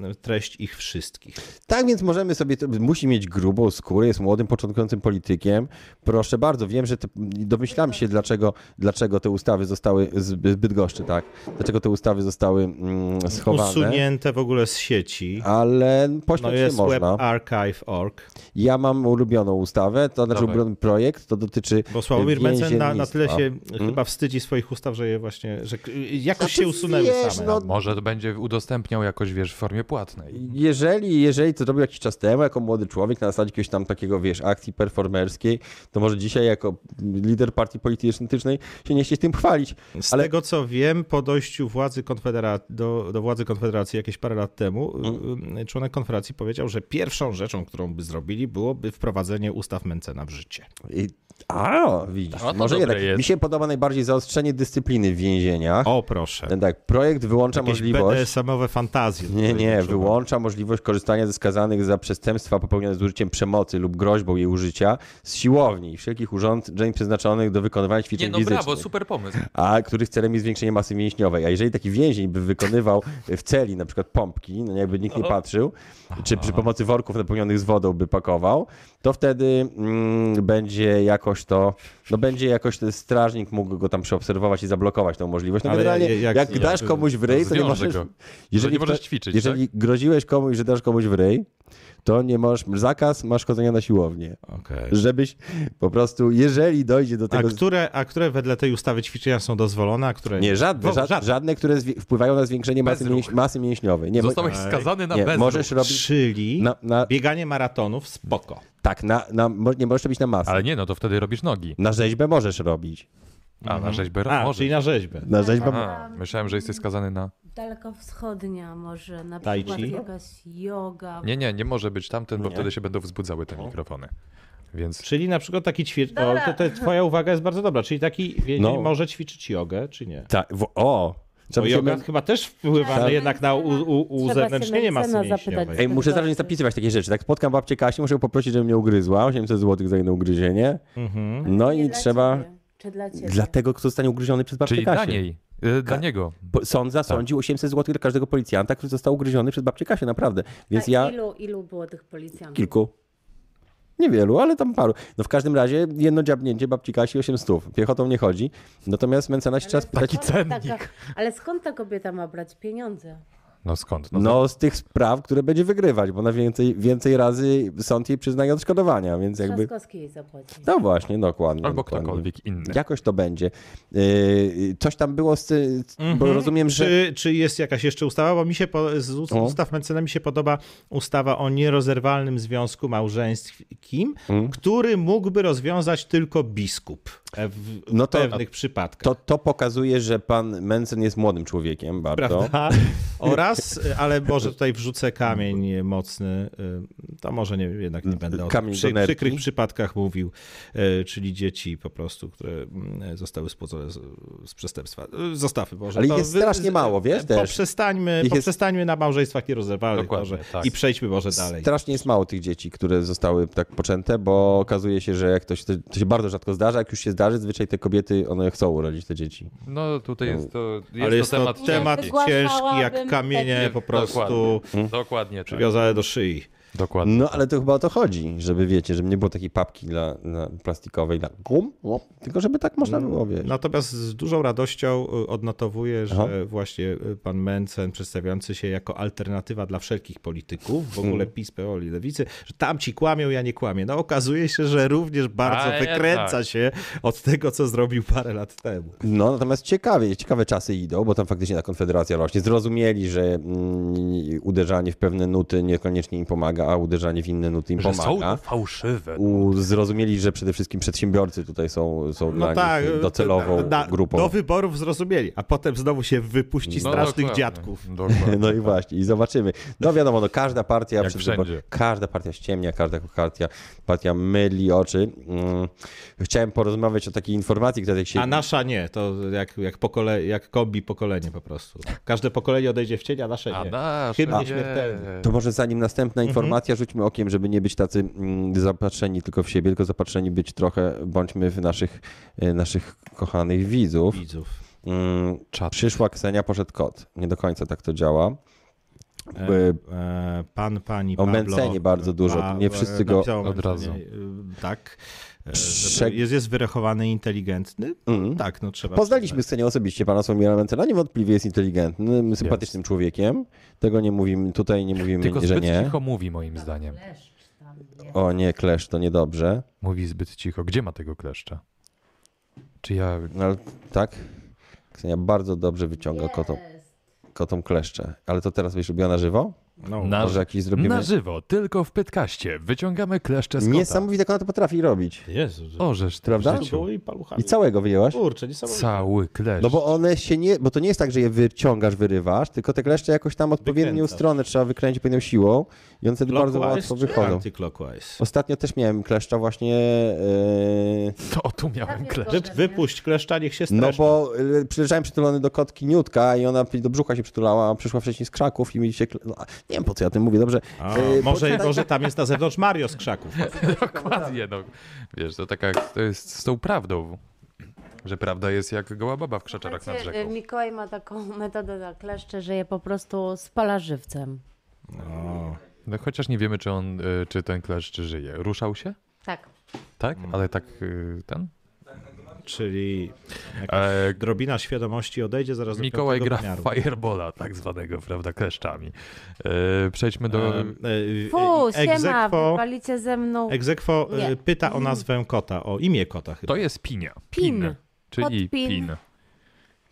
S3: e, treść ich wszystkich.
S1: Tak więc możemy sobie, to- musi mieć grubą skórę, jest młodym, początkującym politykiem. Proszę bardzo, wiem, że te, domyślam się, dlaczego, dlaczego te ustawy zostały zbyt goszczy, tak? Dlaczego te ustawy zostały mm, schowane.
S3: Usunięte w ogóle z sieci.
S1: Ale
S3: No
S1: pośmiać się
S3: jest
S1: można.
S3: webarchive.org,
S1: Ja mam ulubioną ustawę, to znaczy
S2: Dawaj.
S1: ulubiony projekt, to dotyczy
S3: bo Sławomir Mencen na, na tyle się
S1: więziennictwa.
S3: chyba wstydzi swoich ustaw, że je właśnie, że k- jakoś
S1: Znaczy,
S3: się usunęły
S1: wiesz,
S3: same.
S1: no,
S2: Może to będzie udostępniał jakoś, wiesz, w formie płatnej.
S1: Jeżeli, jeżeli to robił jakiś czas temu, jako młody człowiek, na zasadzie jakiegoś tam takiego, wiesz, akcji performerskiej, to może dzisiaj jako lider partii politycznej się nie chcieć tym chwalić.
S3: Z
S1: Ale
S3: tego co wiem, po dojściu władzy konfedera- do, do władzy Konfederacji jakieś parę lat temu,
S1: Mm.
S3: y, y, członek Konfederacji powiedział, że pierwszą rzeczą, którą by zrobili, byłoby wprowadzenie ustaw Mencena w życie.
S1: I... A, widzisz,
S2: No to
S1: może
S2: dobre
S1: jednak.
S2: jest.
S1: Mi się podoba najbardziej zaostrzenie dyscypliny w więzieniach.
S3: O proszę,
S1: Ten Tak, projekt wyłącza
S3: jakieś
S1: możliwość.
S3: BDSM-owe fantazje.
S1: Nie,
S3: tutaj
S1: nie,
S3: wyczuwam.
S1: wyłącza możliwość korzystania ze skazanych za przestępstwa popełnione z użyciem przemocy lub groźbą jej użycia z siłowni i wszelkich urządzeń przeznaczonych do wykonywania ćwiczeń
S2: Nie, no
S1: fizycznych.
S2: brawo, super pomysł.
S1: a których celem jest zwiększenie masy mięśniowej. A jeżeli taki więzień by wykonywał w celi na przykład pompki, no jakby nikt nie patrzył, czy przy pomocy worków napełnionych z wodą by pakował, to wtedy mm, będzie jakoś to, no będzie jakoś ten strażnik mógł go tam przeobserwować i zablokować tą możliwość. No
S3: Ale
S1: generalnie,
S3: ja-
S1: jak,
S3: jak- jak-
S1: dasz komuś w ryj, to nie
S2: zwiąże
S1: możesz...
S2: go.
S1: Jeżeli,
S2: nie możesz
S1: kto-
S2: ćwiczyć, tak?
S1: Jeżeli groziłeś komuś, że dasz komuś w ryj, to nie możesz, zakaz masz chodzenia na siłownię.
S3: Okej.
S1: Żebyś po prostu, jeżeli dojdzie do
S3: A
S1: tego...
S3: które, a które wedle tej ustawy ćwiczenia są dozwolone, a które
S1: Nie, żadne,
S3: Wo-
S1: żad, żadne. które zwi- wpływają na zwiększenie masy,
S2: Bezruch.
S1: mięś- masy mięśniowej. Nie, mo-
S2: Zostałeś skazany na
S1: nie,
S2: bezruch.
S1: możesz robić
S3: Czyli
S1: na, na,
S3: bieganie maratonów, spoko.
S1: tak, na, na, mo- nie możesz robić na masę.
S2: Ale nie, no to wtedy robisz nogi.
S1: Na rzeźbę możesz robić.
S2: A, na rzeźbę
S3: Mhm.
S1: No,
S3: A,
S2: możesz.
S3: czyli na rzeźbę.
S1: Na rzeźbę
S2: A, myślałem, że jesteś skazany na...
S4: Dalekowschodnia może, na
S3: Tai
S4: przykład
S3: chi?
S4: jakaś yoga.
S2: Nie, nie, nie może być tamten, bo
S1: Nie.
S2: wtedy się będą wzbudzały te mikrofony. Więc
S3: Czyli na przykład taki ćwicz... O, to,
S4: Dobra.
S3: to twoja uwaga jest bardzo dobra. Czyli taki więzień
S1: No.
S3: może ćwiczyć jogę, czy nie?
S1: Ta, w, o!
S3: Bo
S2: No
S1: Trzeba się
S3: joga
S1: mę-
S3: chyba też wpływa
S4: Trzeba
S3: na- jednak na u, u, u
S4: Trzeba
S3: zewnętrznienie
S4: się
S3: masy
S4: Mencena zapytać.
S3: mięśniowej.
S1: Tak. Ej, muszę zacząć zapisywać takie rzeczy. Tak spotkam babcię Kasię, muszę ją poprosić, żeby mnie ugryzła. 800 zł za jedno ugryzienie.
S2: Mhm.
S1: No
S4: Nie
S1: i
S4: dla
S1: trzeba...
S4: ciebie. Czy dla ciebie?
S1: Dla tego, kto zostanie ugryziony przez babcię
S2: Czyli Tak.
S1: Kasię.
S2: dla niej, y, dla niego.
S1: Bo Sąd zasądził 800 zł dla każdego policjanta, który został ugryziony przez babcię Kasię, naprawdę. Więc
S4: A
S1: ja...
S4: ilu, ilu było tych policjantów?
S1: Kilku. Niewielu, ale tam paru. No w każdym razie jedno dziabnięcie babci Kasi 8 stów. Piechotą nie chodzi. Natomiast Mencena się trzeba spytać.
S2: Taki cennik.
S4: Taka, ale skąd ta kobieta ma brać pieniądze?
S2: No skąd? No,
S1: No z tych spraw, które będzie wygrywać, bo na więcej, więcej razy sąd jej przyznaje odszkodowania, więc jakby...
S4: Trzaskowski jej zapłaci.
S1: No właśnie, dokładnie.
S2: Albo
S1: dokładnie.
S2: ktokolwiek inny.
S1: Jakoś to będzie. Yy, coś tam było z...
S2: Mhm.
S1: Bo rozumiem, że... No.
S3: Czy, czy jest jakaś jeszcze ustawa? Bo mi się po, z ust-
S1: O.
S3: ustaw Mencena mi się podoba ustawa o nierozerwalnym związku małżeńskim,
S1: Mm.
S3: który mógłby rozwiązać tylko biskup e, w, w
S1: No to-
S3: pewnych przypadkach.
S1: To, to pokazuje, że pan Mencen jest młodym człowiekiem bardzo.
S3: Prawda?
S1: No.
S3: Oraz, ale może tutaj wrzucę kamień mocny, y, to może nie, jednak nie będę o
S1: Kamień
S3: tych przy,
S1: do nerki.
S3: przykrych przypadkach mówił, y, czyli dzieci po prostu, które mm, zostały spłodzone z, z przestępstwa. Y, Zostawmy Boże.
S1: Ale ich
S3: To
S1: jest
S3: wy- y,
S1: strasznie mało, wiesz, też.
S3: Poprzestańmy,
S1: Ich jest-
S3: poprzestańmy na małżeństwach nierozerwalnych
S2: Dokładnie,
S3: Boże,
S2: tak.
S3: i przejdźmy Boże dalej.
S1: Strasznie jest mało tych dzieci, które zostały tak poczęte, bo okazuje się, że jak ktoś, to, to się bardzo rzadko zdarza, jak już się zdarzy, zwyczaj te kobiety, one chcą urodzić te dzieci.
S2: no tutaj jest to, jest
S3: ale jest
S2: to temat,
S3: temat
S4: ciężki.
S3: ciężki, jak
S4: Wygłaszałabym
S3: kamienie
S2: taki-
S3: po prostu
S2: Dokładnie tak.
S3: przywiązane do szyi.
S2: Dokładnie.
S1: No ale to chyba o to chodzi, żeby wiecie, żeby nie było takiej papki dla, dla plastikowej, dla gum, łop, tylko żeby tak można było, wiesz.
S3: Natomiast z dużą radością y, odnotowuję, że
S1: Aha.
S3: właśnie y, pan Mencen, przedstawiający się jako alternatywa dla wszelkich polityków, w
S1: Mhm.
S3: ogóle PiS, PO i Lewicy, że tam ci kłamią, ja nie kłamię. No okazuje się, że również bardzo
S2: A,
S3: wykręca
S2: jednak. tak.
S3: się od tego, co zrobił parę lat temu.
S1: No natomiast ciekawie, ciekawe czasy idą, bo tam faktycznie ta konfederacja rośnie. Zrozumieli, że mm, uderzanie w pewne nuty niekoniecznie im pomaga, a uderzanie w inne nuty im
S2: Że są
S1: No, pomaga.
S2: to fałszywe.
S1: U, zrozumieli, że przede wszystkim przedsiębiorcy tutaj są, są dla nich Tak, y, docelową
S3: No tak, y, na-
S1: grupą.
S3: Do wyborów zrozumieli, a potem znowu się wypuści strasznych
S2: No, dokładnie,
S3: dziadków.
S2: Dokładnie.
S1: No i właśnie, i zobaczymy. No wiadomo, no każda partia
S2: Jak
S1: przed
S2: wszędzie.
S1: wybor- każda partia ściemnia, każda partia, partia myli oczy. Mm. Chciałem porozmawiać o takiej informacji, która tak się...
S3: A nasza nie, to jak, jak, pokole, jak kombi pokolenie po prostu. Każde pokolenie odejdzie w cień, a nasze nie.
S2: A dasz,
S3: Hymn
S2: a
S3: nieśmiertelny.
S2: nie.
S1: To może zanim następna
S2: Mhm.
S1: informacja, rzućmy okiem, żeby nie być tacy mm, zapatrzeni tylko w siebie, tylko zapatrzeni być trochę, bądźmy w naszych, e, naszych kochanych widzów.
S3: Widzów.
S1: Mm,
S2: Czat.
S1: Przyszła Ksenia, poszedł kot. Nie do końca tak to działa.
S3: E,
S1: E,
S3: e, Pan, pani
S1: o
S3: Pablo, e,
S1: Mencenie bardzo dużo,
S3: ma-
S1: nie wszyscy go-
S3: napisał o
S2: Od razu.
S3: Mencenie, e, Tak. E, że
S1: Prze-
S3: Jest, jest wyrachowany, inteligentny.
S1: Mm.
S3: Tak, no trzeba.
S1: Poznaliśmy Ksenię osobiście, pana Sławomira Mencena. Niewątpliwie jest inteligentnym, sympatycznym człowiekiem. Tego nie mówimy, tutaj nie mówimy,
S2: Tylko
S1: że
S2: zbyt
S1: nie.
S2: cicho mówi moim zdaniem.
S1: O nie, klesz, to niedobrze.
S2: Mówi zbyt cicho. Gdzie ma tego kleszcza? Czy ja...
S1: No, ale tak? Ksenia bardzo dobrze wyciąga kotom, kotom kleszcze. Ale to teraz byś robiła na żywo?
S3: przyznać. No,
S2: Na,
S1: Może jakiś zrobimy...
S2: na żywo, tylko w Pytkaście. Wyciągamy kleszcze z kota.
S1: Niesamowite, jak ona to potrafi robić.
S3: Jezu, że
S2: Orzesz, ty
S1: Prawda?
S2: w
S3: to było
S2: życiu.
S3: i paluchami.
S1: I całego wyjęłaś?
S3: Kurczę, niesamowite.
S2: Cały klesz.
S1: No bo one się nie, bo to nie jest tak, że je wyciągasz, wyrywasz, tylko te kleszcze jakoś tam odpowiednią
S3: Wykręcasz.
S1: stronę trzeba wykręcić pewną siłą i one wtedy bardzo
S3: Clockwise
S1: łatwo
S3: czy
S1: wychodzą.
S3: Antyclockwise.
S1: Ostatnio też miałem kleszcza właśnie, e,
S2: To tu
S4: Tak,
S2: miałem klesz.
S3: Wy, wypuść kleszcza, niech się
S1: no
S3: streszczy.
S1: bo e, przyleżałem przytulony do kotki Niutka i ona do brzucha się przytulała, a przyszła wcześniej z Kraków i mi się, kle... no, nie wiem po co ja o tym mówię, dobrze.
S3: A,
S1: E,
S3: może,
S1: poczytaj-
S3: może tam jest na zewnątrz Mario z krzaków.
S2: Dokładnie, no. Wiesz, to tak jak to jest z tą prawdą, że prawda jest jak goła baba w krzaczarach nad
S4: Słuchajcie, y,
S2: rzeką.
S4: Mikołaj ma taką metodę na kleszcze, że je po prostu spala żywcem.
S2: No chociaż nie wiemy, czy on, y, czy ten kleszcz żyje. Ruszał się?
S4: Tak.
S2: Tak?
S1: Mm.
S2: Ale tak y, ten?
S3: Czyli
S2: E,
S3: drobina świadomości odejdzie zaraz
S2: Mikołaj
S3: do
S2: gra
S3: piątego
S2: w
S3: wymiaru.
S2: Firebola, tak zwanego, prawda, kleszczami. E, Przejdźmy do...
S3: Em, e,
S4: Fu,
S3: e, ex
S4: siema,
S3: aequo-
S4: wypalicie ze mną
S3: Egzekwo y,
S4: Nie.
S3: pyta o nazwę kota, o imię kota chyba.
S2: To jest pinia.
S4: Pin.
S2: Czyli
S4: Podpin.
S2: pin.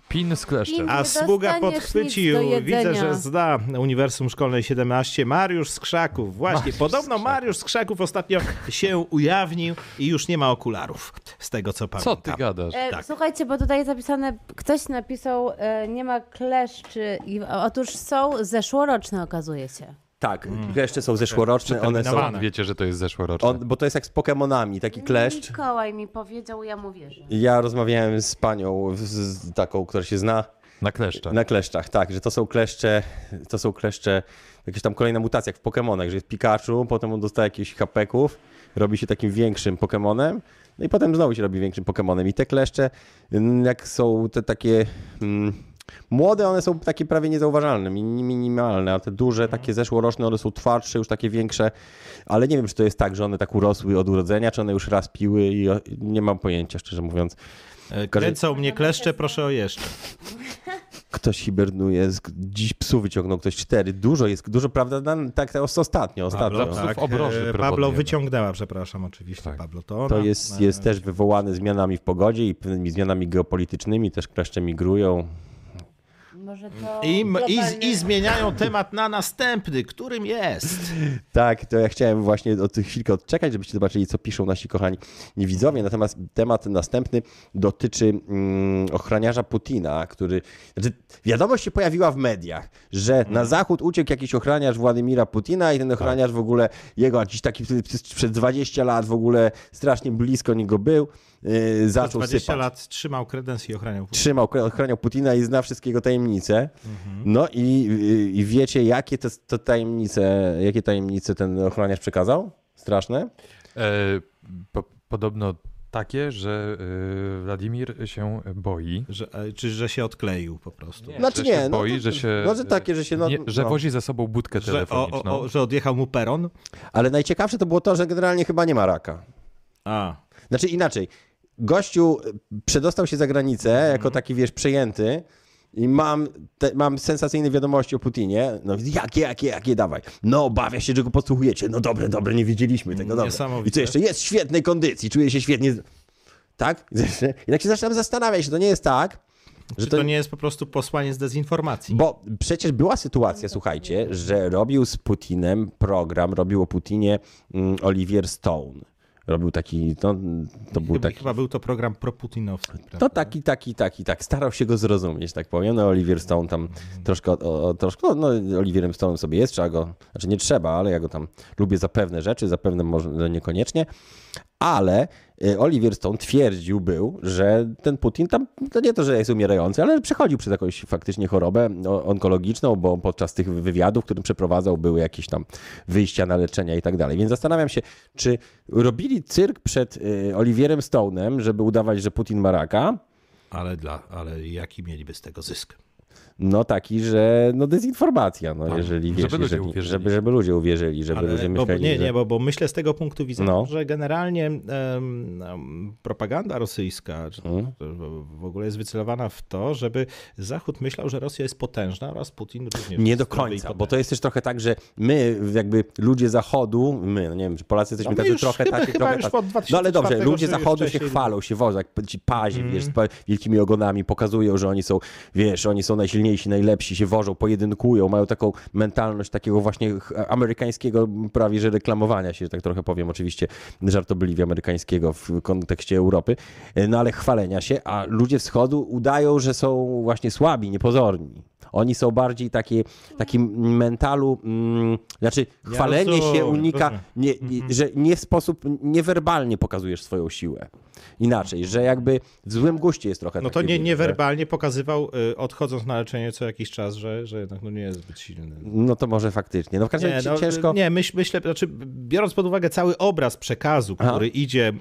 S2: Pin z kleszczem.
S4: Pin.
S3: A
S4: Nie
S3: sługa
S4: dostaniesz
S3: podchwycił,
S4: nic do
S3: widzę,
S4: jedzenia.
S3: że zda Uniwersum Szkolnej 17, Mariusz z Krzaków. Właśnie, podobno Mariusz z Krzaków ostatnio się ujawnił i już nie ma okularów, z tego co
S2: Co
S3: pamiętam.
S2: ty gadasz?
S4: E,
S3: Tak.
S4: Słuchajcie, bo tutaj zapisane, ktoś napisał, e, nie ma kleszczy. I, otóż są zeszłoroczne, okazuje się.
S1: Tak, kleszcze są zeszłoroczne, one są,
S3: Mm. Przeterminowane.
S2: Wiecie, że to jest zeszłoroczne.
S1: on, bo to jest jak z Pokemonami, taki kleszcz.
S4: Mikołaj mi powiedział, ja mu wierzę.
S1: Ja rozmawiałem z panią, z, z taką, która się zna
S2: Na kleszcza.
S1: na kleszczach, tak, że to są kleszcze, to są kleszcze, jakaś tam kolejna mutacja, jak w Pokemonach, że jest Pikachu, potem on dostaje jakichś hapeków, robi się takim większym Pokemonem, no i potem znowu się robi większym Pokemonem. I te kleszcze, mm, jak są te takie mm, młode, one są takie prawie niezauważalne, min- minimalne, a te duże, takie zeszłoroczne, one są twardsze, już takie większe, ale nie wiem, czy to jest tak, że one tak urosły od urodzenia, czy one już raz piły i o- nie mam pojęcia, szczerze mówiąc.
S3: E, Kręcą mnie kleszcze, proszę o jeszcze.
S1: Ktoś hibernuje, z- dziś psu wyciągnął ktoś cztery. Dużo jest, dużo, prawda? Dan- Tak, to jest ostatnio, ostatnio.
S3: Pablo, tak,
S2: Psów obroży
S3: e, Pablo
S2: proponujemy.
S3: wyciągnęła, przepraszam, oczywiście.
S2: Tak.
S3: Pablo, to ona.
S1: To jest, jest też wywołane zmianami w pogodzie i pewnymi zmianami geopolitycznymi, też kleszcze migrują.
S4: Może to
S3: I, i,
S4: globalnie-
S3: I zmieniają temat na następny, którym jest.
S1: Tak, to ja chciałem właśnie od tych chwilkę odczekać, żebyście zobaczyli, co piszą nasi kochani widzowie. Natomiast temat następny dotyczy mm, ochroniarza Putina, który. Znaczy, wiadomość się pojawiła w mediach, że na zachód uciekł jakiś ochroniarz Władimira Putina i ten ochroniarz w ogóle, jego jakiś taki przed 20 lat w ogóle strasznie blisko niego był, yy,
S3: Przez
S1: zaczął
S3: 20
S1: sypać.
S3: lat trzymał kredens i ochraniał.
S1: trzymał, ochraniał Putina i zna wszystkie jego tajemnice. No i, i- i wiecie, jakie te, te tajemnice, jakie tajemnice ten ochroniarz przekazał? Straszne.
S2: E, po, podobno takie, że y, Wladimir się boi.
S3: Że, e, czy że się odkleił po prostu?
S1: Nie. Znaczy
S2: że się
S1: no
S2: boi,
S1: to-
S2: że się.
S1: no, że takie, że się, no-
S2: nie, że
S1: no.
S2: wozi ze sobą budkę
S3: Że, o,
S2: telefoniczną.
S3: o, o, że odjechał mu peron?
S1: Ale najciekawsze to było to, że generalnie chyba nie ma raka.
S3: A,
S1: Znaczy inaczej. Gościu y, przedostał się za granicę
S3: Mhm.
S1: jako taki, wiesz, przejęty i mam, te, mam sensacyjne wiadomości o Putinie. No jakie, jakie, jakie, dawaj. No obawia się, że go podsłuchujecie. No dobre, dobre, nie widzieliśmy tego, dobre.
S3: Niesamowite.
S1: I co jeszcze? Jest w świetnej kondycji, czuje się świetnie. z- Tak? I tak się zaczynam zastanawiać, czy to nie jest tak,
S3: że
S1: że
S3: czy to, nie jest po prostu posłanie z dezinformacji?
S1: bo przecież była sytuacja, słuchajcie, że robił z Putinem program, robił o Putinie mm, Olivier Stone. Robił taki, no, to był
S3: Chyba,
S1: taki...
S3: chyba był to program proputinowski.
S1: To
S3: prawda?
S1: taki, taki, taki, tak. Starał się go zrozumieć, tak powiem. No Oliver Stone tam troszkę, o, o, troszkę no, no Oliverem Stone sobie jest, trzeba go, znaczy nie trzeba, ale ja go tam lubię za pewne rzeczy, za pewne może no niekoniecznie. Ale y, Oliver Stone twierdził był, że ten Putin tam, to nie to, że jest umierający, ale przechodził przez jakąś faktycznie chorobę no, onkologiczną, bo podczas tych wywiadów, które przeprowadzał, były jakieś tam wyjścia na leczenia i tak dalej. Więc zastanawiam się, czy robili cyrk przed y, Oliwierem Stone'em, żeby udawać, że Putin ma raka,
S3: Ale, dla, ale jaki mieliby z tego zysk?
S1: no taki, że no dezinformacja, no
S2: Tak,
S1: jeżeli wiesz,
S2: żeby ludzie
S1: jeżeli,
S2: uwierzyli.
S1: żeby, żeby ludzie uwierzyli, żeby ludzie
S3: bo,
S1: myśleli,
S3: nie,
S1: że...
S3: nie, bo, bo myślę z tego punktu widzenia,
S1: No.
S3: że generalnie em, em, propaganda rosyjska czy
S1: Hmm.
S3: to w- w ogóle jest wycelowana w to, żeby Zachód myślał, że Rosja jest potężna oraz Putin również.
S1: Nie
S3: jest
S1: do
S3: zdrowy i
S1: końca, bo
S3: potężny.
S1: to jest też trochę tak, że my, jakby ludzie Zachodu, my, no nie wiem, czy Polacy jesteśmy
S3: No my
S1: tacy
S3: już
S1: trochę
S3: chyba-
S1: tacy,
S3: chyba
S1: trochę
S3: już
S1: tacy.
S3: od 2004
S1: No ale dobrze, ludzie
S3: czy
S1: Zachodu się
S3: wcześniej-
S1: chwalą, się wożą, jak ci pazi,
S3: Mhm.
S1: wiesz, z pa- wielkimi ogonami, pokazują, że oni są, wiesz, oni są najsilniejsi, najlepsi, się wożą, pojedynkują, mają taką mentalność takiego właśnie ch- amerykańskiego prawie, że reklamowania się, że tak trochę powiem, oczywiście żartobliwie amerykańskiego w kontekście Europy, no ale chwalenia się, a ludzie Wschodu udają, że są właśnie słabi, niepozorni. Oni są bardziej takie, takim mentalu, mm, znaczy chwalenie się
S3: rozumiem,
S1: unika,
S3: rozumiem.
S1: nie, nie-
S3: Mhm.
S1: że nie w sposób, niewerbalnie pokazujesz swoją siłę. Inaczej, że jakby w złym guście jest trochę
S3: No to
S1: takie,
S3: nie,
S1: że-
S3: niewerbalnie pokazywał, y, odchodząc na leczenie co jakiś czas, że, że jednak no nie jest zbyt silny.
S1: No to może faktycznie. No w każdym
S3: Nie,
S1: razie
S3: no,
S1: ciężko.
S3: nie myśl, myślę, znaczy, biorąc pod uwagę cały obraz przekazu,
S1: Aha.
S3: który idzie e,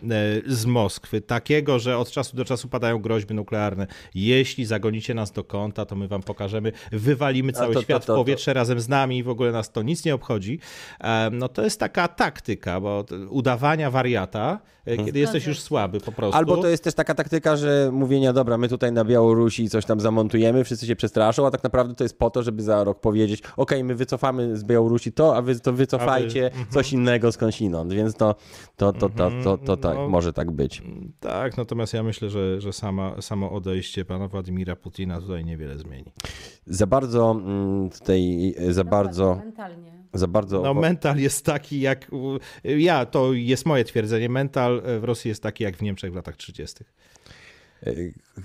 S3: z Moskwy, takiego, że od czasu do czasu padają groźby nuklearne. Jeśli zagonicie nas do kąta, to my wam pokażemy, wywalimy
S1: A
S3: cały
S1: to- to-
S3: świat
S1: to- to-
S3: w powietrze razem z nami i w ogóle nas to nic nie obchodzi. E, No to jest taka taktyka, bo t- udawania wariata, e, kiedy jesteś już słaby po prostu.
S1: Mhm. Albo to jest też taka taktyka, że mówienia, dobra, my tutaj na Białorusi coś tam zamontujemy, wszyscy się przestraszą, a tak naprawdę to jest po to, żeby za rok powiedzieć, okej, my wycofamy z Białorusi to, a wy to wycofajcie
S3: mhm.
S1: coś innego skądś inąd. Więc to, to, to, to, to, to, tak,
S3: no.
S1: może tak być.
S3: Tak, natomiast ja myślę, że, że sama, samo odejście pana Władimira Putina tutaj niewiele zmieni.
S1: Za bardzo mm, tutaj, e, za bardzo,
S4: Mentalnie.
S1: za bardzo...
S3: No, mental jest taki jak. u- Ja, to jest moje twierdzenie. Mental e, w Rosji jest taki jak w Niemczech w latach 30.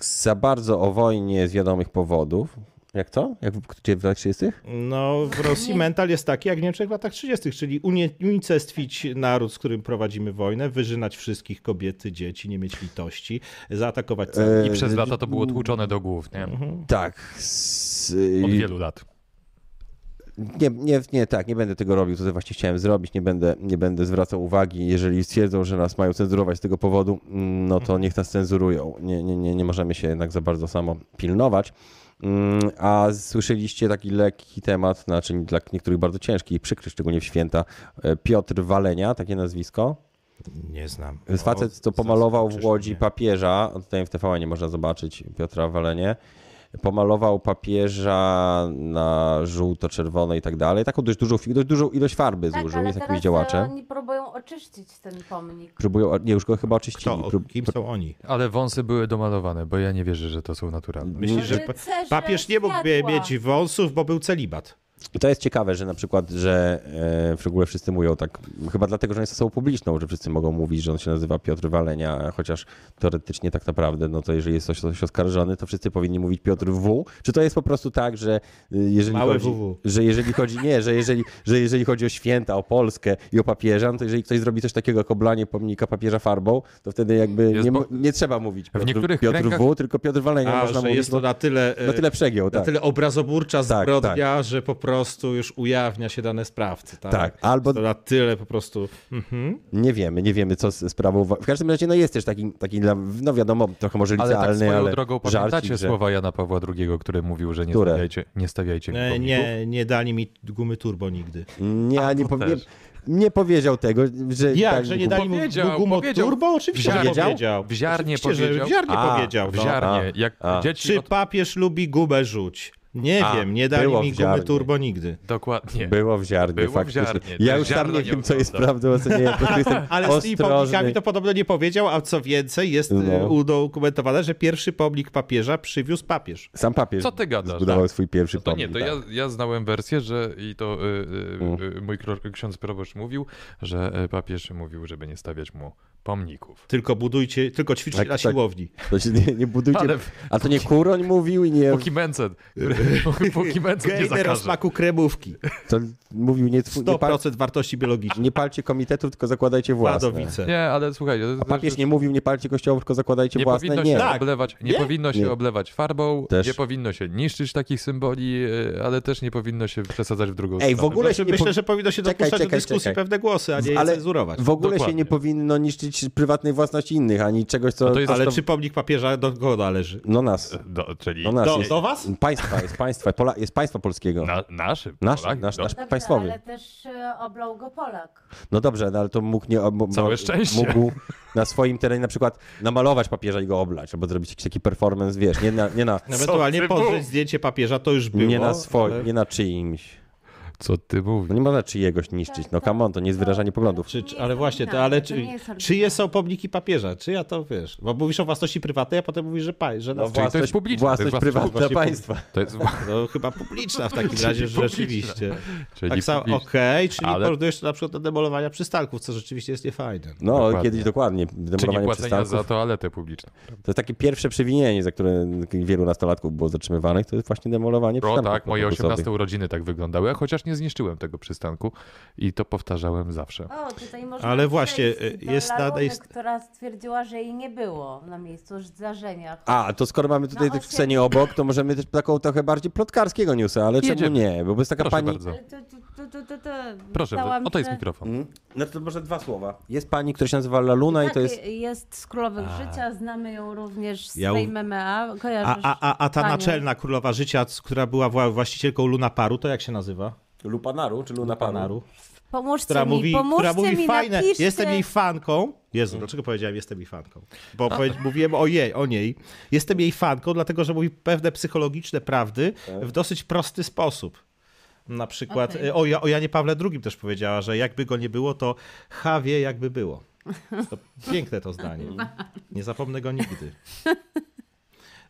S1: za bardzo o wojnie z wiadomych powodów. Jak to? Jak w, gdzie w latach 30.?
S3: No, w Rosji mental jest taki jak w Niemczech w latach 30., czyli unie- unicestwić naród, z którym prowadzimy wojnę, wyżynać wszystkich kobiety, dzieci, nie mieć litości, zaatakować
S1: E,
S3: cały.
S2: I przez lata to było tłuczone do głów, nie?
S1: Tak. Z,
S2: Od wielu lat.
S1: nie, nie, nie, tak, nie będę tego robił, to co właśnie chciałem zrobić, nie będę, nie będę zwracał uwagi. Jeżeli stwierdzą, że nas mają cenzurować z tego powodu, mm, no to niech nas cenzurują. Nie, nie, nie, nie możemy się jednak za bardzo samo pilnować. Mm, A słyszeliście taki lekki temat, znaczy dla niektórych bardzo ciężki i przykry, szczególnie w święta, e, Piotr Walenia, takie nazwisko?
S3: Nie znam.
S1: Jest facet, co
S3: O,
S1: pomalował w
S3: zaskoczysz
S1: Łodzi
S3: mnie.
S1: papieża, tutaj w TVN nie można zobaczyć Piotra Walenie, pomalował papieża na żółto, czerwone i tak dalej, taką dość dużą, fi- dość dużą ilość farby
S4: Tak,
S1: zużył,
S4: ale
S1: jest jakimś
S4: teraz e,
S1: działaczem.
S4: oni próbują oczyścić ten pomnik.
S1: Próbują, nie, już go chyba oczyścili.
S3: Kto,
S1: Prób-
S3: kim są oni?
S2: Ale wąsy były domalowane, bo ja nie wierzę, że to są naturalne.
S3: Myślisz, że pa-
S4: Rycerze
S3: papież nie mógł
S4: światła.
S3: mieć wąsów, bo był celibat.
S1: I to jest ciekawe, że na przykład, że e, w ogóle wszyscy mówią tak, chyba dlatego, że on jest osobą publiczną, że wszyscy mogą mówić, że on się nazywa Piotr Walenia, chociaż teoretycznie tak naprawdę, no to jeżeli jest ktoś, ktoś oskarżony, to wszyscy powinni mówić Piotr W. Czy to jest po prostu tak, że y, jeżeli
S3: Małe
S1: chodzi,
S3: WW.
S1: że jeżeli chodzi, nie, że jeżeli, że jeżeli chodzi o święta, o Polskę i o papieża, no to jeżeli ktoś zrobi coś takiego jak oblanie pomnika papieża farbą, to wtedy jakby
S2: Jest
S1: nie,
S2: po-
S1: mo- nie trzeba mówić Piotr,
S2: niektórych
S1: Piotr
S2: kręgach-
S1: W, tylko Piotr Walenia
S3: A,
S1: można
S3: że
S1: mówić,
S3: jest to
S1: bo-
S3: na tyle, e,
S1: na tyle przegiął,
S3: na
S1: tak.
S3: tyle obrazoburcza
S1: Tak,
S3: zbrodnia, że po prostu już ujawnia się dane sprawcy. Tak,
S1: Tak, albo-
S3: To na tyle po prostu... mhm.
S1: Nie wiemy, nie wiemy, co z sprawą. W każdym razie no jest też taki, taki dla- no wiadomo, trochę może
S2: Ale
S1: licealny,
S2: tak swoją
S1: ale
S2: drogą
S1: żarcik,
S2: pamiętacie
S1: że-
S2: słowa Jana Pawła II, który mówił, że nie
S1: Które?
S2: stawiajcie, nie stawiajcie mi
S3: E, Nie,
S2: pomników?
S3: nie, nie dali mi gumy turbo nigdy.
S1: Nie, nie,
S2: to
S1: powie,
S2: też.
S1: nie powiedział tego, że...
S3: Jak,
S1: tak-
S3: że nie dali mu
S2: Powiedział,
S3: gumo
S2: powiedział.
S3: turbo? Oczywiście, że
S1: Powiedział?
S3: powiedział.
S2: W ziarnie
S3: Oczywiście, że
S2: powiedział.
S3: W ziarnie
S1: A,
S3: powiedział.
S2: W
S3: no.
S2: ziarnie,
S1: A,
S2: jak
S1: a.
S2: dzieci...
S3: Czy
S2: Od...
S3: papież lubi gubę rzuć? Nie
S1: A,
S3: wiem, nie dali
S1: było
S3: mi
S1: w
S3: gumy
S1: ziarnie.
S3: turbo nigdy.
S2: Dokładnie.
S1: Było w ziarnie,
S2: Było w
S1: faktycznie.
S2: ziarnie,
S1: Ja
S2: to
S1: już sam
S2: ziarno
S1: nie
S2: nie
S1: wiem, co jest
S2: oglądam.
S1: prawdą, a co nie. Ja po prostu jestem
S3: Ale z tymi
S1: ostrożny.
S3: pomnikami to podobno nie powiedział, a co więcej, jest
S1: No.
S3: no. udokumentowane, że pierwszy pomnik papieża przywiózł papież.
S1: Sam papież
S2: Co ty gadasz,
S1: zbudował
S2: tak?
S1: swój pierwszy
S2: No to nie,
S1: pomnik.
S2: to
S1: tak. Mhm.
S2: ja, ja znałem wersję, że i to y, y, y, mój kro- ksiądz proboszcz mówił, że y, papież mówił, żeby nie stawiać mu pomników.
S3: Tylko budujcie, tylko ćwiczcie
S1: Tak,
S3: na
S1: tak.
S3: siłowni.
S1: To się nie, nie budujcie.
S2: Ale-
S1: A to nie Kuroń mówił i nie...
S2: Póki Mencen, który- póki Mencen nie
S3: Gejny
S2: zakaże.
S3: rozmaku kremówki.
S1: To mówił nie, twój- nie, pal,
S3: 100% wartości biologicznej.
S1: nie palcie komitetów, tylko zakładajcie własne.
S3: Padowice.
S2: Nie, ale słuchaj, to-
S1: A
S2: to-
S1: papież nie mówił nie palcie kościołów, tylko zakładajcie
S2: nie
S1: własne.
S2: powinno
S1: Nie.
S2: się
S3: Tak.
S2: oblewać, nie,
S3: Nie?
S2: powinno się
S1: Nie.
S2: oblewać farbą,
S1: Też.
S2: nie powinno się niszczyć takich symboli, y, ale też nie powinno się przesadzać w drugą
S1: Ej,
S2: stronę.
S1: w ogóle się nie
S3: Myślę,
S1: powi-
S3: że powinno się
S1: Czekaj,
S3: dopuszczać do
S1: czekaj,
S3: dyskusji
S1: czekaj.
S3: pewne głosy, a nie je
S1: Ale
S3: cenzurować.
S1: w ogóle się
S2: Dokładnie.
S1: nie powinno niszczyć prywatnej własności innych, ani czegoś, co...
S2: No to jest-
S1: ale...
S3: Ale
S2: to-
S3: czy pomnik papieża do kogo należy?
S1: No nas.
S2: Do, czyli
S1: No nas
S3: Do,
S1: jest,
S3: do was?
S1: Państwa, jest państwa, Pola, jest państwa polskiego.
S2: na, naszym.
S1: Nasz,
S2: Polak,
S1: nasz,
S2: do-
S1: nasz
S4: Dobrze,
S1: państwowy.
S4: ale też y, oblał go Polak.
S1: No dobrze, no ale to mógł nie. mo-
S2: Całe
S1: mo-
S2: szczęście.
S1: Mógł na swoim terenie na przykład namalować papieża i go oblać, albo zrobić jakiś taki performance, wiesz, nie na, nie na,
S2: No
S3: Ewentualnie podrzeć zdjęcie papieża, to już było.
S1: nie na swoim,
S3: ale-
S1: nie na czyimś.
S2: Co ty mówisz?
S1: No nie można czyjegoś niszczyć. No come on, to nie jest wyrażanie poglądów.
S3: Czy, czy,
S4: Nie
S3: ale
S4: jest
S3: właśnie, to,
S4: oryginalne,
S3: ale
S4: Tak, to
S3: czy,
S4: nie jest oryginalne.
S3: czyje są pomniki papieża? Czy ja to wiesz? Bo mówisz o własności prywatnej, a potem mówisz, że, pa, że
S1: No
S3: nas...
S2: to jest publiczne, to
S1: własność
S2: jest własność
S1: prywatna
S3: właśnie
S1: państwa.
S2: To jest...
S1: Tak
S3: no, chyba publiczna w takim
S2: Czyli
S3: razie, że
S2: publiczna.
S3: rzeczywiście.
S2: Czyli
S3: Tak samo, okej,
S2: publiczne.
S3: czyli
S2: Ale-
S3: porównujesz to na przykład do demolowania przystanków, co rzeczywiście jest niefajne.
S1: No,
S2: Dokładnie.
S1: kiedyś dokładnie.
S2: Czy nie
S1: Demolowanie
S2: płacenia
S1: przystanków.
S2: za toaletę publiczną.
S1: To jest takie pierwsze przewinienie, za które wielu nastolatków było zatrzymywanych, to jest właśnie demolowanie
S2: O
S1: przystanków
S2: tak, moje
S1: autobusowych.
S2: 18 urodziny tak wyglądały, chociaż nie zniszczyłem tego przystanku i to powtarzałem zawsze.
S4: O, tutaj można
S3: Ale właśnie,
S4: przejść
S3: y, jest
S4: do
S3: nada-
S4: Laruny,
S3: jest-
S4: która stwierdziła, że jej nie było na miejscu zdarzenia.
S1: A, to skoro mamy tutaj
S4: No,
S1: tych
S4: osiem.
S1: scenie obok, to możemy też taką trochę bardziej plotkarskiego newsa, ale czemu
S2: Jedziemy.
S1: nie? Bo jest taka
S2: Proszę
S1: pani,
S2: bardzo.
S4: Ale to, to, to, to, to, to.
S2: Proszę,
S4: Myślałam,
S2: oto jest
S4: e, że-
S2: mikrofon.
S1: No to może dwa słowa. Jest pani, która się nazywa
S3: No
S1: Laluna i
S4: Tak,
S1: to jest...
S4: jest z Królowych Życia, znamy ją również z
S3: Ja
S4: ja
S3: u-
S4: tej MMA.
S3: A,
S4: Kojarzysz
S3: a, a, a ta
S4: panią?
S3: naczelna królowa życia, c- która była wła- właścicielką Luna Paru, to jak się nazywa?
S4: y-
S1: Lupanaru, czy Luna
S3: Panaru.
S4: Pomóżcie
S3: Która
S4: mi,
S3: mówi,
S4: pomóżcie
S3: która mówi
S4: mi,
S3: fajne,
S4: napiszcie.
S3: jestem jej fanką. Jezu, dlaczego powiedziałem jestem jej fanką? Bo powiedz, mówiłem o jej, o niej. Jestem jej fanką, dlatego że mówi pewne psychologiczne prawdy w dosyć prosty sposób. Na przykład
S4: Okej.
S3: y, o, Ja- o Janie Pawle II też powiedziała, że jakby go nie było, to H wie jakby było. To piękne to zdanie. Nie zapomnę go nigdy.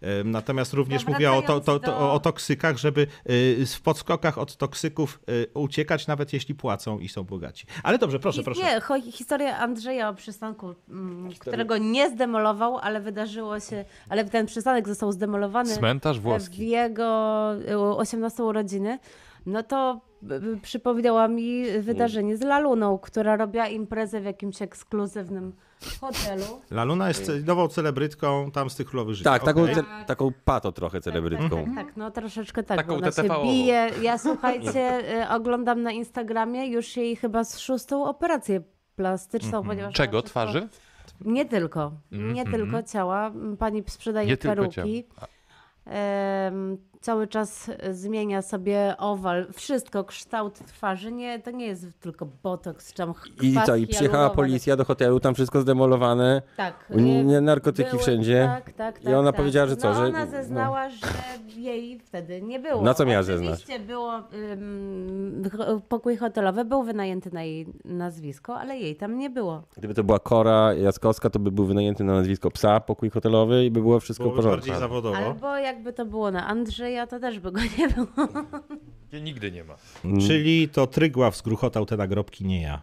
S3: Em, Natomiast również
S4: No,
S3: mówiła o, to, to,
S4: wracając
S3: to,
S4: do-
S3: o toksykach, żeby y, w podskokach od toksyków y, uciekać, nawet jeśli płacą i są bogaci. Ale dobrze, proszę,
S4: I-
S3: proszę.
S4: Nie, cho- historia Andrzeja o przystanku, mm, którego nie zdemolował, ale wydarzyło się, ale ten przystanek został zdemolowany
S2: Cmentarz
S4: w
S2: włoski.
S4: jego y, 18 urodziny, no to y, y, przypomniała mi wydarzenie z Laluną, która robiła imprezę w jakimś ekskluzywnym hotelu.
S3: Laluna jest ce- nową celebrytką tam z tych królowych życia.
S1: Tak, taką,
S3: Okej.
S1: ce- taką pato trochę celebrytką.
S4: Tak, no troszeczkę tak.
S2: Taką
S4: bo ona się
S2: TTV-ową.
S4: bije. Ja słuchajcie, y, oglądam na Instagramie już jej chyba z szóstą operację plastyczną, ponieważ...
S2: Czego?
S4: ona wszystko-
S2: Twarzy?
S4: Nie tylko. Nie tylko ciała. Pani sprzedaje
S2: Nie tylko
S4: peruki. Em, cały czas zmienia sobie owal. Wszystko, kształt twarzy. Nie, to nie jest tylko botoks, czy tam
S1: I
S4: kwas
S1: co, i przyjechała
S4: hialuronowy.
S1: policja do hotelu, tam wszystko zdemolowane.
S4: Tak.
S1: Nie,
S4: y,
S1: narkotyki
S4: były-
S1: wszędzie.
S4: Tak, tak,
S1: I
S4: tak,
S1: ona
S4: tak.
S1: powiedziała, że co,
S4: No,
S1: że-
S4: ona zeznała, że jej wtedy nie było.
S1: Na co miała
S4: Oczywiście było, ym, ho- pokój hotelowy był wynajęty na jej nazwisko, ale jej tam nie było.
S1: Gdyby to była Kora Jackowska, to by był wynajęty na nazwisko psa, pokój hotelowy i by było wszystko
S3: Byłoby
S1: w porządku.
S3: bardziej zawodowo.
S4: Albo jakby to było na Andrzeja, to też by go nie było.
S2: Nigdy nie ma.
S3: Czyli to Trygław zgruchotał te nagrobki, nie ja.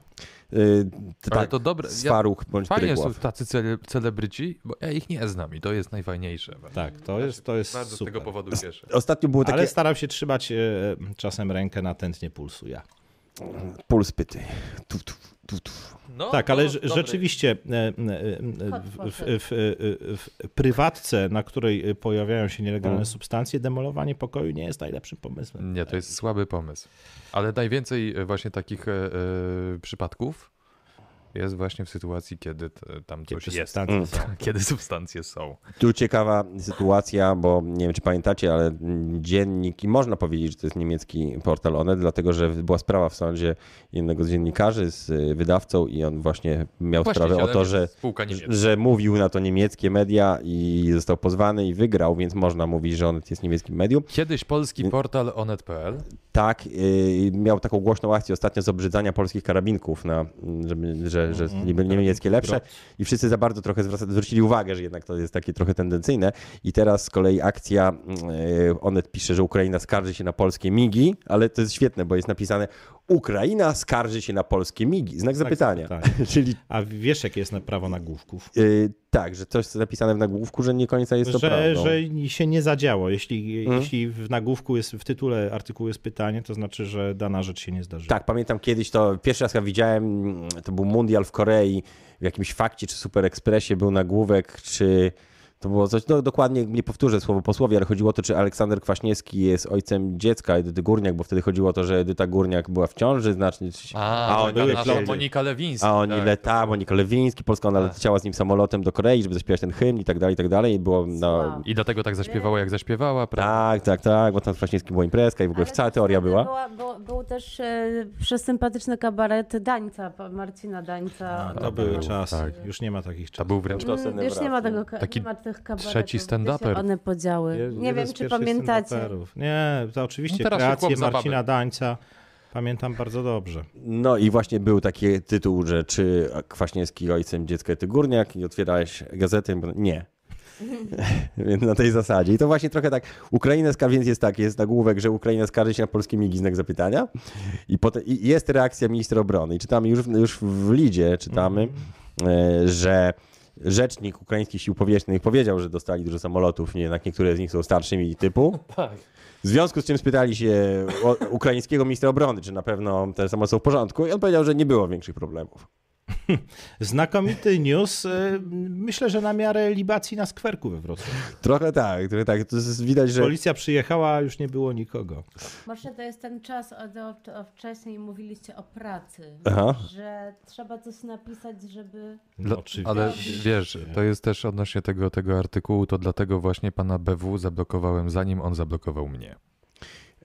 S1: Y,
S2: Ale
S1: tak,
S2: to dobre. ja-
S1: Swaruch bądź
S2: Fajnie
S1: Trygław.
S2: są tacy cele, celebryci, bo ja ich nie znam i to jest najfajniejsze.
S3: Tak, to jest, to jest
S2: Znaczy, Bardzo z
S3: super.
S2: tego powodu cieszę.
S1: Ostatnio było takie
S3: Ale staram się trzymać e, czasem rękę na tętnie pulsu ja.
S1: puls pyty. Tu, tu. Tu, tu.
S2: No,
S3: Tak,
S2: no,
S3: ale rze-
S2: dobry.
S3: rzeczywiście e, e, e, w, w, w, w prywatce, na której pojawiają się nielegalne
S1: Mhm.
S3: substancje, demolowanie pokoju nie jest najlepszym pomysłem.
S2: Nie, to jest słaby pomysł. Ale najwięcej właśnie takich e, e, przypadków jest właśnie w sytuacji, kiedy t, tam
S3: Kiedy
S2: coś jest.
S3: substancje
S1: Mm.
S3: są.
S2: Kiedy substancje są.
S1: Tu ciekawa sytuacja, bo nie wiem, czy pamiętacie, ale mm, dziennik, i można powiedzieć, że to jest niemiecki portal Onet, dlatego że była sprawa w sądzie jednego z dziennikarzy z y, wydawcą i on właśnie miał sprawę o
S2: Właścicielem
S1: to,
S2: jest
S1: że,
S2: Spółka niemiecka.
S1: że mówił na to niemieckie media i został pozwany i wygrał, więc można mówić, że Onet jest niemieckim medium.
S2: Kiedyś polski portal onet.pl
S1: Tak, y, miał taką głośną akcję ostatnio z obrzydzania polskich karabinków, na, mm, żeby, że, że niby niemieckie lepsze i wszyscy za bardzo trochę zwraca, zwrócili uwagę, że jednak to jest takie trochę tendencyjne i teraz z kolei akcja, y, Onet pisze, że Ukraina skarży się na polskie migi, ale to jest świetne, bo jest napisane Ukraina skarży się na polskie migi, znak, zapytania,
S3: zapytania.
S1: czyli
S3: tak, A wiesz, jakie jest na- prawo nagłówków?
S1: y, tak, że coś jest napisane w nagłówku, że nie końca jest to
S3: Że,
S1: prawdą. Mm.
S3: że się nie zadziało. Jeśli, jeśli w nagłówku jest, w tytule artykułu jest pytanie, to znaczy, że dana rzecz się nie zdarzyła.
S1: Tak, pamiętam kiedyś to, pierwszy raz jak widziałem, mm, to był mundial w Korei, w jakimś fakcie czy Super Expressie był nagłówek, czy to było coś, no dokładnie nie powtórzę słowo po słowie, ale chodziło o to, czy Aleksander Kwaśniewski jest ojcem dziecka Edyty Górniak, bo wtedy chodziło o to, że Edyta Górniak była w ciąży, znacznie, czy się...
S2: A,
S1: oni
S2: były
S1: lecieli.
S2: Monika Lewińska.
S1: A oni
S2: tak.
S1: leta, Monika Lewiński, Polska, ona leciała z nim samolotem do Korei, żeby zaśpiewać ten hymn i tak dalej, i tak dalej. I było, no,
S4: Wow.
S2: I dlatego tak zaśpiewała, jak zaśpiewała, prawda?
S1: tak, tak, tak, bo tam z Kwaśniewskim była imprezka i w ogóle
S4: Ale
S1: cała teoria
S4: znany
S1: była.
S4: była bo, był też e, przesympatyczny kabaret Dańca, pa- Marcina Dańca.
S3: To były czasy. Już nie ma takich
S2: Tak. To
S3: czasów.
S2: był wręcz
S1: To sen
S4: Mm, Już nie ma tego, ka-
S2: Taki
S4: nie ma tych kabaretów.
S2: trzeci
S4: gdzie się
S2: stand-uper.
S4: One podziały.
S3: Jeden
S4: nie wiem,
S3: z
S4: czy
S3: pierwszych
S4: pamiętacie.
S3: stand-uperów. Nie, to
S2: No
S3: oczywiście
S2: teraz się
S3: kreację
S2: chłop zabawy.
S3: Marcina Dańca pamiętam bardzo dobrze.
S1: No i właśnie był taki tytuł, że czy Kwaśniewski ojcem dziecka ty górniak i otwierałeś gazetę? i mówię, Nie. Więc na tej zasadzie. I to właśnie trochę tak. Ukraina skar, więc jest tak, jest nagłówek, że Ukraina skarży się na polskie migi znak zapytania. I, potem, I jest reakcja ministra obrony. I czytamy już, w- już w Lidzie, czytamy, e, że rzecznik ukraińskich sił powietrznych powiedział, że dostali dużo samolotów, nie, jednak niektóre z nich są starszymi typu. W związku z czym spytali się o, ukraińskiego ministra obrony, czy na pewno te samoloty są w porządku i on powiedział, że nie było większych problemów.
S3: Znakomity news. y, Myślę, że na miarę libacji na skwerku we Wrocławiu.
S1: Trochę tak, trochę tak. To jest, widać, że...
S3: Policja przyjechała, już nie było nikogo.
S4: Może to jest ten czas, o, o, o wcześniej mówiliście o pracy,
S1: Aha.
S4: że trzeba coś napisać, żeby...
S3: No, oczywiście.
S2: Ale wiesz, to jest też odnośnie tego, tego artykułu, to dlatego właśnie pana BW zablokowałem, zanim on zablokował mnie.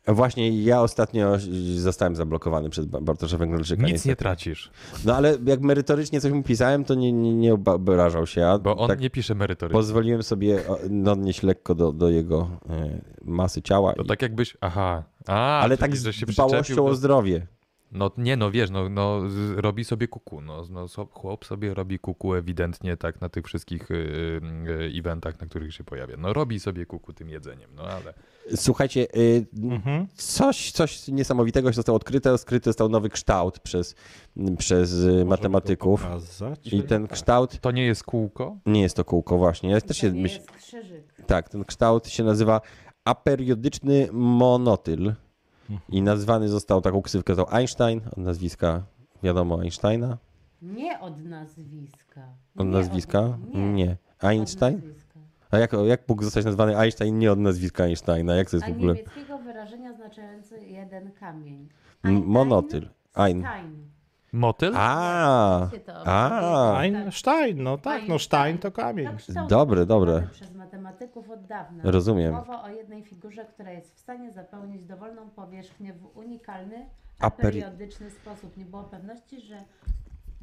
S1: Właśnie ja ostatnio zostałem zablokowany przez Ba- Bartosza Węglarczyka.
S2: Nic
S1: niestety.
S2: nie tracisz,
S1: No ale jak merytorycznie coś mu pisałem, to nie, nie, nie obrażał się. A
S2: bo on
S1: tak
S2: nie pisze merytorycznie.
S1: Pozwoliłem sobie o, odnieść lekko do, do jego e, masy ciała.
S2: To
S1: i-
S2: tak jakbyś, aha, a,
S1: ale
S2: czyli,
S1: tak
S2: że się
S1: z
S2: przyczepił,
S1: dbałością
S2: do-
S1: o zdrowie.
S2: no nie, no wiesz, no, no z- robi sobie kuku, no, no so- chłop sobie robi kuku ewidentnie tak na tych wszystkich y, y, eventach, na których się pojawia. No robi sobie kuku tym jedzeniem, no ale...
S1: Słuchajcie, y, coś, coś niesamowitego się zostało odkryte. Odkryty został nowy kształt przez, przez y, matematyków.
S3: Pokazać?
S1: I ten kształt
S2: To nie jest kółko?
S1: nie jest to kółko właśnie. Ja też się
S4: To nie
S1: myśl...
S4: jest krzyżyk.
S1: Tak, ten kształt się nazywa aperiodyczny monotyl. I nazwany został, taką ksywkę dał Einstein, od nazwiska wiadomo Einsteina.
S4: Nie od nazwiska.
S1: Od
S4: Nie
S1: nazwiska?
S4: od-
S1: Nie.
S4: nie.
S1: Einstein?
S4: Od nazwiska.
S1: A jak, jak mógł zostać nazwany Einstein nie od nazwiska Einsteina? Jak to jest
S4: A
S1: w ogóle?
S4: niemieckiego wyrażenia oznaczający jeden kamień.
S1: M-
S4: Ein-
S1: monotyl. Ein.
S4: Stein.
S2: Motyl?
S1: A,
S4: się to
S1: a,
S3: Einstein, no tak, no Stein to kamień.
S4: To kształt
S1: Dobre, dobre.
S4: opracowany przez matematyków od dawna.
S1: Rozumiem.
S4: Mowa o jednej figurze, która jest w stanie zapełnić dowolną powierzchnię w unikalny,
S1: A
S4: a
S1: peri-
S4: periodyczny sposób. Nie było pewności, że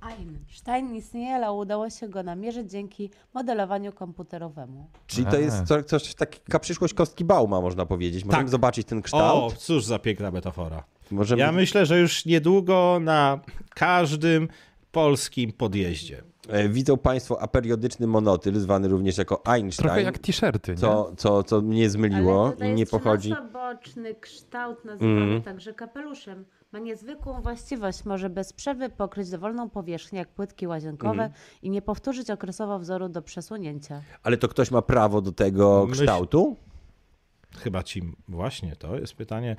S4: Einstein istnieje, ale udało się go namierzyć dzięki modelowaniu komputerowemu.
S1: czyli to jest co- coś, taka przyszłość kostki Bauma, można powiedzieć. Możemy
S3: Tak.
S1: zobaczyć ten
S3: O,
S1: kształt.
S3: cóż za piękna metafora.
S1: Możemy...
S3: Ja myślę, że już niedługo na każdym polskim podjeździe.
S1: E, Widzą Państwo aperiodyczny monotyl, zwany również jako Einstein,
S2: Trochę jak t-shirty, nie?
S1: co, co, co mnie zmyliło i nie pochodzi. Mhm.
S4: boczny kształt nazywany także kapeluszem. Ma niezwykłą właściwość, może bez przerwy pokryć dowolną powierzchnię jak płytki łazienkowe
S1: Mhm.
S4: i nie powtórzyć okresowo wzoru do przesunięcia.
S1: Ale to ktoś ma prawo do tego
S3: Myśl-
S1: kształtu?
S3: Chyba ci właśnie to jest pytanie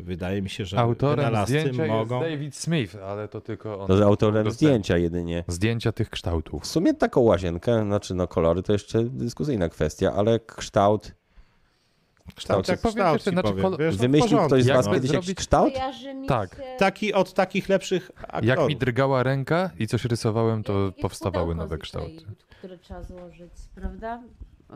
S3: Wydaje mi się, że
S2: Autorem
S3: wynalazcy
S2: zdjęcia
S3: mogą.
S2: jest David Smith, ale to tylko on.
S1: To z autorem
S2: dostępny.
S1: zdjęcia jedynie.
S2: Zdjęcia tych kształtów.
S1: W sumie taką łazienkę, znaczy no kolory to jeszcze dyskusyjna kwestia, ale kształt.
S3: Kształt, jak
S2: Tak, powiem
S3: kształt
S2: jeszcze,
S3: ci
S2: znaczy
S3: powiem,
S2: kol-
S3: wiesz, no w
S1: Wymyślił
S3: porządku,
S1: ktoś z
S2: Jak
S1: was
S3: no.
S1: kiedyś jakiś
S2: zrobić-
S1: kształt?
S4: Kojarzy mi
S2: Tak.
S4: się...
S3: Taki od takich lepszych aktorów.
S2: Jak mi drgała ręka i coś rysowałem, to
S4: I
S2: powstawały
S4: pudełko
S2: nowe
S4: z Ikei,
S2: kształty.
S4: Które trzeba złożyć, prawda?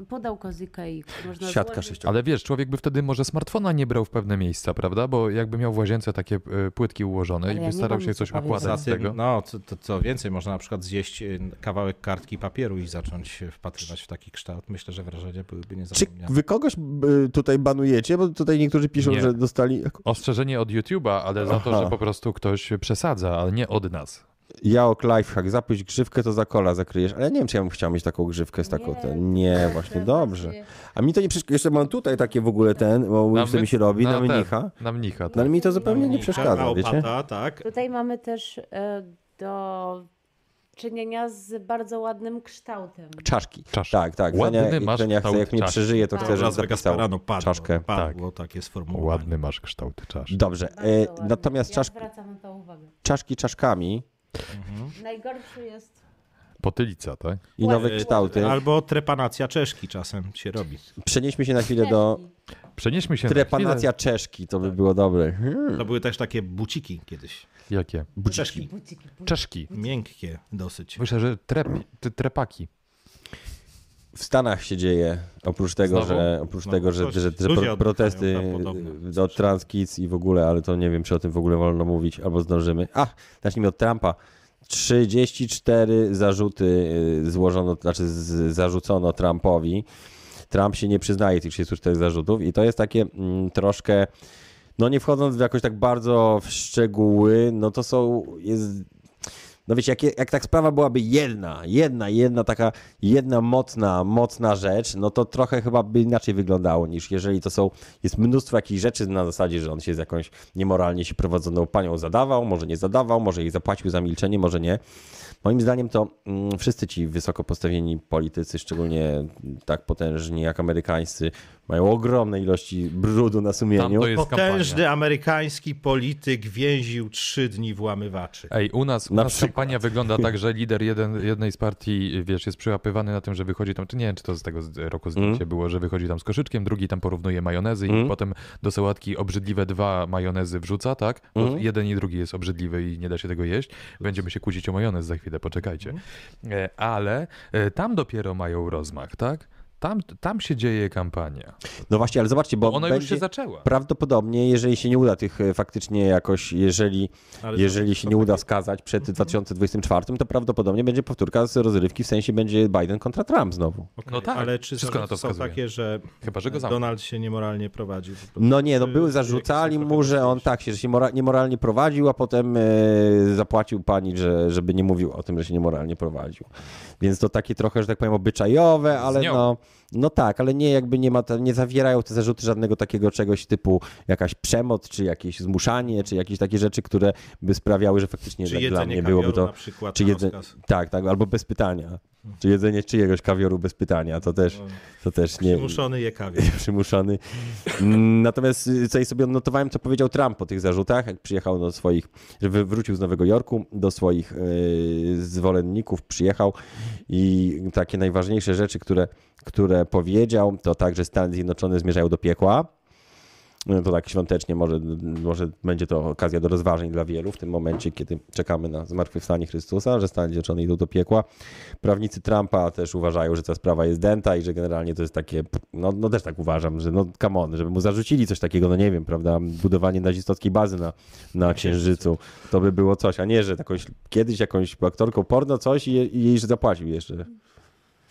S4: Pudełko z Ikei, które można
S1: Siatka
S4: złożyć.
S1: sześciokrotna.
S2: Ale wiesz, człowiek by wtedy może smartfona nie brał w pewne miejsca, prawda? Bo jakby miał w łazience takie e, płytki ułożone
S4: Ale
S2: i by
S4: ja nie
S2: starał
S4: mam
S2: się
S4: nic
S2: coś
S4: do
S2: układać z
S3: Zatem,
S2: tego.
S3: No, co, to, co więcej, można na przykład zjeść y, kawałek kartki papieru i zacząć się wpatrywać w taki kształt. Myślę, że wrażenia byłyby
S1: Czy
S3: niezapomniane.
S1: wy kogoś y, tutaj banujecie? Bo tutaj niektórzy piszą,
S2: Nie.
S1: że dostali.
S2: Ostrzeżenie od YouTube'a, ale za to,
S1: Aha.
S2: że po prostu ktoś przesadza, ale nie od nas.
S1: Ja ok lifehack, zapić grzywkę, to za kola zakryjesz. Ale ja nie wiem, czy ja bym chciał mieć taką grzywkę z taką. Nie, ten. nie właśnie, dobrze. A mi to nie przeszkadza. Jeszcze mam tutaj takie w ogóle ten, bo
S2: my-
S1: chce mi się robi, na
S2: ten,
S1: mnicha.
S2: Na mnicha,
S1: No
S2: tak.
S1: ale mi to zupełnie nie przeszkadza, wiecie?
S3: Opata, tak.
S4: Tutaj mamy też e, do czynienia z bardzo ładnym kształtem.
S1: Czaszki.
S2: Czaszki.
S1: Tak, tak.
S2: Ładny
S1: Żenia,
S2: masz
S1: Żenia chce,
S2: kształt
S1: jak mnie
S2: czaszki.
S1: przeżyje, to
S4: Tak.
S1: chcę, żebym
S3: Las Vegas
S1: zapisał
S3: Parano no padło,
S1: czaszkę. tak.
S3: padło takie sformułowanie.
S2: Ładny masz kształt czaszki.
S1: Dobrze.
S4: Bardzo
S1: E,
S4: ładny.
S1: natomiast
S4: ja
S1: czaszki,
S4: zwracam na to uwagę.
S1: czaszki czaszkami
S4: Najgorszy jest...
S2: Potylica, tak?
S1: i nowe
S3: E,
S1: kształty.
S3: Albo trepanacja czeszki czasem się robi.
S1: Przenieśmy się na chwilę do
S4: Czeszki.
S2: Przenieśmy się na chwilę.
S1: trepanacja czeszki, to by było dobre. Hmm.
S3: To były też takie buciki kiedyś.
S2: Jakie?
S3: Czeszki.
S4: Buciki.
S2: Czeszki.
S3: Miękkie dosyć.
S2: Myślę, że trep, ty- trepaki.
S1: W Stanach się dzieje, oprócz tego,
S2: Znowu?
S1: że, oprócz
S3: Znowu No,
S1: tego, że,
S3: coś.
S1: że, że
S3: Ludzie
S1: pro,
S3: oddychają
S1: protesty
S3: tam podobno.
S1: do trans kids i w ogóle, ale to nie wiem, czy o tym w ogóle wolno mówić, albo zdążymy. A, zacznijmy od Trumpa. 34 zarzuty y, złożono, znaczy z, zarzucono Trumpowi. Trump się nie przyznaje tych 34 zarzutów i to jest takie mm, troszkę, no nie wchodząc w jakoś tak bardzo w szczegóły, no to są, jest no wiecie, jak, jak tak sprawa byłaby jedna, jedna, jedna taka, jedna mocna, mocna rzecz, no to trochę chyba by inaczej wyglądało niż jeżeli to są, jest mnóstwo jakichś rzeczy na zasadzie, że on się z jakąś niemoralnie się prowadzoną panią zadawał, może nie zadawał, może jej zapłacił za milczenie, może nie. Moim zdaniem to mm, wszyscy ci wysoko postawieni politycy, szczególnie tak potężni jak amerykańscy, mają ogromne ilości brudu na
S2: Tam
S1: sumieniu.
S2: to jest kampania.
S3: Potężny amerykański polityk więził trzy dni włamywaczy.
S2: Ej, u nas, u
S1: Na
S2: nas
S1: przykład.
S2: kampania wygląda tak, że lider jeden, jednej z partii, wiesz, jest przyłapywany na tym, że wychodzi tam, czy nie wiem, czy to z tego z- roku zdjęcie
S1: Mhm.
S2: było, że wychodzi tam z koszyczkiem, drugi tam porównuje majonezy i potem do sałatki obrzydliwe dwa majonezy wrzuca, tak? Bo
S1: Mhm.
S2: jeden i drugi jest obrzydliwy i nie da się tego jeść. Będziemy się kłócić o majonez za chwilę, poczekajcie.
S1: Mhm.
S2: E, Ale e, tam dopiero mają rozmach, tak? Tam, tam się dzieje kampania.
S1: No właśnie, ale zobaczcie, bo
S2: Ona już
S1: będzie...
S2: się zaczęła.
S1: Prawdopodobnie, jeżeli się nie uda tych e, faktycznie jakoś, jeżeli,
S3: Ale to- Mhm.
S1: jeżeli się nie uda skazać przed 2024, to prawdopodobnie będzie powtórka z rozrywki, w sensie będzie Biden kontra Trump znowu.
S2: No tak,
S3: Ale czy
S2: wszystko na to
S3: zarzuty są
S2: wskazuje.
S3: takie, e, że
S2: Chyba, że go zamkną.
S3: Donald się niemoralnie prowadził?
S1: No nie, no
S3: Czy-
S1: były
S3: czy
S1: zarzucali
S3: jakieś są
S1: mu, że on
S3: kontrowersje?
S1: tak się, że się mora- niemoralnie prowadził, a potem e, zapłacił pani, że, żeby nie mówił o tym, że się niemoralnie prowadził. Więc to takie trochę, że tak powiem, obyczajowe, ale
S2: nią.
S1: no, no tak, ale nie jakby nie ma, ta- nie zawierają te zarzuty żadnego takiego czegoś typu jakaś przemoc, czy jakieś zmuszanie, czy jakieś takie rzeczy, które by sprawiały, że faktycznie tak
S3: Czy
S1: dla- dla
S3: jedzenie
S1: mnie
S3: kamioru
S1: byłoby to...
S3: na przykład
S1: czy
S3: na
S1: jedze-
S3: rozkaz?
S1: Tak, tak, albo bez pytania. Czy jedzenie czyjegoś kawioru bez pytania, to też,
S3: No.
S1: to też nie...
S3: Muszony je kawier.
S1: Przymuszony. Mm, Natomiast y, co ja sobie odnotowałem, co powiedział Trump po tych zarzutach, jak przyjechał do swoich, że wy- wrócił z Nowego Jorku, do swoich y, zwolenników przyjechał i takie najważniejsze rzeczy, które, które powiedział, to tak, że Stany Zjednoczone zmierzają do piekła. No To tak świątecznie, może, może będzie to okazja do rozważań dla wielu w tym momencie, kiedy czekamy na zmartwychwstanie Chrystusa, że Stany Zjednoczone idą do piekła. Prawnicy Trumpa też uważają, że ta sprawa jest dęta i że generalnie to jest takie, no, no też tak uważam, że no come on, żeby mu zarzucili coś takiego, no nie wiem, prawda, budowanie nazistowskiej bazy na, na Księżycu, to by było coś, a nie, że jakąś, kiedyś jakąś aktorką porno coś i, je- i jej zapłacił jeszcze.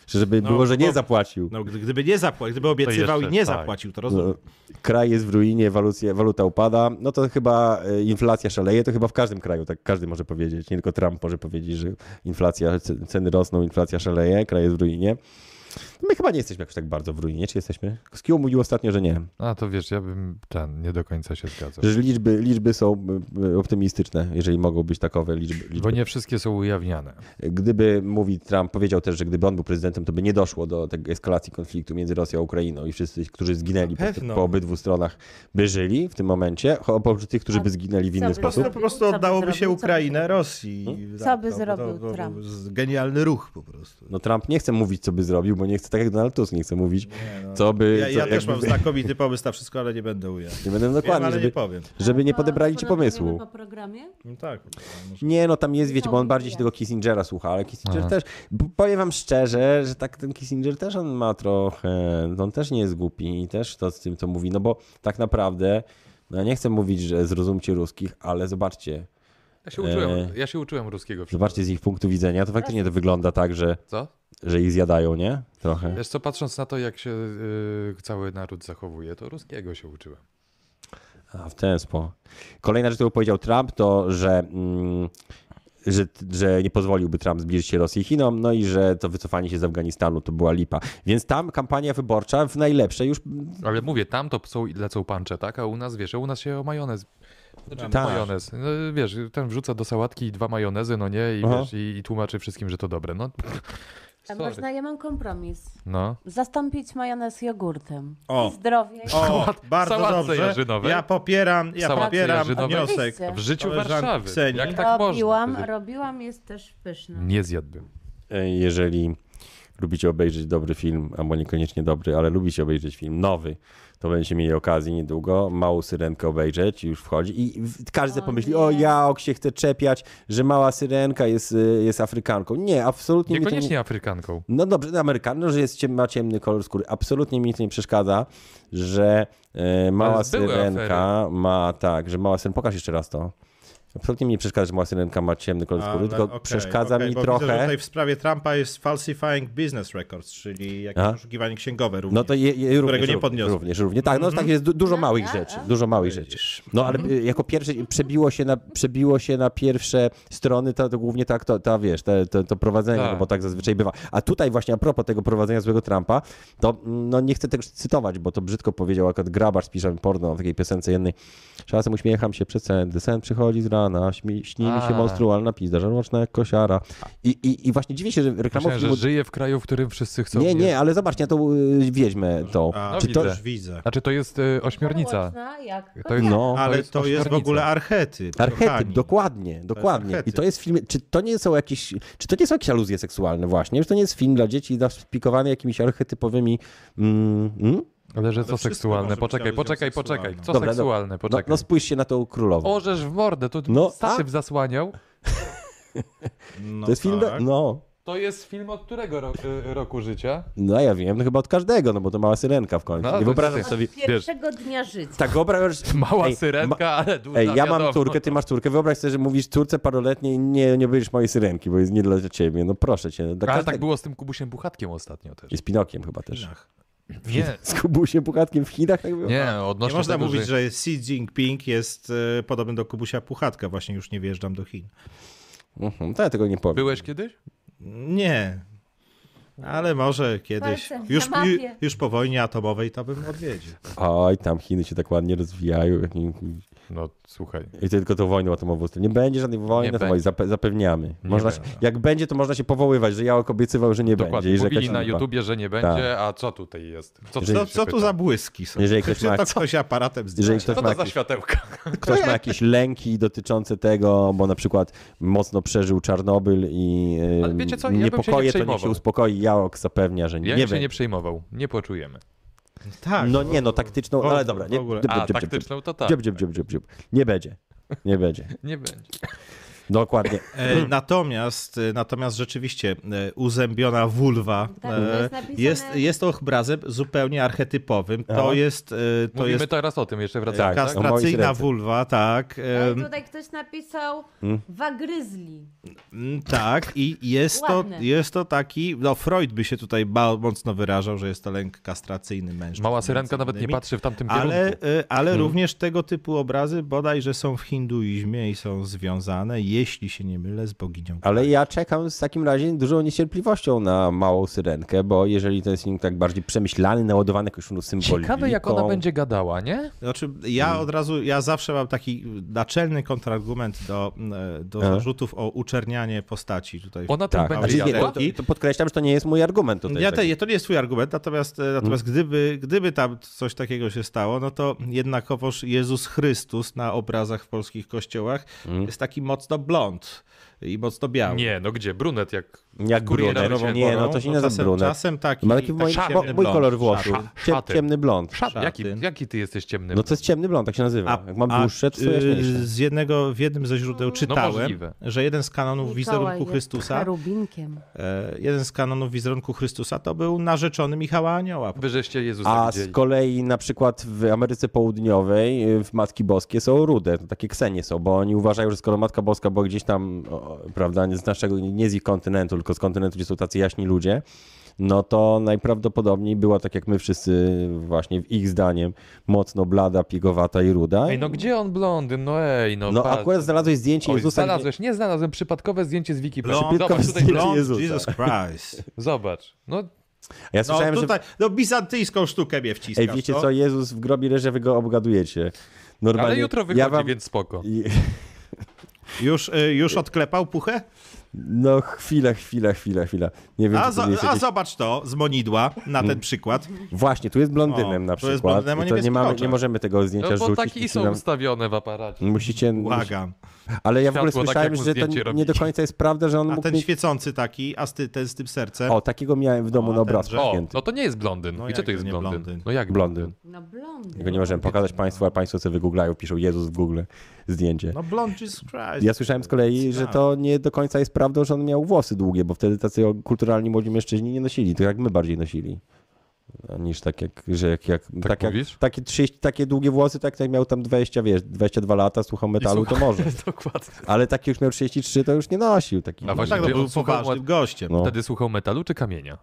S1: Żeby
S3: No,
S1: było, że nie
S3: no,
S1: zapłacił.
S3: No, gdy- gdyby nie zapłacił, gdyby obiecywał
S2: jeszcze
S3: i nie
S2: tak.
S3: zapłacił, to
S1: No,
S3: rozumiem.
S1: kraj jest w ruinie, walucja, waluta upada, no to chyba e, inflacja szaleje, to chyba w każdym kraju, tak każdy może powiedzieć, nie tylko Trump może powiedzieć, że inflacja, c- ceny rosną, inflacja szaleje, kraj jest w ruinie. My chyba nie jesteśmy jakoś tak bardzo w ruinie, czy jesteśmy? Skill mówił ostatnio, że nie.
S2: A to wiesz, ja bym ten, nie do końca się zgadzał.
S1: Że liczby, liczby są y, y, optymistyczne, jeżeli mogą być takowe liczby. liczby.
S2: Bo nie wszystkie są ujawniane.
S1: Gdyby, mówi Trump, powiedział też, że gdyby on był prezydentem, to by nie doszło do tej eskalacji konfliktu między Rosją a Ukrainą i wszyscy, którzy zginęli po,
S3: Na pewno.
S1: po obydwu stronach, by żyli w tym momencie, cho- oprócz tych, którzy by zginęli w inny
S4: by
S3: Po prostu,
S1: sposób.
S4: zrobił?
S3: po prostu
S4: Co by
S3: oddałoby się
S4: zrobił? Co by
S3: Ukrainę
S4: zrobił?
S3: Rosji.
S4: Co
S3: Tak,
S4: by
S3: to- to-
S4: zrobił
S3: to był
S4: Trump?
S3: Genialny ruch po prostu.
S1: No Trump nie chce mówić, co by zrobił, bo nie chce, tak jak Donald Tusk nie chce mówić, co by...
S3: no. Ja,
S1: co,
S3: ja też
S1: jakby-
S3: mam znakomity pomysł na wszystko, ale nie będę ujawniał.
S1: Nie będę
S3: Wiem,
S1: dokładnie,
S3: ale nie
S1: żeby,
S3: powiem.
S1: żeby nie
S4: To
S1: podebrali ci
S4: porozmawiamy
S1: pomysłu.
S4: Po programie?
S3: No tak. może-
S1: Nie, no tam jest, wiecie, bo on
S4: Niesamowite.
S1: bardziej się tego Kissingera słucha, ale Kissinger też, bo powiem wam szczerze, że tak ten Kissinger też on ma trochę, no on też nie jest głupi i też to z tym, co mówi, no bo tak naprawdę, no ja nie chcę mówić, że zrozumcie ruskich, ale zobaczcie,
S2: Ja się uczyłem,
S1: Eee.
S2: ja się uczyłem ruskiego. przed-
S1: zobaczcie z ich punktu widzenia, to faktycznie to wygląda tak, że,
S2: Co?
S1: że ich zjadają, nie? Trochę.
S2: Wiesz co, patrząc na to, jak się y, cały naród zachowuje, to ruskiego się uczyłem.
S1: A, w ten sposób. Kolejna rzecz, którą powiedział Trump, to, że, mm, że, że nie pozwoliłby Trump zbliżyć się Rosji i Chinom, no i że to wycofanie się z Afganistanu to była lipa. Więc tam kampania wyborcza w najlepszej już...
S2: Ale mówię, tam to są, lecą pancze, tak? A u nas, wiesz, u nas się o majonez... Znaczy,
S1: Tak.
S2: majonez. No, wiesz, ten wrzuca do sałatki dwa majonezy, no nie? I,
S1: Aha.
S2: wiesz, i, i tłumaczy wszystkim, że to dobre. No,
S4: A
S2: Sorry.
S4: można, ja mam kompromis.
S2: no.
S4: Zastąpić majonez jogurtem.
S3: O.
S4: I zdrowie.
S2: tak
S3: O, bardzo
S2: sałatce
S3: dobrze.
S2: jarzynowej.
S3: Ja popieram, ja
S2: Sałatce
S3: popieram
S2: jarzynowej.
S3: wniosek.
S4: Oczywiście.
S2: W życiu
S3: Koleżanki
S2: Warszawy.
S3: Kseni.
S2: Jak tak
S4: robiłam,
S2: można?
S4: robiłam, jest też pyszna.
S2: Nie zjadłbym.
S1: e, Jeżeli lubicie obejrzeć dobry film, albo niekoniecznie dobry, ale lubicie obejrzeć film nowy, to będziecie mieli okazję niedługo małą syrenkę obejrzeć, już wchodzi i w- każdy sobie
S4: O
S1: pomyśli,
S4: nie.
S1: o jaok się chce czepiać, że mała syrenka jest, y, jest Afrykanką. Nie, absolutnie mi to
S2: Niekoniecznie Afrykanką.
S1: No dobrze, Amerykan, no, że jest, ciem- ma ciemny kolor skóry. Absolutnie mi nic nie przeszkadza, że e, mała
S2: Ale były
S1: syrenka ma tak, że mała syrenka. Pokaż jeszcze raz to. Absolutnie mi nie przeszkadza, że mała syrenka ma ciemny kolor skóry,
S3: Ale
S1: tylko
S3: no, okej,
S1: przeszkadza
S3: okej,
S1: mi
S3: bo
S1: trochę.
S3: Widzę, że tutaj w sprawie Trumpa jest falsifying business records, czyli jakieś
S1: A?
S3: poszukiwanie księgowe również.
S1: No to je, je, również,
S3: nie podniosłem.
S1: Również, również. Tak, no tak jest du, dużo małych rzeczy. Dużo małych rzeczy. No ale y, jako pierwsze przebiło się na, przebiło się na pierwsze strony, to, to głównie tak, to, ta, wiesz, to, to, to prowadzenie,
S2: Tak.
S1: no bo tak zazwyczaj bywa. A tutaj właśnie a propos tego prowadzenia złego Trumpa, to mm, no nie chcę tego cytować, bo to brzydko powiedział akurat grabarz z piszem porno w takiej piosence jednej. Czasem uśmiecham się przed sen, gdy sen przychodzi z rana, śmi, śni mi się
S2: A.
S1: monstrualna pizda, żarłoczna jak kosiara. I, i, I właśnie dziwię się, że reklamowy
S2: Myślałem, że
S1: film...
S2: żyje w kraju, w którym wszyscy chcą
S1: Nie,
S2: jeść.
S1: nie, ale zobaczcie, ja tą y, wiedźmę tą.
S3: A,
S2: No
S1: Czy to,
S2: widzę.
S3: Też widzę.
S2: Znaczy, to jest y, ośmiornica.
S4: Żarłoczna jak
S2: To jest,
S1: No.
S2: to
S3: Ale
S2: jest
S3: to jest w
S2: ośmiornica.
S3: ogóle archetyp.
S1: Archetyp,
S3: kochani.
S1: dokładnie, dokładnie. I
S3: archetyp.
S1: to jest film, czy to nie są jakieś, czy to nie są jakieś aluzje seksualne właśnie, że to nie jest film dla dzieci zaspikowany jakimiś archetypowymi, mm, mm?
S2: Ale że co
S3: wszystko może
S2: seksualne?
S3: być
S2: Poczekaj,
S3: aluzją
S2: poczekaj,
S3: seksualną.
S2: poczekaj. Co
S1: Dobra, no-
S2: seksualne?
S1: No,
S2: Poczekaj.
S1: no spójrz się na tą królową.
S2: Orzesz w mordę, to
S1: No,
S2: no, statyw zasłaniał.
S3: No
S1: to jest film,
S3: tak.
S1: do, no,
S2: To jest film od którego ro- y, roku życia?
S1: no ja wiem, no chyba od każdego, no bo to mała syrenka w końcu.
S2: No,
S1: nie
S2: to
S1: wyobrażasz
S2: jest-
S1: sobie,
S4: od pierwszego dnia życia.
S1: tak wyobrażasz...
S2: Mała
S1: Ej,
S2: syrenka, ale duża,
S1: Ej, ja mam
S2: wiadomo.
S1: córkę, ty masz córkę. Wyobraź sobie, że mówisz córce paroletniej, nie, nie będziesz mojej syrenki, bo jest nie dla ciebie. No proszę cię. no, dla
S2: Ale
S1: każdego.
S2: tak było z tym Kubusiem Puchatkiem ostatnio też.
S1: I z Pinokiem chyba też.
S2: Nie,
S1: Z Kubusiem Puchatkiem w Chinach tak było?
S2: nie, odnośnie
S3: Nie można
S2: tego,
S3: mówić,
S2: że...
S3: że Xi Jinping jest e, podobny do Kubusia Puchatka. Właśnie już nie wjeżdżam do Chin.
S1: Mhm, to ja tego nie powiem.
S2: Byłeś kiedyś?
S3: Nie. Ale może kiedyś.
S4: Palcem na
S3: Już,
S4: mapie.
S3: ju- już po wojnie atomowej to bym odwiedził.
S1: Oj, tam Chiny się tak ładnie rozwijają. jak nie-
S2: No, słuchaj.
S1: I tylko tą wojną atomową. Nie będzie żadnej wojny
S2: Nie
S1: atomowej, zape- zapewniamy. Można się,
S2: będzie.
S1: jak będzie, to można się powoływać, że ja obiecywał, że nie
S2: Dokładnie,
S1: będzie. i że
S2: mówili
S1: jakaś
S2: na
S1: lipa. Tak.
S2: YouTubie, że nie będzie, a co tutaj jest? Co,
S1: Jeżeli-
S3: Co,
S2: się
S3: co tu
S2: pyta?
S3: za błyski są?
S1: Jeżeli ktoś
S3: Czy
S1: ma-
S3: to ktoś aparatem
S1: Jeżeli
S3: zdjęcia?
S1: ktoś
S2: Co
S1: ma,
S2: to za
S1: jakieś,
S2: światełka?
S1: ktoś ma jakieś lęki dotyczące tego, bo na przykład mocno przeżył Czarnobyl i e,
S2: Ale wiecie co, ja bym się nie
S1: niepokoje, to niech się
S2: przejmował.
S1: uspokoi. Jałok zapewnia, że nie,
S2: Ja
S1: nie
S2: bym się nie
S1: będzie.
S2: przejmował, nie poczujemy.
S3: Tak.
S1: No nie, no taktyczną,
S3: w-
S1: ale dobra. Nie,
S3: w ogóle.
S1: dziub,
S2: A,
S1: dziub, dziub, dziub.
S2: taktyczną to tak.
S1: Dziub, dziub, dziub, dziub, dziub. Nie będzie. Nie będzie.
S2: Nie będzie.
S1: Dokładnie.
S3: E, Natomiast, e, natomiast rzeczywiście e, uzębiona wulwa
S4: Tak,
S3: e,
S4: to jest napisane-
S3: jest, jest obrazem zupełnie archetypowym.
S1: Aha.
S3: To jest, e, to
S2: Mówimy
S3: jest
S2: teraz o tym, jeszcze
S1: Tak,
S2: wracamy. Tak,
S1: o mojej
S3: kastracyjna
S1: ręce.
S3: wulwa, tak.
S4: Ale
S3: e,
S4: tutaj ktoś napisał
S1: Hmm?
S4: wagryzli.
S3: Mm, Tak, i jest to,
S4: Ładne.
S3: jest to taki, no Freud by się tutaj ba- mocno wyrażał, że jest to lęk kastracyjny mężczyzn.
S2: Mała syrenka
S3: między
S2: nawet nie
S3: innymi.
S2: patrzy w tamtym kierunku. Mhm.
S3: Ale, y, ale również tego typu obrazy bodajże są w hinduizmie i są związane. Je- jeśli się nie mylę, z boginią.
S1: Ale ja czekam w takim razie dużą niecierpliwością na małą syrenkę, bo jeżeli ten film tak bardziej przemyślany, naładowany jakąś no symboliką...
S2: Ciekawe, jak ona będzie gadała, nie?
S3: Znaczy, ja
S2: Mhm.
S3: od razu, ja zawsze mam taki naczelny kontrargument do, e, do
S1: E?
S3: zarzutów o uczernianie postaci tutaj.
S2: Ona tam
S1: Tak,
S2: będzie
S1: znaczy, nie,
S2: gadała?
S1: to, to podkreślam, że to nie jest mój argument tutaj.
S3: Ja
S1: tak.
S3: te, to nie jest twój argument, natomiast, e, natomiast
S1: Mm.
S3: gdyby, gdyby tam coś takiego się stało, no to jednakowoż Jezus Chrystus na obrazach w polskich kościołach
S1: Mm.
S3: jest taki mocno blond i mocno biały.
S2: Nie, no gdzie? Brunet jak...
S1: Jak
S2: Kurier
S1: brunet.
S2: nawet
S1: Nie,
S2: porą,
S1: no to się nie nazywa
S3: czasem,
S1: brunet.
S3: czasem taki,
S1: Ma taki
S3: taki
S1: mój,
S3: ciemny
S1: bo, mój
S3: blond.
S1: kolor włosów.
S3: Szat.
S1: Cie,
S2: szaty.
S1: ciemny blond.
S2: Szat, jaki,
S3: Szaty.
S2: jaki ty jesteś ciemny?
S1: No to jest ciemny blond, tak się nazywa. Jak mam dłuższe, to
S3: y,
S1: jaśniejsze.
S3: Z jednego, w jednym ze źródeł czytałem,
S2: No, możliwe.
S3: że jeden z kanonów wizerunku Chrystusa,
S4: Rubinkiem.
S3: e, jeden z kanonów wizerunku Chrystusa to był narzeczony Michała Anioła.
S2: Wyżeście Jezusa
S1: A
S2: widzieli.
S1: z kolei na przykład w Ameryce Południowej y, w Matki Boskie są rude, to takie ksenie są, bo oni uważają, że skoro Matka Boska była gdzieś tam, o, prawda, nie z naszego, nie z ich kontynentu, tylko z kontynentu, gdzie są tacy jaśni ludzie, no to najprawdopodobniej była tak jak my wszyscy właśnie w ich zdaniem mocno blada, pigowata i ruda.
S2: Ej, no gdzie on blondyn? No ej, no
S1: No
S2: patrz.
S1: akurat znalazłeś zdjęcie
S2: Oj,
S1: Jezusa. gdzie-
S2: Znalazłeś, nie znalazłem, przypadkowe zdjęcie z Wikipedii.
S3: Blond,
S2: Zobacz, tutaj,
S1: zdjęcie.
S3: Lord
S1: Jezusa.
S3: Jesus Christ.
S2: zobacz. No, tak
S1: Ja
S3: No,
S1: słyszałem, że
S3: tutaj, no bizantyjską sztukę mnie wciskasz.
S1: Ej, wiecie
S3: no.
S1: co, Jezus w grobie leży, wy go obgadujecie. Normalnie.
S2: ale jutro wychodzi,
S1: ja wam...
S2: więc spoko.
S1: I-
S3: Już, y, już odklepał puchę?
S1: No chwila, chwila, chwila, chwila. Nie wiem,
S3: A,
S1: czy to
S3: zo-
S1: nie jest
S3: a
S1: jakieś... Mm.
S3: zobacz to z monidła na ten przykład.
S1: Właśnie, tu jest blondynem
S3: O,
S1: na
S3: tu jest
S1: przykład.
S3: blondynem o
S1: I to nie,
S3: niebieskich
S1: mamy, nie
S3: oczach.
S1: możemy tego zdjęcia
S2: No, bo
S1: rzucić.
S2: takie
S1: musicie
S2: są
S1: nam-
S2: ustawione w aparacie.
S1: Musicie...
S3: Błagam.
S1: Ale ja w ogóle
S2: Światło, tak
S1: słyszałem,
S2: jak mu
S1: że to
S2: zdjęcie
S1: nie, nie
S2: robicie.
S1: do końca jest prawda, że on
S3: A
S1: mógł
S3: ten
S1: mieć...
S3: świecący taki, a z, ty, ten z tym sercem.
S1: No, O, takiego miałem w domu
S3: O,
S1: na
S3: ten
S1: obrazku.
S3: drzew.
S2: O,
S1: pięty.
S2: no to nie jest blondyn.
S3: No
S2: I co
S3: jak
S2: to jest
S3: nie
S2: blondyn?
S3: blondyn?
S2: No jak
S1: Blondyn.
S4: No blond.
S1: Tego nie możemy pokazać Państwu, a Państwo sobie wygooglają, piszą Jezus w Google zdjęcie.
S3: No blond Jesus Christ.
S1: Ja słyszałem z kolei, że to nie do końca jest prawdą, że on miał włosy długie, bo wtedy tacy o- kulturalni młodzi mężczyźni nie nosili, to jak my bardziej nosili. a Niż tak jak, że jak, jak, tak jak
S2: mówisz?
S1: takie, 30, takie długie włosy, tak jak miał tam 20, wiesz, 22 lata, słuchał metalu, to może.
S2: Dokładnie.
S1: Ale taki już miał 33, to już nie nosił. Taki.
S2: A właśnie-
S3: Tak, no,
S2: Gdzie
S3: był
S2: on słuchał
S3: poważnym
S2: ład-
S3: gościem.
S1: No.
S2: Wtedy słuchał metalu czy kamienia?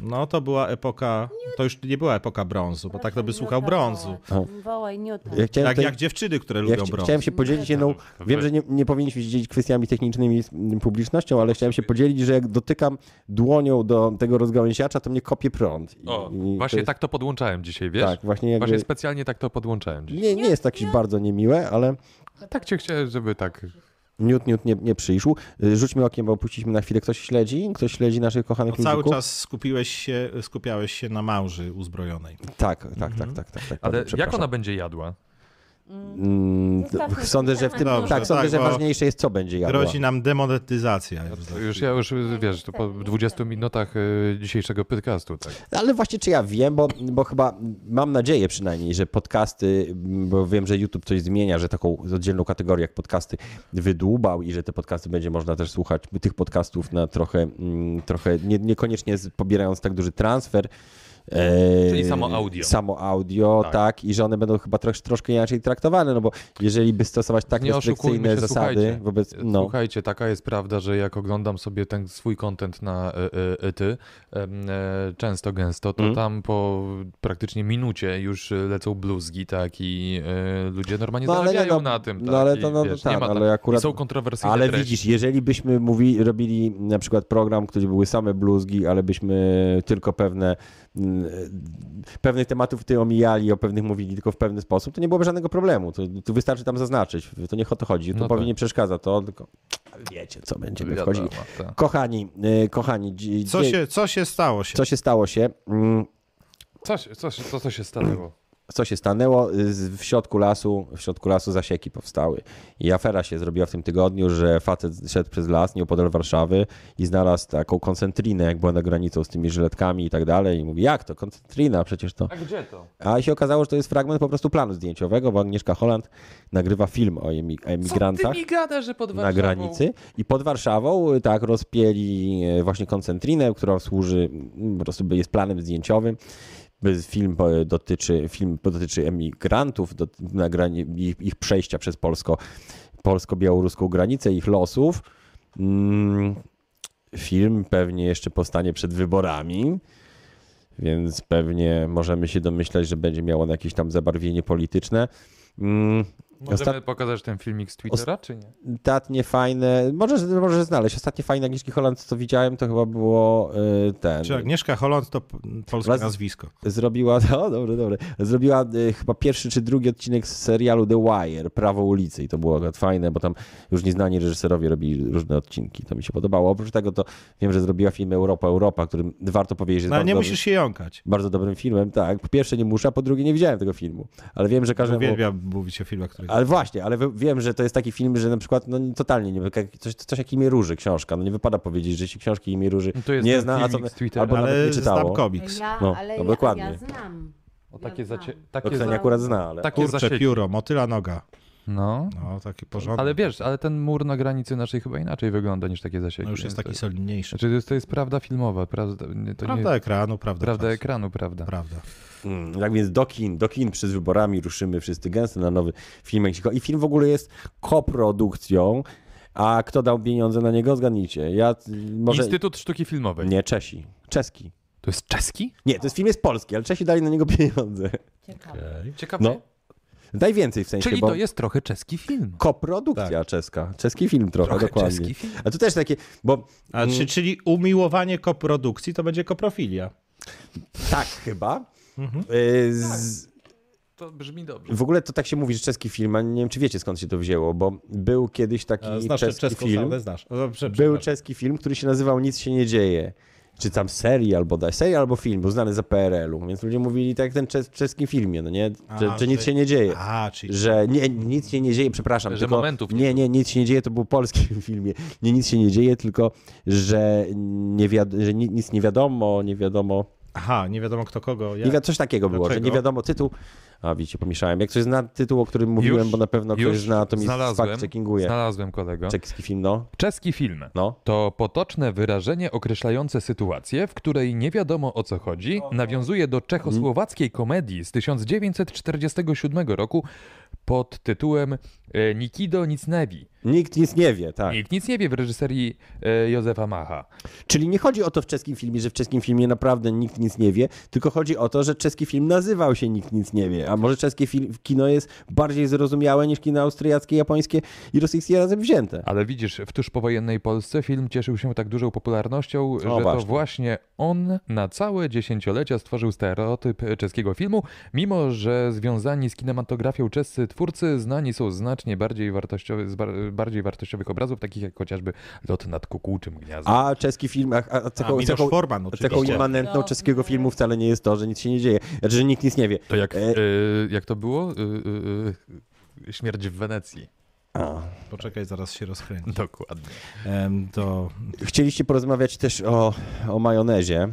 S3: No to była epoka, to już nie była epoka brązu, bo tak to by słuchał brązu.
S4: No.
S1: No.
S3: Tak
S4: Wołaj Newton.
S1: Ja chciałem,
S3: Jak,
S1: tutaj,
S3: jak dziewczyny, które
S1: ja
S3: lubią
S1: chci-
S3: brąz.
S1: chciałem się podzielić jedną, wiem, że nie, nie powinniśmy się dzielić kwestiami technicznymi z mm, publicznością, ale chciałem się podzielić, że jak dotykam dłonią do tego rozgałęziacza, to mnie kopie prąd. I,
S2: O,
S1: i to
S2: właśnie
S1: jest-
S2: tak to podłączałem dzisiaj, wiesz?
S1: Tak, właśnie jakby...
S2: Właśnie specjalnie tak to podłączałem dzisiaj.
S1: Nie, nie jest jakieś bardzo niemiłe, ale
S2: Tak cię chciałem, żeby tak...
S1: Newt, Newt nie, nie przyszł. Y, Rzućmy okiem, bo opuściliśmy na chwilę. Ktoś śledzi? Ktoś śledzi naszych kochanych
S3: Bo No, cały
S1: ludzików?
S3: czas skupiłeś się, skupiałeś się na małży uzbrojonej.
S1: Tak, tak, tak, tak, tak, tak.
S2: Mhm. Ale
S1: przepraszam.
S2: jak ona będzie jadła?
S1: Mm, to-
S4: Zostawmy
S1: sądzę, że w tym...
S3: Dobrze,
S1: tak, sądzę,
S3: tak,
S1: że
S3: bo
S1: ważniejsze jest, co będzie jadła.
S3: Grozi nam demonetyzacja.
S2: No To już ja już wiesz, to po 20 minutach y, dzisiejszego podcastu, tak.
S1: Ale właśnie czy ja wiem, bo, bo chyba mam nadzieję przynajmniej, że podcasty, m, bo wiem, że YouTube coś zmienia, że taką oddzielną kategorię jak podcasty wydłubał i że te podcasty będzie można też słuchać tych podcastów na trochę, mm, trochę nie, niekoniecznie z- pobierając tak duży transfer. e,
S2: Czyli samo audio.
S1: Samo audio, tak.
S2: Tak.
S1: I że one będą chyba trosz, troszkę inaczej traktowane, no bo jeżeli by stosować tak
S2: Nie oszukujmy
S1: restrykcyjne
S2: się,
S1: zasady
S2: słuchajcie.
S1: wobec... No,
S2: Słuchajcie, taka jest prawda, że jak oglądam sobie ten swój content na y, y, y, ty, em, e, często, gęsto, to
S1: Mhm.
S2: tam po praktycznie minucie już y, lecą bluzgi, tak, i y, ludzie normalnie
S1: No, ale nie,
S2: zarabiają
S1: no,
S2: na tym,
S1: no,
S2: tak,
S1: ale
S2: i,
S1: to no, to
S2: wiesz,
S1: tak,
S2: nie ma
S1: ale
S2: tam-
S1: akurat-
S2: i są kontrowersyjne
S1: Ale
S2: treści.
S1: widzisz, jeżeli byśmy mówi, robili na przykład program, który były same bluzgi, ale byśmy tylko pewne mm, pewnych tematów ty omijali, o pewnych mówili tylko w pewny sposób, to nie byłoby żadnego problemu. To, to wystarczy tam zaznaczyć. To nie o to chodzi. To
S2: No tak.
S1: pewnie nie przeszkadza to, tylko wiecie, co będziemy
S2: Wiadomo,
S1: wchodzili.
S2: tak.
S1: Kochani, y, kochani, dzi-
S3: Co
S1: dzi-
S3: się, co się stało się?
S1: co się stało się? Mm,
S2: Co, się- co, się- co, co się stało?
S1: co się stanęło, y, Z- w środku lasu, w środku lasu zasieki powstały. I afera się zrobiła w tym tygodniu, że facet szedł przez las nieopodal Warszawy i znalazł taką koncentrinę, jak była na granicą z tymi żyletkami i tak dalej. I mówi, jak to, koncentrina, przecież to...
S2: A gdzie to?
S1: A się okazało, że to jest fragment po prostu planu zdjęciowego, bo Agnieszka Holland nagrywa film o emi-
S2: Co
S1: emigrantach
S2: ty mi gadasz, że pod
S1: na granicy i pod Warszawą y, tak rozpieli e, właśnie koncentrinę, która służy mm, po prostu by- jest planem zdjęciowym. By- Film e, dotyczy, film dotyczy emigrantów, dot- na grani, ich, ich przejścia przez polsko, polsko-białoruską granicę, ich losów. Mm, Film pewnie jeszcze powstanie przed wyborami, więc pewnie możemy się domyślać, że będzie miał on jakieś tam zabarwienie polityczne. Mm,
S2: Możemy
S1: Ostat-
S2: pokazać ten filmik z Twittera, czy nie?
S1: Ostatnie fajne, możesz, możesz znaleźć, ostatnie fajne Agnieszki Holland, co widziałem, to chyba było y, ten...
S3: Czy Agnieszka Holland to p- polskie
S1: Raz-
S3: nazwisko.
S1: Zrobiła, no dobre, dobre. Zrobiła y, chyba pierwszy czy drugi odcinek z serialu The Wire, Prawo ulicy i to było akurat fajne, bo tam już nieznani reżyserowie robili różne odcinki, to mi się podobało. Oprócz tego to wiem, że zrobiła film Europa, Europa, którym warto powiedzieć, że jest
S3: No, ale
S1: bardzo,
S3: nie
S1: dobrym,
S3: musisz się jąkać.
S1: bardzo dobrym filmem, tak. Po pierwsze nie muszę, a po drugie nie widziałem tego filmu, ale wiem, że każdemu...
S3: Uwielbiam mówić o filmach, których...
S1: Ale właśnie, ale wy- wiem, że to jest taki film, że na przykład no, totalnie nie jak- coś, coś jak imię Róży, książka. No nie wypada powiedzieć, że się książki imię Róży
S2: No to jest
S1: nie
S2: ten
S1: zna, a co,
S2: filmik z Twittera.
S1: albo nawet
S3: Ale
S1: nie
S3: znam
S1: czytało.
S3: komiks.
S5: Ja,
S1: No,
S5: ale
S1: no
S5: ja,
S1: dokładnie.
S5: ja znam.
S2: O takie
S5: ja
S2: zacie...
S5: znam.
S1: To
S2: takie za...
S1: Ksenia akurat zna, ale...
S2: Takie
S3: Kurcze,
S2: zasieki.
S3: pióro, motyla noga.
S2: No.
S3: No, taki porządek.
S2: Ale wiesz, ale ten mur na granicy naszej chyba inaczej wygląda niż takie zasieki.
S3: No już jest
S2: więc
S3: taki
S2: to...
S3: solidniejszy.
S2: Znaczy, to jest, to jest prawda filmowa, prawda, nie, to
S3: Prawda
S2: nie...
S3: ekranu, prawda
S2: prawda
S3: czasu.
S2: ekranu, prawda.
S3: Prawda.
S1: Mm, tak więc do kin, do kin przed wyborami ruszymy wszyscy gęsto na nowy film Meksiko. I film w ogóle jest koprodukcją, a kto dał pieniądze na niego, zgadnijcie. Ja y, może...
S2: Instytut Sztuki Filmowej.
S1: Nie, Czesi. Czeski.
S2: To jest czeski?
S1: Nie, to jest film jest polski, ale Czesi dali na niego pieniądze.
S5: Ciekawe.
S2: Ciekawe.
S1: No. Daj więcej w sensie,
S2: Czyli
S1: bo...
S2: to jest trochę czeski film.
S1: Koprodukcja czeska. Czeski film trochę,
S2: Tak. Trochę
S1: dokładnie.
S2: czeski film.
S1: A tu też takie, bo
S3: A, czy, Mm. czyli umiłowanie koprodukcji to będzie koprofilia.
S1: tak chyba.
S2: Mhm.
S1: y, Z,
S2: To brzmi dobrze.
S1: w ogóle to tak się mówi, że czeski film, a nie wiem, czy wiecie skąd się to wzięło, bo był kiedyś taki
S3: A,
S2: znaczy
S3: Znasz
S1: czeski
S3: czeską
S1: film.
S3: saunę? Znasz. O, dobrze,
S1: Był
S3: przepraszam.
S1: czeski film, który się nazywał Nic się nie dzieje. Czy tam serial bodaj, serial albo film, był znany za PRL-u, więc ludzie mówili tak jak ten czes, czeski filmie, no nie? Że,
S3: A,
S1: że nic
S3: że-
S1: się nie dzieje.
S3: A, czyli...
S1: Że nie, nic się nie dzieje, przepraszam.
S2: Że
S1: tylko,
S2: momentów nie
S1: nie,
S2: było.
S1: nie, nic się nie dzieje, to był polski filmie. Nie, nic się nie dzieje, tylko że, nie wiad- że ni- nic nie wiadomo, nie wiadomo.
S3: Aha, nie wiadomo kto kogo.
S1: Nie
S3: Jak.
S1: wi- coś takiego było, że
S3: Dlaczego?
S1: nie wiadomo tytuł. A widzicie, pomieszałem. Jak ktoś zna tytuł, o którym mówiłem, bo na pewno ktoś
S2: już
S1: zna, to mi
S2: znalazłem,
S1: fact-checkinguje.
S2: Znalazłem kolego.
S1: Czeski film, no.
S2: Czeski film.
S1: no.
S2: To potoczne wyrażenie określające sytuację, w której nie wiadomo o co chodzi, nawiązuje do czechosłowackiej komedii z 1947 roku pod tytułem e, Nikido nic nie wie.
S1: Nikt nic nie wie, tak.
S2: Nikt nic nie wie w reżyserii e, Józefa Macha.
S1: Czyli nie chodzi o to w czeskim filmie, że w czeskim filmie naprawdę nikt nic nie wie, tylko chodzi o to, że czeski film nazywał się Nikt nic nie wie. A może czeskie fil- kino jest bardziej zrozumiałe niż kino austriackie, japońskie i rosyjskie razem wzięte.
S2: Ale widzisz, w tuż powojennej Polsce film cieszył się tak dużą popularnością, że to
S1: właśnie.
S2: właśnie on na całe dziesięciolecia stworzył stereotyp czeskiego filmu, mimo że związani z kinematografią czescy twórcy znani są znacznie bardziej wartościowy, z bar, bardziej wartościowych obrazów, takich jak chociażby Lot nad kukułczym gniazdem.
S1: A czeski film, a, a, a taką,
S3: Miloš
S1: taką,
S3: Forman
S1: taką
S3: oczywiście.
S1: immanentną czeskiego filmu wcale nie jest to, że nic się nie dzieje, znaczy, że nikt nic nie wie.
S2: To jak,
S1: e,
S2: e, jak to było? E, e, e, śmierć w Wenecji.
S1: a.
S3: Poczekaj, zaraz się rozkręci.
S2: Dokładnie.
S3: Em, To
S1: Chcieliście porozmawiać też o, o majonezie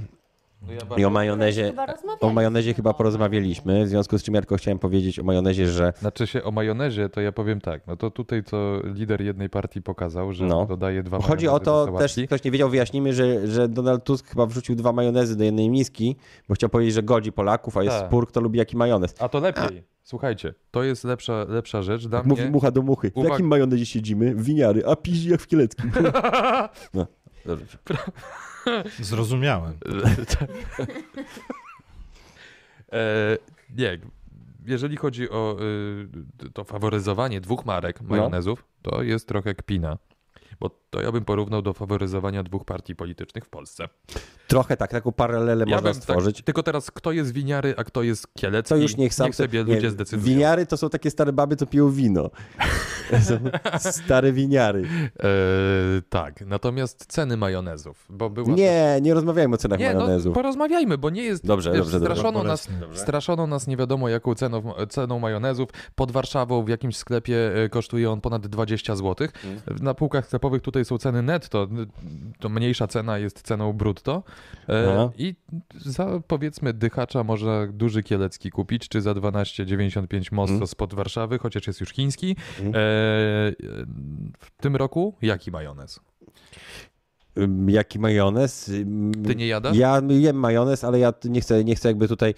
S1: i o majonezie...
S2: E,
S5: Chyba rozmawialiśmy.
S1: O majonezie chyba porozmawialiśmy, w związku z czym Jarko chciałem powiedzieć o majonezie, że
S2: Znaczy się o majonezie, to ja powiem tak, no to tutaj co lider jednej partii pokazał, że
S1: No.
S2: dodaje dwa
S1: Chodzi o
S2: majonezy do
S1: to, też
S2: sałatki.
S1: ktoś nie wiedział, wyjaśnijmy, że, że Donald Tusk chyba wrzucił dwa majonezy do jednej miski, bo chciał powiedzieć, że godzi Polaków, a jest
S2: Tak.
S1: spór, kto lubi jaki majonez.
S2: A to lepiej. Słuchajcie, to jest lepsza, lepsza rzecz dla
S1: Tak Mówi
S2: mnie.
S1: mucha do muchy. W
S2: Uwag-
S1: jakim majonezie siedzimy? W winiary, a piździ jak w kieleckim. No. Dobrze.
S3: zrozumiałem.
S2: E, nie, jeżeli chodzi o y, to faworyzowanie dwóch marek
S1: No.
S2: majonezów, to jest trochę kpina. Bo to ja bym porównał do faworyzowania dwóch partii politycznych w Polsce.
S1: Trochę tak, taką paralelę
S2: Ja
S1: można
S2: bym
S1: stworzyć.
S2: Tak, tylko teraz, kto jest winiary, a kto jest kielecki,
S1: Co już niech sam
S2: niech sobie
S1: nie,
S2: ludzie zdecydują.
S1: Winiary to są takie stare baby, co piją wino. Są stare winiary.
S2: E, tak, natomiast ceny majonezów, bo była
S1: Nie, nie rozmawiajmy o cenach
S2: Nie,
S1: majonezu.
S2: no porozmawiajmy, bo nie jest...
S1: Dobrze,
S2: wiesz,
S1: dobrze, dobrze.
S2: straszono nas, Straszono nas nie wiadomo jaką ceną, ceną majonezów. Pod Warszawą w jakimś sklepie e, kosztuje on ponad 20 zł.
S1: Mm.
S2: Na półkach sklepowych tutaj są ceny netto, n- to mniejsza cena jest ceną brutto. E,
S1: Aha.
S2: I za powiedzmy dychacza może duży kielecki kupić, czy za 12,95 mosto
S1: Mm.
S2: spod Warszawy, chociaż jest już chiński. E, w tym roku jaki majonez?
S1: Ym, Jaki majonez? Ym,
S2: Ty nie jadasz?
S1: Ja jem majonez, ale ja nie chcę, nie chcę jakby tutaj e,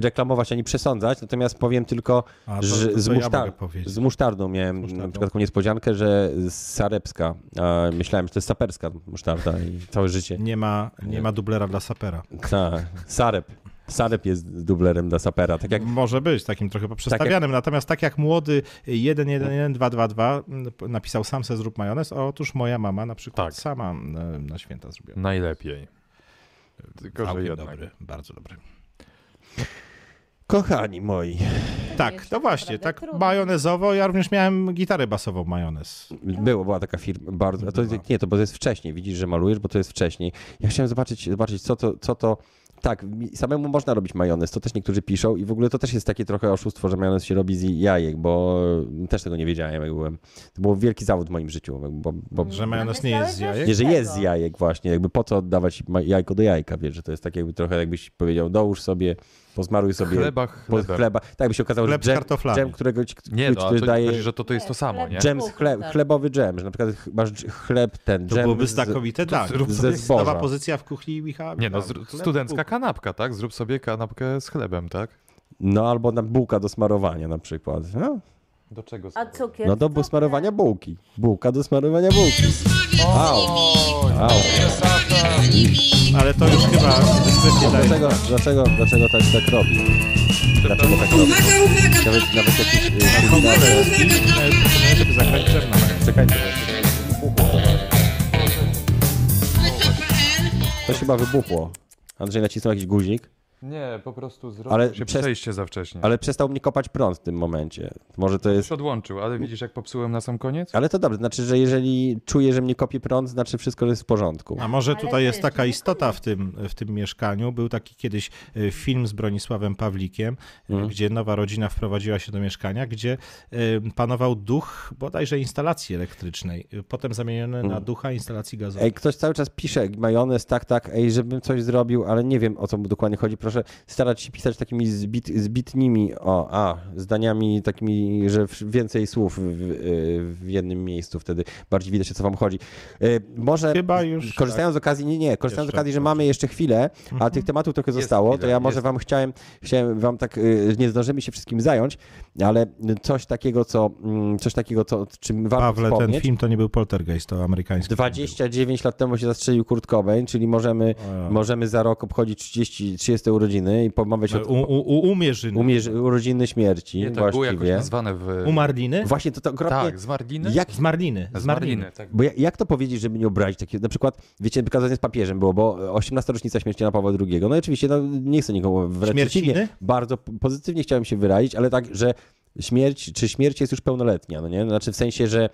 S1: reklamować ani przesądzać, natomiast powiem tylko,
S3: A, to-
S1: że
S3: to
S1: z,
S3: ja
S1: musztar-
S3: mogę powiedzieć.
S1: z musztardą miałem na przykład taką niespodziankę, że z Sarepska, a myślałem, że to jest saperska musztarda i całe życie.
S3: Nie ma, nie ma dublera dla sapera.
S1: Ta, Sarep. Sarep jest dublerem dla sapera, tak jak
S3: Może być takim
S2: Tak
S3: trochę poprzestawianym. Natomiast tak jak młody 111222 napisał sam se zrób majonez, a otóż moja mama na przykład
S2: Tak.
S3: sama e, na święta zrobiła.
S2: Najlepiej. Tylko, że
S3: Całkiem
S2: jednak.
S3: dobry, bardzo dobry.
S1: kochani moi.
S3: Tak,
S4: Jest
S3: to właśnie,
S4: naprawdę
S3: tak
S4: trudno.
S3: majonezowo. Ja również miałem gitarę basową majonez.
S1: Było, była taka firma, bardzo, a to,
S3: Była.
S1: nie, to bo to jest wcześniej, widzisz, że malujesz, bo to jest wcześniej. Ja chciałem zobaczyć, zobaczyć co, to, co to, tak, mi- samemu można robić majonez, to też niektórzy piszą i w ogóle to też jest takie trochę oszustwo, że majonez się robi z jajek, bo też tego nie wiedziałem, jak byłem. To był wielki zawód w moim życiu, bo, bo
S3: Że
S4: Ale
S3: majonez nie jest z
S4: myślałeś, że
S3: jajek?
S1: nie, że jest z
S4: Dlaczego?
S1: jajek właśnie, jakby po co oddawać ma- jajko do jajka, wiesz, że to jest tak jakby trochę jakbyś powiedział, dołóż sobie, pozmaruj sobie
S2: Chleba,
S1: po
S2: chleba.
S1: chleba, tak by się okazało,
S3: Chleb z
S1: że dżem,
S3: kartoflami.
S1: dżem którego ci,
S2: Nie,
S1: ci
S2: no, ale
S1: ktoś
S2: to nie
S1: daje,
S2: chodzi, że to, to jest to samo, nie?
S1: dżem z chleb,
S4: Tak.
S1: chleb, chlebowy dżem, że na przykład ch- masz dż- chleb ten,
S3: To
S1: dżem
S3: byłoby
S1: z-
S3: znakomite, tak.
S1: zrób
S3: To
S1: sobie
S3: jest
S1: zboża.
S3: Nowa pozycja w kuchni Michała.
S2: Nie no,
S3: Tam,
S2: zr-
S3: chleb,
S2: studencka
S3: Bóg.
S2: kanapka, tak? Zrób sobie kanapkę z chlebem, tak?
S1: no albo na bułka do smarowania na przykład, no,
S2: Do czego?
S4: A
S2: sobie?
S4: cukier?
S1: no do
S4: Cukier.
S1: smarowania bułki, bułka do smarowania bułki, au, au,
S3: Ale to już chyba dyskretnie daje.
S1: dlaczego, dlaczego, dlaczego tak, tak robi, dlaczego tak robi,
S5: Uwaga, uwaga,
S1: nawet, nawet jakieś y,
S3: Ale
S1: kryminalne-
S3: proponuję, żeby zagrać dżem na majonez.
S1: Czekajcie.
S5: PL.
S1: To chyba wybuchło. Andrzej nacisnął jakiś guzik,
S2: Nie, po prostu zrobił
S1: Ale
S2: się
S1: przez-
S2: przejście za wcześnie. Ale...
S1: ale przestał mnie kopać prąd w tym momencie. Może to
S2: Już
S1: jest.
S2: odłączył, ale widzisz jak popsułem na sam koniec?
S1: Ale to dobrze, znaczy, że jeżeli czuję, że mnie kopie prąd, znaczy wszystko jest w porządku.
S3: A może
S4: Ale
S3: tutaj jest
S4: wiesz,
S3: taka
S4: nie
S3: istota w tym, w tym mieszkaniu. Był taki kiedyś e, film z Bronisławem Pawlikiem, e,
S1: Mhm.
S3: gdzie nowa rodzina wprowadziła się do mieszkania, gdzie e, panował duch bodajże instalacji elektrycznej, e, potem zamieniony na ducha instalacji gazowej.
S1: Mhm. Ej, ktoś cały czas pisze majonez, tak, tak, ej, żebym coś zrobił, ale nie wiem o co mu dokładnie chodzi. Proszę starać się pisać takimi zbit, zbitnimi, o, a, zdaniami takimi, że w- więcej słów w, w- w jednym miejscu wtedy bardziej widać o co wam chodzi. E, Może
S3: Chyba już, tak.
S1: korzystając z okazji, nie, nie, korzystając z
S3: Jeszcze, Mhm.
S1: okazji, że mamy jeszcze chwilę, a tych tematów trochę zostało, to
S2: chwila,
S1: ja może
S2: jest.
S1: wam chciałem, chciałem wam tak, y, nie zdążymy się wszystkim zająć, ale coś takiego, co, mm, coś takiego, co, czym warto
S3: Pawle, ten
S1: wspomnieć.
S3: film to nie był Poltergeist, to amerykański.
S1: 29 lat temu się zastrzelił Kurt Cobain, czyli możemy, możemy za rok obchodzić 30, 30 urodziny i pomawiać
S3: film.
S1: o
S3: E, U, u, u, umierzyn.
S1: umierz- urodziny śmierci
S2: Nie, to było jakoś
S1: właściwie.
S2: nazwane w...
S3: U Marliny?
S1: Właśnie to, to okropnie.
S2: Tak, z marliny?
S1: jak,
S3: Z Marliny.
S2: Z marliny, tak.
S1: bo ja- jak to powiedzieć, żeby nie obrazić takie, na przykład, wiecie, wykazanie z papieżem było, bo 18 rocznica śmierci Jana Pawła II. No i oczywiście, no, nie chcę nikogo wręcz
S3: Śmierciny?
S1: przeciwnie, bardzo p- pozytywnie chciałem się wyrazić, ale tak, że śmierć, czy śmierć jest już pełnoletnia, no nie? Znaczy w sensie, że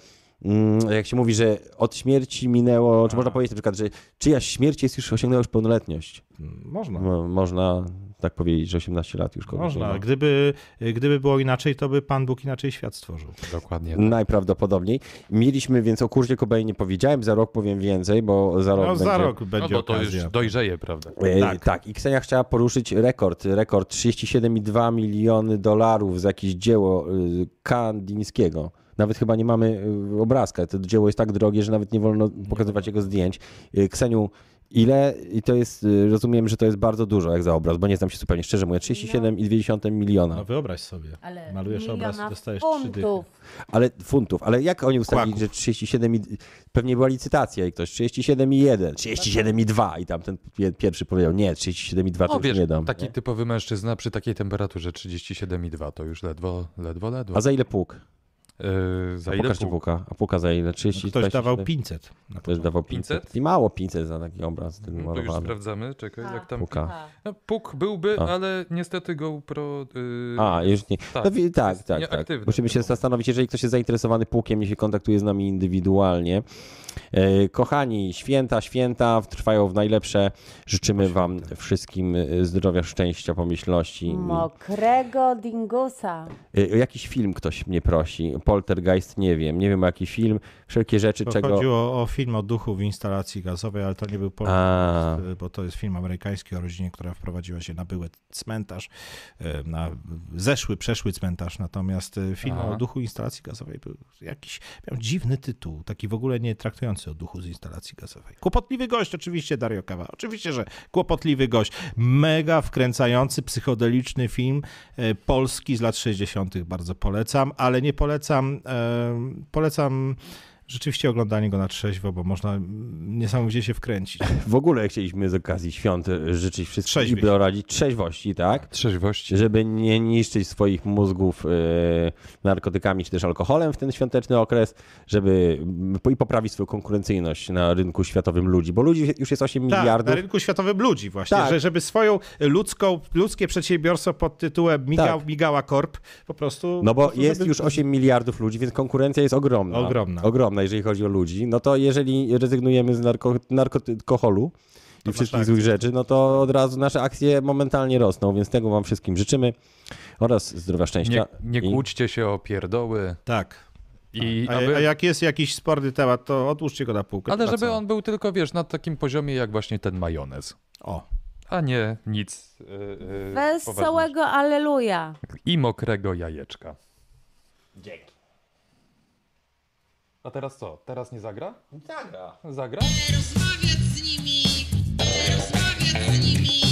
S1: mm, jak się mówi, że od śmierci minęło, czy można powiedzieć na przykład, że czyjaś śmierć jest już, osiągnęła już pełnoletność.
S3: Można.
S1: Mo- Można tak powiedzieć, no. że 18 lat już kogoś nie ma.
S3: Można. Gdyby, e, gdyby było inaczej, to by Pan Bóg inaczej świat stworzył.
S2: Dokładnie.
S1: No, Najprawdopodobniej. Mieliśmy więc o Kurzie Cobain nie powiedziałem, za rok powiem więcej, bo za rok
S3: No
S1: będzie... tak.
S3: za rok
S2: No
S3: będzie
S2: bo to
S3: okazja.
S2: już dojrzeje, prawda?
S1: E,
S3: Tak.
S1: Tak. i Ksenia chciała poruszyć rekord. Rekord 37,2 miliony dolarów za jakieś dzieło y, Kandińskiego. Nawet chyba nie mamy y, obrazka. To dzieło jest tak drogie, że nawet nie wolno pokazywać jego zdjęć. Y, Kseniu, ile? I to jest, y, rozumiem, że to jest bardzo dużo jak za obraz, bo nie znam się zupełnie szczerze mówię. 37,2 miliona.
S3: No wyobraź sobie.
S4: Ale
S3: Malujesz obraz i
S4: miliona
S3: dostajesz trzy dychy. No
S4: funtów.
S1: Ale funtów, ale jak oni ustalili,
S3: Kłaków.
S1: że 37 i... Pewnie była licytacja i ktoś 37,1, 37,2 i tam ten pie- pierwszy powiedział, nie, 37,2 to
S2: No
S1: już
S2: wiesz,
S1: nie dam.
S2: taki
S1: nie?
S2: typowy mężczyzna przy takiej temperaturze 37,2 to już ledwo, ledwo, ledwo.
S1: A za ile pług?
S2: Yy, za
S1: A
S2: ile
S1: pokażcie
S2: pół?
S1: puka. A puka za ile? 30,
S3: No Ktoś
S1: 24?
S3: dawał No 500. na
S1: Ktoś dawał 500.
S2: 500?
S1: I mało 500 za taki obraz ten
S2: No, to już
S1: malowany.
S2: sprawdzamy, czekaj,
S4: A.
S2: jak tam...
S1: Puka.
S2: No, Puk byłby,
S1: A.
S2: ale niestety GoPro... Yy,
S1: A, już nie.
S2: tak,
S1: no, wi- tak,
S2: jest
S1: tak, tak.
S2: nieaktywny
S1: Musimy
S2: w
S1: się
S2: tym
S1: zastanowić, jeżeli ktoś jest zainteresowany pułkiem, niech się kontaktuje z nami indywidualnie. E, Kochani, święta, święta trwają w najlepsze. Życzymy Wam wszystkim e, zdrowia, szczęścia, pomyślności.
S4: Mokrego dingusa.
S1: E, O jakiś film ktoś mnie prosi. Poltergeist, nie wiem. Nie wiem o jaki film. Wszelkie rzeczy,
S3: To
S1: czego...
S3: chodziło o film o duchu w instalacji gazowej, ale to nie był polski,
S1: A.
S3: Y, bo to jest film amerykański o rodzinie, która wprowadziła się na były cmentarz, e, na zeszły, przeszły cmentarz. Natomiast e, film
S2: Aha.
S3: o duchu instalacji gazowej był jakiś, miał dziwny tytuł, taki w ogóle nie traktujący o duchu z instalacji gazowej. Kłopotliwy gość, oczywiście Dario Kawa. Oczywiście, że kłopotliwy gość. Mega wkręcający, psychodeliczny film e, polski z lat 60. bardzo polecam, ale nie polecam, e, polecam Rzeczywiście oglądanie go na trzeźwo, bo można mm, niesamowicie się wkręcić.
S1: W ogóle chcieliśmy z okazji świąt e, życzyć wszystkim
S3: Trzeźwych.
S1: i doradzić trzeźwości, tak?
S2: Trzeźwości.
S1: Żeby nie niszczyć swoich mózgów e, narkotykami czy też alkoholem w ten świąteczny okres, żeby mm, i poprawić swoją konkurencyjność na rynku światowym ludzi, bo ludzi już jest 8
S3: Tak, na
S1: miliardów.
S3: rynku światowym ludzi właśnie,
S1: Tak.
S3: że, żeby swoją ludzką, ludzkie przedsiębiorstwo pod tytułem Miga,
S1: Tak.
S3: Migała Corp po prostu...
S1: No
S3: po
S1: bo
S3: prostu
S1: jest
S3: żeby-
S1: już 8 miliardów ludzi, więc konkurencja jest ogromna.
S3: Ogromna.
S1: Ogromna, jeżeli chodzi o ludzi. No to jeżeli rezygnujemy z narko, narkotykoholu i wszystkich złych rzeczy, no to od razu nasze akcje momentalnie rosną, więc tego wam wszystkim życzymy oraz zdrowia,
S2: Nie,
S1: szczęścia.
S2: nie
S1: i-
S2: kłóćcie się o pierdoły.
S3: Tak.
S2: I
S3: A,
S2: aby,
S3: a jak jest jakiś sporny temat, to odłóżcie go na półkę.
S2: ale
S3: Na
S2: żeby
S3: co?
S2: on był tylko, wiesz, na takim poziomie jak właśnie ten majonez.
S3: O,
S2: A nie nic. y, y, poważniejszego.
S4: Wesołego aleluja.
S2: I mokrego jajeczka.
S1: Dzięki.
S2: A teraz co? Teraz nie zagra?
S1: Zagra.
S2: Zagra?
S5: rozmawiać z nimi, rozmawiać z nimi,